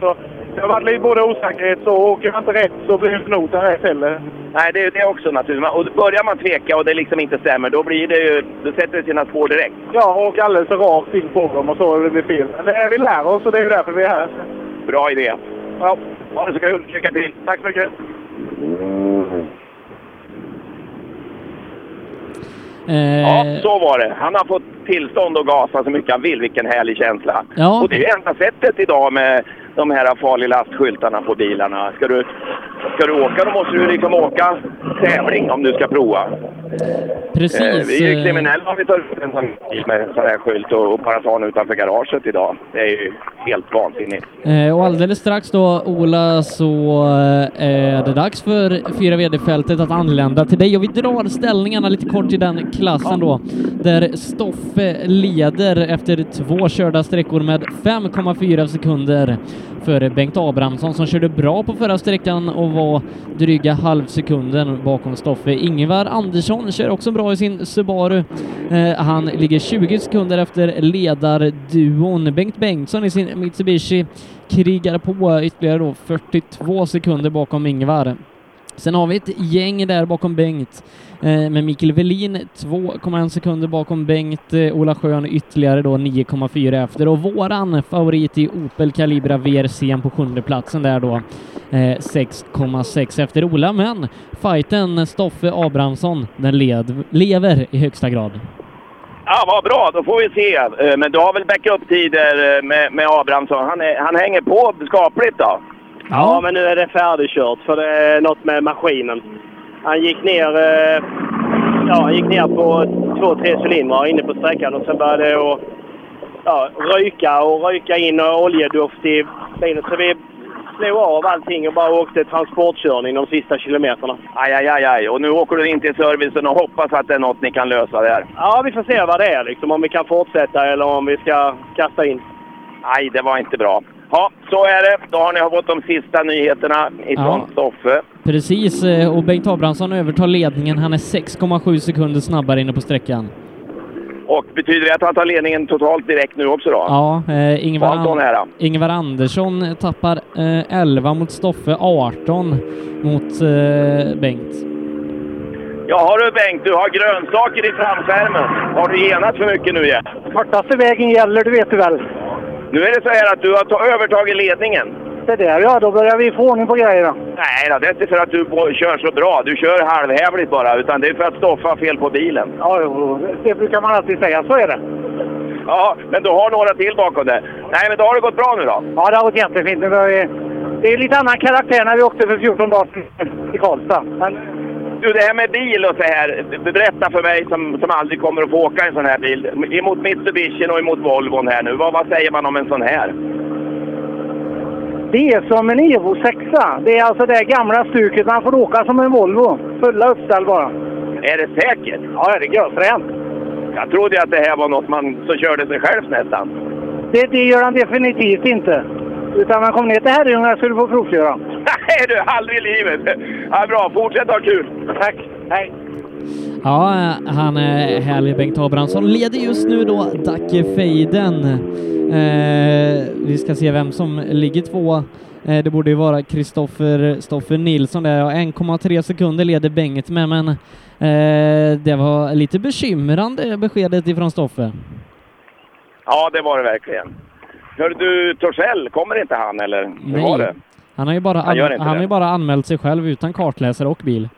Så Det har varit lite både osäkerhet så åker man inte rätt så blir noten rätt heller.
Nej, det är ju det också naturligtvis. Och börjar man tveka och det liksom inte stämmer, då blir det ju... Då sätter det sina spår direkt.
Ja, och alldeles rakt in på dem och så det blir fel. Men det är vi lär oss och det är ju därför vi är här.
Bra idé.
Ja.
Ha det så kul! Lycka till!
Tack så mycket!
Eh,
Ja, så var det. Han har fått tillstånd att gasa så mycket han vill. Vilken härlig känsla.
Ja.
Och det är ju enda sättet idag med de här farlig lastskyltarna på bilarna. Ska du, ska du åka då måste du liksom åka tävling om du ska prova.
Precis.
Eh, vi är ju
eh,
kriminella om vi tar ut en sån bil med en sån här skylt och, och bara tar den utanför garaget idag. Det är ju helt vansinnigt.
Eh, och alldeles strax då, Ola, så eh, är det dags för fyra vd-fältet att anlända till dig. Och vi drar ställningarna lite kort i den klassen då, där Stoffe leder efter två körda sträckor med 5,4 sekunder före Bengt Abrahamsson som körde bra på förra sträckan och var dryga halvsekunden bakom Stoffe. Ingvar Andersson kör också bra i sin Subaru. Eh, han ligger 20 sekunder efter ledarduon. Bengt Bengtsson i sin Mitsubishi krigar på ytterligare då 42 sekunder bakom Ingvar. Sen har vi ett gäng där bakom Bengt eh, med Mikael Velin 2,1 sekunder bakom Bengt, eh, Ola Schön ytterligare då 9,4 efter och våran favorit i Opel Calibra VRC på sjunde platsen där då eh, 6,6 efter Ola men fighten Stoffe Abrahamsson den led, lever i högsta grad.
Ja, vad bra, då får vi se. Eh, Men du har väl backup-tider eh, med, med Abrahamsson? Han, är, han hänger på skapligt då?
Ja, men nu är det färdigkört för det är något med maskinen. Han gick ner, eh, ja, han gick ner på två, tre cylindrar inne på sträckan och sen började det att ja, röka och röka in och oljedoft i bilen. Så vi slog av allting och bara åkte transportkörning de sista kilometerna.
Aj, aj, aj, aj. Och nu åker du in till servicen och hoppas att det är något ni kan lösa där.
Ja, vi får se vad det är liksom, om vi kan fortsätta eller om vi ska kasta in.
Nej, det var inte bra. Ja, så är det. Då har ni fått de sista nyheterna ifrån
Ja.
Stoffe.
Precis, eh, och Bengt Abrahamsson övertar ledningen. Han är 6,7 sekunder snabbare inne på sträckan.
Och betyder det att han tar ledningen totalt direkt nu också då?
Ja, eh, Ingvar,
Anton här då.
Ingvar Andersson tappar eh, 11 mot Stoffe, 18 mot eh, Bengt.
Ja, har du Bengt, du har grönsaker i framskärmen. Har du genat för mycket nu igen?
Kortaste vägen gäller, det vet du väl.
Nu är det så här att du har ta- övertagit ledningen.
Det där ja, då börjar vi få ordning på grejerna.
Nej då, det är inte för att du på- kör så bra. Du kör halvhävligt bara. Utan det är för att Stoffe har fel på bilen.
Ja, jo, det brukar man alltid säga, så är det.
Ja, men du har några till bakom dig. Nej, men då har det gått bra nu då.
Ja, det har gått jättefint. Nu börjar vi... Det är lite annan karaktär när vi åkte för 14 dagar sedan i Karlstad. Men
Du, det här med bil och så här. Berätta för mig som, som aldrig kommer att få åka en sån här bil. Emot Mitsubishi och emot Volvon här nu. Vad, vad säger man om en sån här?
Det är som en Evo 6. Det är alltså det gamla stuket. Man får åka som en Volvo. Fulla uppställ bara.
Är det säkert?
Ja, det är görfränt.
Jag trodde att det här var något man så körde sig själv nästan.
Det, det gör han definitivt inte. Utan man kom ner till Herrljunga skulle få provköra.
Nej du, aldrig i livet! Ja, bra, fortsätt ha kul!
Tack! Hej!
Ja, eh, han är härlig Bengt Abrahamsson. Leder just nu då Dackefejden. Eh, vi ska se vem som ligger tvåa. Eh, det borde ju vara Kristoffer Stoffer Nilsson där. Ja, 1,3 sekunder leder Bengt med, men eh, det var lite bekymrande beskedet ifrån Stoffer.
Ja, det var det verkligen. Hör du, Torssell, kommer inte han eller? Hur
Nej.
var det?
Han har ju bara,
Han
han
gör inte
han har
det.
ju bara anmält sig själv utan kartläsare och bil.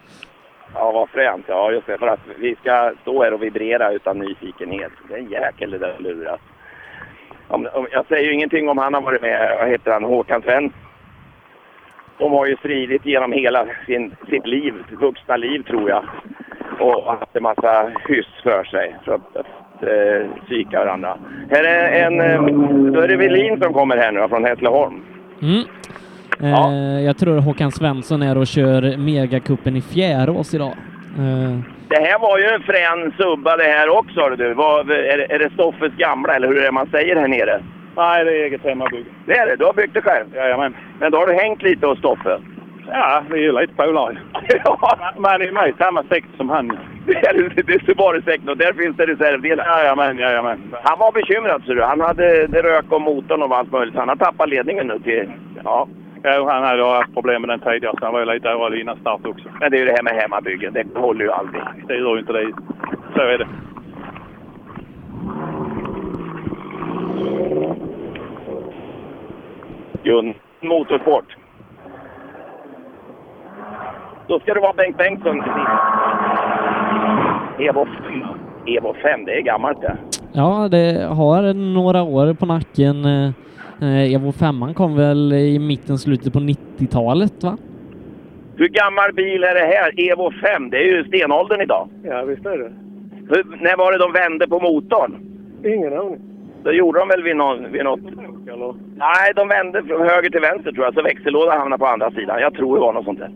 Ja, vad fränt. Ja, just det. För att vi ska stå här och vibrera utan nyfikenhet. Det är en jäkel det där luras. Om, om, jag säger ju ingenting om han har varit med, vad heter han, Håkan Sven. De har ju stridit genom hela sin, sitt liv, sitt vuxna liv tror jag. Och haft en massa hyss för sig för att, att eh, psyka varandra. Här är en, eh, då är det Welin som kommer här nu från Hässleholm.
Mm. Eh, jag tror Håkan Svensson är och kör megacupen i Fjärås idag. Eh,
Det här var ju en frän subba det här också hör du. Vad, är, det- är det Stoffes gamla eller hur är det man säger här nere?
Nej, det är eget hemmabygge.
Det är det? Du har byggt det själv?
Jajamän.
Men då har du hängt lite hos Stoffe?
Ja, vi är ju lite polare.
ja.
Man är med i samma sekt som han.
Det är, det är Subaru-sektorn och där finns det reservdelar?
Jajamän, jajamän.
Han var bekymrad ser du. Han hade det rök om motorn och allt möjligt. Han har tappat ledningen nu till... Ja.
Ja, han hade haft problem med den tidigare, så han var ju lite orolig innan start också.
Men det är ju det här med hemmabyggen. Det håller ju aldrig.
Det gör ju inte det. Så är det.
Gun, motorsport. Då ska det vara Bengt Bengtsson. Evo 5. Evo 5, det är gammalt det.
ja, det har några år på nacken. Eh, eh, Evo 5 kom väl i mitten, slutet på 90-talet va?
Hur gammal bil är det här? Evo 5, det är ju stenåldern idag.
Ja, visst är det.
Hur, när var det de vände på motorn?
Ingen aning.
Det gjorde de väl vid, någon, vid något... Nej, de vände från höger till vänster tror jag, så växellådan hamnade på andra sidan. Jag tror det var något sånt där.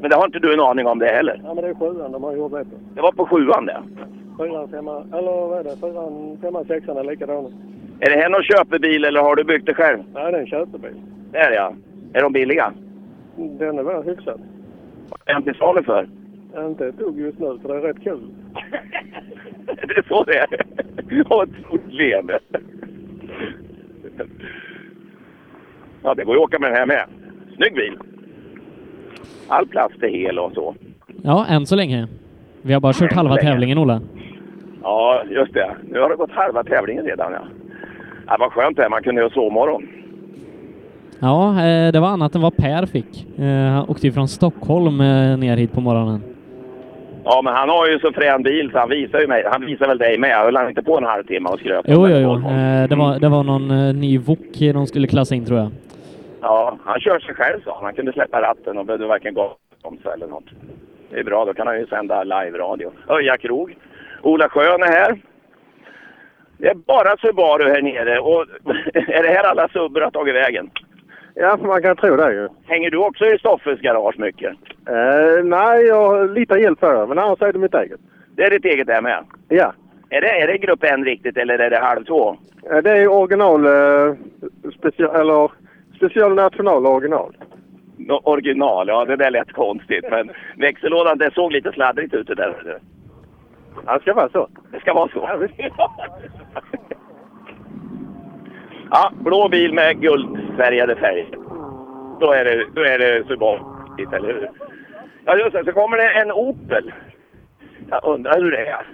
Men det har inte du en aning om det heller.
Ja, men det är sjuan de har gjort det på.
Det var på sjuan det.
Fyran, femman, eller vad är det? Fyran, femman, sexan är likadana.
Är det här någon köpebil eller har du byggt det själv?
Nej, det är en köpebil.
Det är det ja. Är de billiga?
Den är väl hyfsad.
Vad är de till salu för?
Inte ett dugg just nu, för det är rätt kul.
Det är så det är. Och ett stort leende. Ja, det går ju att åka med den här med. Snygg bil! All plast är hel och så.
Ja, än så länge. Vi har bara kört halva
länge.
tävlingen, Olle.
Ja, just det. Nu har det gått halva tävlingen redan. Ja. Ja, vad skönt det är. Man kunde göra sovmorgon.
Ja, eh, det var annat än vad Per fick. Eh, Han åkte ju från Stockholm eh, ner hit på morgonen.
Ja, men han har ju så frän bil så han visar ju mig. Han visar väl dig med. Höll han inte på en halvtimme och skröt?
Jo, jo, jo. Eh, Det var, det var någon eh, ny Wok de skulle klassa in tror jag.
Ja, han kör sig själv sa han. Han kunde släppa ratten och behövde varken gas om sig eller något. Det är bra, då kan han ju sända live-radio. Öja krog. Ola Schön är här. Det är bara Subaru här nere och är det här alla subbor har tagit vägen?
Ja, man kan tro det ju.
Hänger du också i Stoffes garage mycket?
Eh, nej, jag har lite hjälp för det, men annars är det mitt eget.
Det är ditt eget där med?
Ja.
Är det, är det grupp N riktigt eller är det halv två?
Eh, Det är ju original, eh, special, eller special national original.
Nå- Original, ja det där lät konstigt men växellådan den såg lite sladdrigt ut det där.
Ja, det ska vara så.
Det ska vara så. Ja, blå bil med guldfärgade färg. Då är det, då är det Subaru, eller hur? Ja, just det. Så kommer det en Opel. Jag undrar hur det är.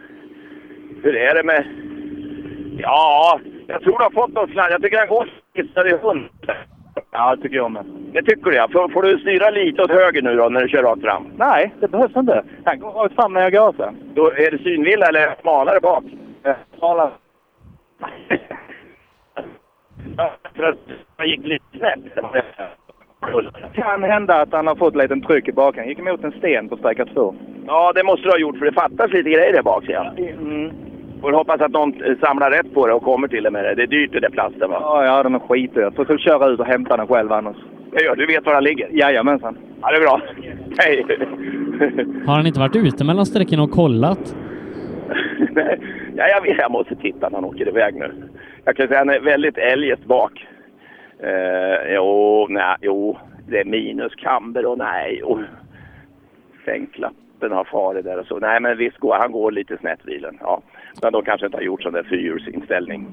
Hur är det med... Ja, jag tror du har fått någon sladd. Jag tycker den går skissad i hund. Ja, det tycker jag med. Det tycker du ja. Får, får du styra lite åt höger nu då när du kör rakt fram?
Nej, det behövs inte. Han går rakt fram när jag gasar.
Då är det synvilla eller smalare bak?
Eh,
Smalare. För att man gick lite snett.
Det kan hända att han har fått lite tryck i baken. gick emot en sten på sträcka två.
Ja, det måste du ha gjort för det fattas lite grejer där bak ser jag.
Mm.
Får hoppas att någon eh, samlar rätt på det och kommer till det med det. Det är dyrt det där plasten va?
Ja, ja, den är skitdyr. Får typ köra ut och hämta den själv annars.
Det gör Du vet var den ligger?
Jajamensan.
Ja, det är bra. Hej!
Har han inte varit ute mellan sträckorna och kollat?
Nej, ja, jag, vet- jag måste titta när han åker iväg nu. Jag kan säga att han är väldigt eljest bak. Eh, jo, nej, jo, det är minus kamber och nej, och sängklappen har farit där och så. Nej, men visst går han går lite snett bilen. Ja, men de kanske inte har gjort sån där fyrhjulsinställning.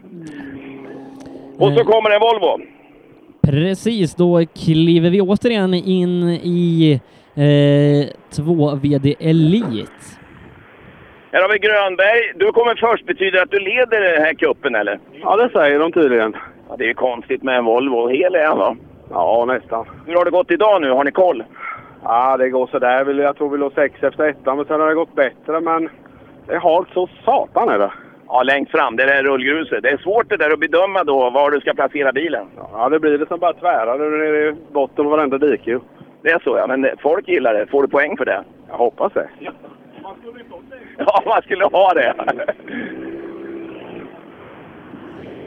Och så kommer en Volvo.
Precis, då kliver vi återigen in i eh, 2 VD Elite.
Här har vi Grönberg. Du kommer först. Betyder det att du leder den här kuppen eller?
Ja, det säger de tydligen.
Ja, det är ju konstigt med en Volvo. Hel är han va?
Ja, nästan.
Hur har det gått idag nu? Har ni koll?
Ja, det går sådär. Vi- Jag tror vi låg sex efter ettan, men sen har det gått bättre. Men det är halt så satan är det.
Ja, längst fram. Det där rullgruset. Det är svårt det där att bedöma då var du ska placera bilen.
Ja, det blir det som bara tvärar nere i botten av varenda dike ju.
Det är så ja, men folk gillar det. Får du poäng för det?
Jag hoppas det.
Ja, man skulle ha det.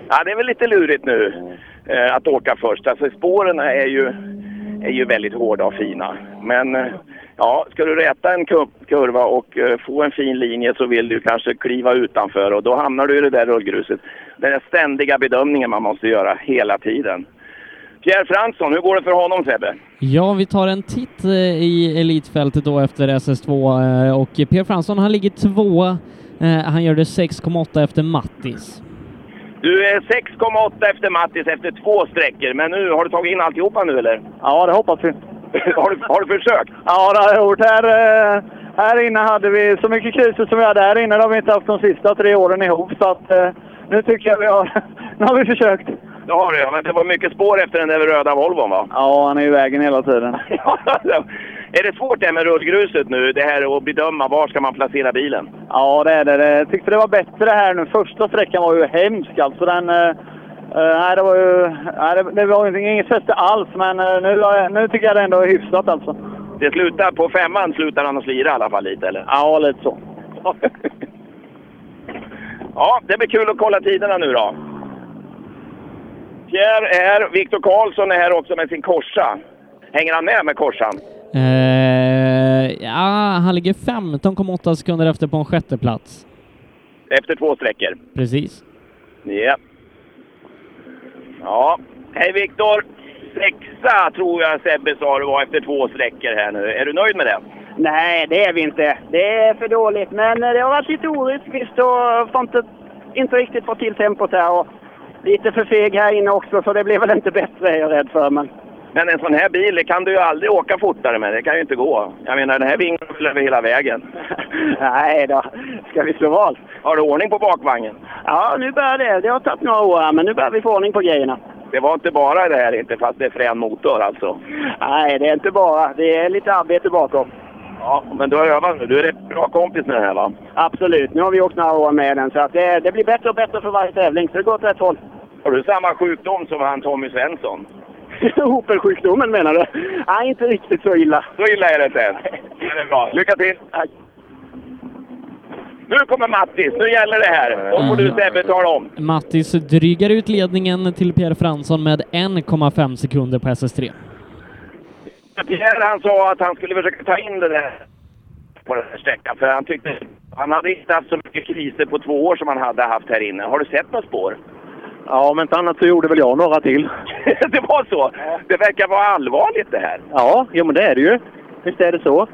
Ja, det är väl lite lurigt nu eh, att åka först. Alltså spåren är ju, är ju väldigt hårda och fina. Men eh, ja, ska du räta en ku- kurva och eh, få en fin linje så vill du kanske kliva utanför och då hamnar du i det där rullgruset. Den där ständiga bedömningen man måste göra hela tiden. Pierre Fransson, hur går det för honom Sebbe?
Ja, vi tar en titt eh, i elitfältet då efter SS2 eh, och Per Fransson han ligger tvåa. Eh, han gör det 6,8 efter Mattis.
Du är 6,8 efter Mattis efter två sträckor, men nu har du tagit in alltihopa nu eller?
Ja, det hoppas vi.
har, du, har du försökt?
Ja, det har jag gjort. Här, eh, här inne hade vi så mycket kriser som vi hade här inne. Det har vi inte haft de sista tre åren ihop. Så att, eh, nu tycker jag vi har... nu har vi försökt.
Det har du, men det var mycket spår efter den där röda Volvon va?
Ja, han är i vägen hela tiden.
är det svårt det här med rullgruset nu, det här att bedöma var ska man placera bilen?
Ja, det är det. det. Jag tyckte det var bättre här nu. Första sträckan var ju hemsk alltså. Den, eh, eh, nej, det var ju... Nej, det, det var ju inget fäste alls, men eh, nu, har jag- nu tycker jag det ändå är hyfsat alltså.
Det slutar, på femman slutar han att slira i alla fall lite eller?
Ja, lite så.
Ja, det blir kul att kolla tiderna nu då. Pierre är här, Viktor Karlsson är här också med sin Corsa. Hänger han med med Corsan?
Eh, ja, han ligger 15,8 sekunder efter på en sjätte plats.
Efter två sträckor.
Precis.
Ja. Ja. Hej Viktor! Sexa tror jag Sebbe sa du var efter två sträckor här nu. Är du nöjd med det?
Nej, det är vi inte. Det är för dåligt. Men eh, det har varit lite orättvist och får inte, inte riktigt fått till tempot här. Och lite för feg här inne också, så det blir väl inte bättre är jag rädd för. Men
Men en sån här bil det kan du ju aldrig åka fortare med. Det kan ju inte gå. Jag menar, den här vingen väl över hela vägen.
nej då, ska vi slå val?
Har du ordning på bakvagnen?
Ja, nu börjar det. Det har tagit några år här, men nu börjar vi få ordning på grejerna.
Det var inte bara det här inte, fast det är frän motor alltså.
Nej, det är inte bara. Det är lite arbete bakom.
Ja, men du har övat nu. Du är en bra kompis med den här va?
Absolut. Nu har vi åkt några år med den, så att det, det blir bättre och bättre för varje tävling. Så det går åt rätt håll.
Har du samma sjukdom som han Tommy Svensson?
Opel-sjukdomen menar du? Nej, inte riktigt så illa.
Så illa är det inte än. Men Det är bra. Lycka till! Nu kommer Mattis, nu gäller det här. Då får du
Mm.
Sebbe tala om.
Mattis drygar ut ledningen till Per Fransson med 1,5 sekunder på SS3.
Pierre han sa att han skulle försöka ta in det där på den här sträckan. För han tyckte han hade inte haft så mycket kriser på två år som han hade haft här inne. Har du sett några spår?
Ja, om inte annat så gjorde väl jag några till.
det var så? Det verkar vara allvarligt det här.
Ja, jo, men det är det ju. Visst är det så.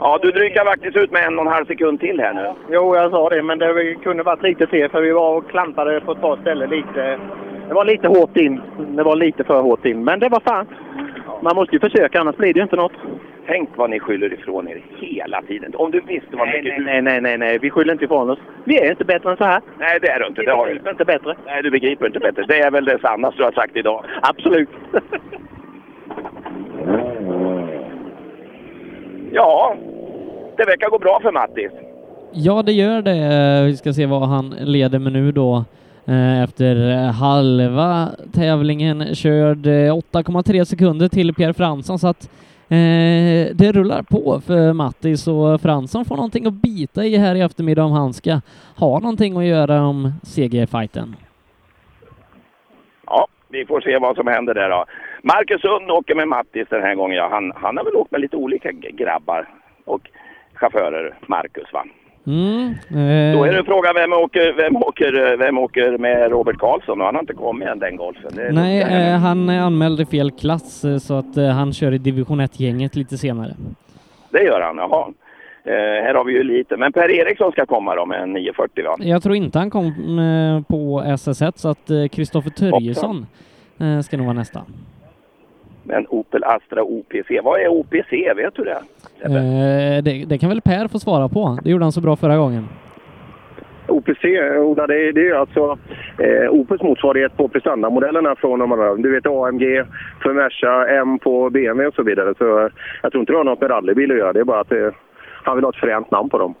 Ja, du drygar faktiskt ut med en och en halv sekund till här nu.
Jo, jag sa det, men det kunde varit lite fler för vi var och klantade på ett par ställen lite.
Det var lite hårt in. Det var lite för hårt in, men det var fan. Man måste ju försöka, annars blir det ju inte något.
Tänk vad ni skyller ifrån er hela tiden. Om du visste vad
Nej,
mycket
nej,
du...
nej, nej, nej, nej. vi skyller inte ifrån oss. Vi är inte bättre än så här.
Nej, det är du inte. Det har du
inte bättre.
Nej, du begriper inte bättre. Det är väl det sannaste du har sagt idag.
Absolut.
Ja, det verkar gå bra för Mattis.
Ja, det gör det. Vi ska se vad han leder med nu då. Eh, Efter halva tävlingen körd eh, 8,3 sekunder till Pierre Fransson, så att Eh, det rullar på för Mattis och Fransson får någonting att bita i här i eftermiddag om han ska ha någonting att göra om segerfighten.
Ja, vi får se vad som händer där då. Marcus Sund åker med Mattis den här gången. Ja, han, han har väl åkt med lite olika g- grabbar och chaufförer, Marcus va?
Mm,
Då är
eh,
det frågan vem åker, vem åker, vem åker med Robert Karlsson? Och Han har inte kommit än den golfen. Det är
nej, eh, han anmälde fel klass eh, så att eh, han kör i division 1-gänget lite senare.
Det gör han, jaha. Eh, här har vi ju lite. Men Per Eriksson ska komma då med en 940 va?
Jag tror inte han kom eh, på SS1 så att eh, Kristoffer Törjesson eh, ska nog vara nästa.
Men Opel Astra OPC. Vad är OPC? Vet du det?
Eh, det, det kan väl Per få svara på? Det gjorde han så bra förra gången.
OPC, Ola, det, är- det är alltså eh, Opels motsvarighet på prestandamodellerna från de andra. Du vet AMG för Merca, M på BMW och så vidare. Så eh, jag tror inte det har något med rallybil att göra. Det är bara att eh, han vill ha ett fränt namn på dem.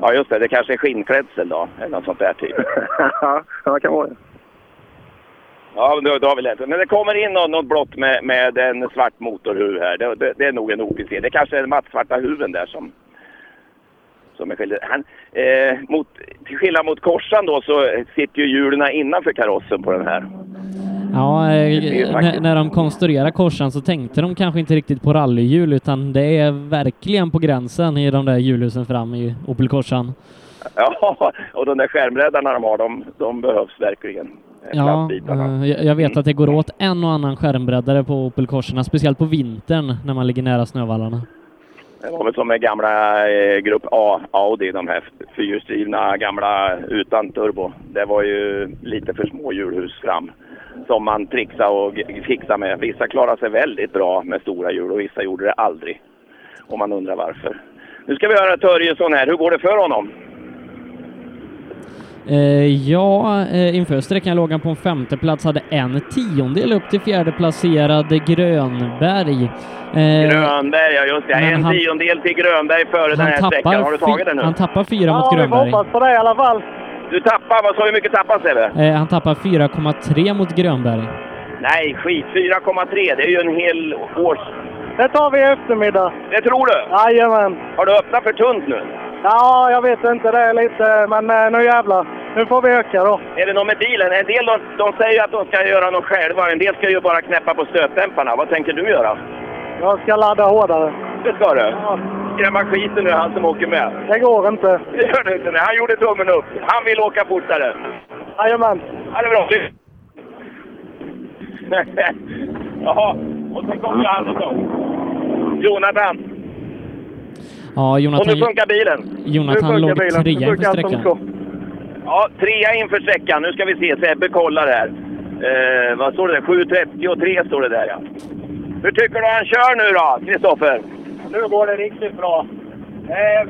Ja, just det. Det kanske är skinnklädsel då, eller något sånt där typ.
ja, det kan vara det.
Ja, då, då har vi lätt. Men det kommer in något, något blått med, med en svart motorhuv här. Det, det, det är nog en OPC. Det kanske är den mattsvarta huven där som, som är skillnad. Han, eh, mot, till skillnad mot korsan då så sitter ju hjulen innanför karossen på den här.
Ja, eh,
Det är faktiskt-
när, när de konstruerade korsan så tänkte de kanske inte riktigt på rallyhjul utan det är verkligen på gränsen i de där hjulhusen fram i Opel Corsan.
Ja, och de där skärmräddarna de har, de, de behövs verkligen.
Ja, eh, jag jag vet att det går åt en och annan skärmbreddare på Opel Corsorna, speciellt på vintern när man ligger nära snövallarna.
Det var väl som med gamla eh, Grupp A Audi, de här fyrhjulsdrivna gamla utan turbo. Det var ju lite för små hjulhus fram som man trixade och g- fixade med. Vissa klarade sig väldigt bra med stora hjul och vissa gjorde det aldrig. Och man undrar varför. Nu ska vi höra Törjesson här. Hur går det för honom?
Eh, ja, eh, inför sträckan låg han på en femteplats, hade en tiondel upp till fjärde placerade Grönberg. Eh,
Grönberg, ja just det.
men
En
han-
tiondel till Grönberg före den här sträckan. Har du
fi-
tagit den nu?
han tappar fyra
Ja,
mot
vi får
Grönberg.
hoppas.
På det i alla fall.
Du tappar, vad sa vi, hur mycket tappar Sebbe?
Eh, han tappar 4,3 mot Grönberg.
Nej, skit. 4,3. Det är ju en hel års...
Det tar vi i eftermiddag.
Det tror du?
Jajamän.
Har du öppnat för tunt nu?
Ja, jag vet inte. Det är lite... Men eh, nu jävlar. Nu får vi öka då.
Är det något med bilen? En del de, de säger ju att de ska göra något själva. En del ska ju bara knäppa på stötdämparna. Vad tänker du göra?
Jag ska ladda hårdare.
Det ska du. Skrämma skiten ur han som åker med.
Det går inte.
Det gör du inte. Nej, han gjorde tummen upp. Han vill åka fortare.
Jajamän.
Ja, det är bra. Lyft. Jaha, och sen kommer ju han då. Jonathan.
Ja,
Och
Jonathan,
nu funkar bilen.
Jonathan
Nu funkar
låg
bilen. Nu
trea inför
funkar allt som
sträckan.
Ja, trea inför sträckan. Nu ska vi se. Sebbe kollar här. Eh, vad står det där? 7.33 står det där, ja. Hur tycker du han kör nu då, Kristoffer?
Nu går det riktigt bra. Eh,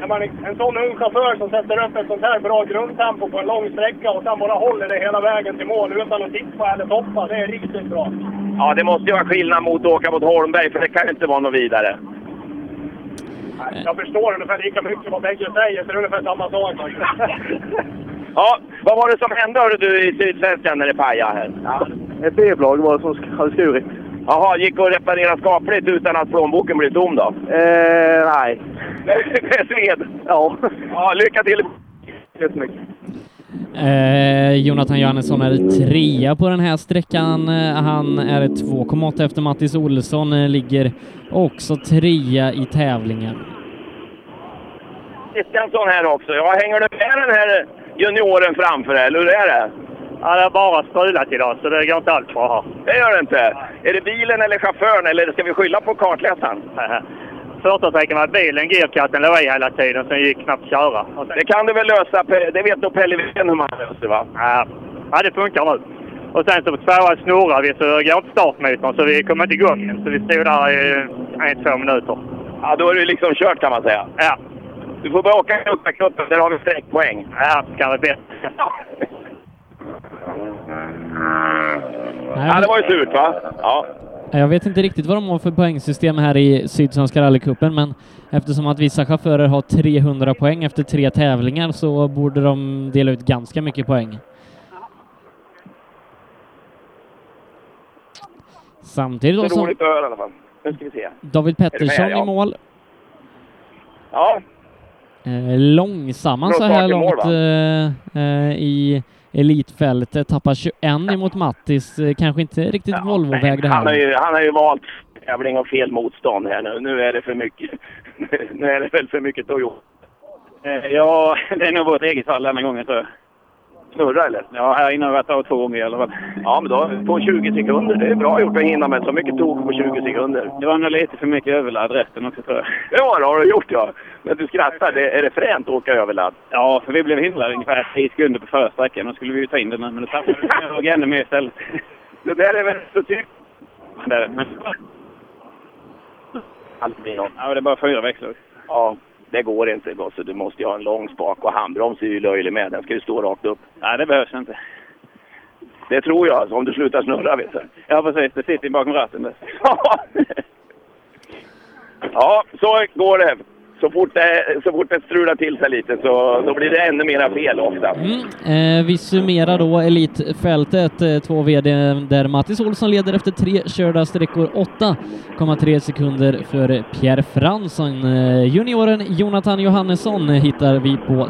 när man, en sån ung chaufför som sätter upp ett sånt här bra grundtempo på en lång sträcka och sen bara håller det hela vägen till mål utan att tippa eller toppa, det är riktigt bra.
Ja, det måste ju vara skillnad mot att åka mot Holmberg, för det kan ju inte vara något vidare.
Jag förstår ungefär lika mycket vad bägge säger, så det är ungefär samma sak. alltså.
Ja, vad var det som hände hörde du i Sydsvenskan när det pajade här?
Ett vevlag var det som sk- hade skurit.
Jaha, gick det att reparera skapligt utan att plånboken blev tom då?
Eh, nej.
Det sved? Ja. Ja, lycka till!
Eh, Jonathan Johannesson är trea på den här sträckan. Eh, Han är 2,8 efter Mattis Olsson, eh, ligger också trea i tävlingen.
Kristiansson här också. Ja, hänger du med den här junioren framför dig, eller hur är det? Ja, det har bara strulat idag, så det går inte alls bra här. Det gör det inte? Är det bilen eller chauffören, eller ska vi skylla på kartläsaren?
Första sträckan var bilen, girkatten låg i hela tiden, sen gick knappt att köra. Och sen,
Det kan du väl lösa? Pe- Det vet nog Pelle Wilén hur man löser, va?
ja, ja, det funkar nu. Och sen så på tvåan snurrade vi, så går inte startmotorn, så vi kom inte igång Så vi stod där i en, två minuter.
Ja, då är det liksom kört kan man säga.
Ja.
Du får börja åka Knuttarknuppen, där har vi sträckpoäng.
Ja, kan vi bättre.
Ja, det var ju surt, va? Ja.
Eh, Jag vet inte riktigt vad de har för poängsystem här i Sydsvenska rallycupen, men eftersom att vissa chaufförer har 300 poäng efter tre tävlingar så borde de dela ut ganska mycket poäng. Samtidigt
Det
då
är
som...
roligt att höra i alla fall. Nu ska vi se.
David Pettersson
Är det med, ja?
i mål.
Ja,
Eh, långsamma så
Bra
här
start i mål,
långt
va?
eh, eh, i elitfältet. Tappar 21 emot Mattis. Eh, kanske inte riktigt Volvo-väg det
han har,
här.
ju, han har ju valt tävling och fel motstånd här nu. Nu är det för mycket. nu är det väl för mycket Toyota.
Eh, Ja, det är nog vårt eget fall denna gången tror jag.
Snurra eller?
Ja, här inne har jag tagit två gånger i alla fall.
Ja, men då på 20 sekunder. Det är bra gjort att hinna med så mycket tok på 20 sekunder.
Det var nog lite för mycket överladd resten också tror jag.
Ja, det har du gjort ja. Men du skrattar. Det, är det fränt att åka överladd?
Ja, för vi blev hindrade ungefär 10 sekunder på förra sträckan. Då skulle vi ju ta in den men då tappade vi jag ännu mer istället.
Det där är väl så typ- typiskt.
Det är det, men...
Ja, det är bara fyra växlar. Ja, det går inte Bosse. Du måste ju ha en lång spak och handbroms är ju löjlig med. Den ska ju stå rakt upp.
Nej, det behövs inte.
Det tror jag, alltså, om du slutar snurra vet du.
Ja, precis. Det sitter ju bakom ratten där.
Ja, så går det. Så fort det, så fort det strular till sig lite så då blir det ännu mera fel ofta.
Eh, vi summerar då elitfältet. Eh, två VD där Mattis Olsson leder efter tre körda sträckor. 8,3 sekunder för Pierre Fransson. Eh, junioren Jonathan Johannesson hittar vi på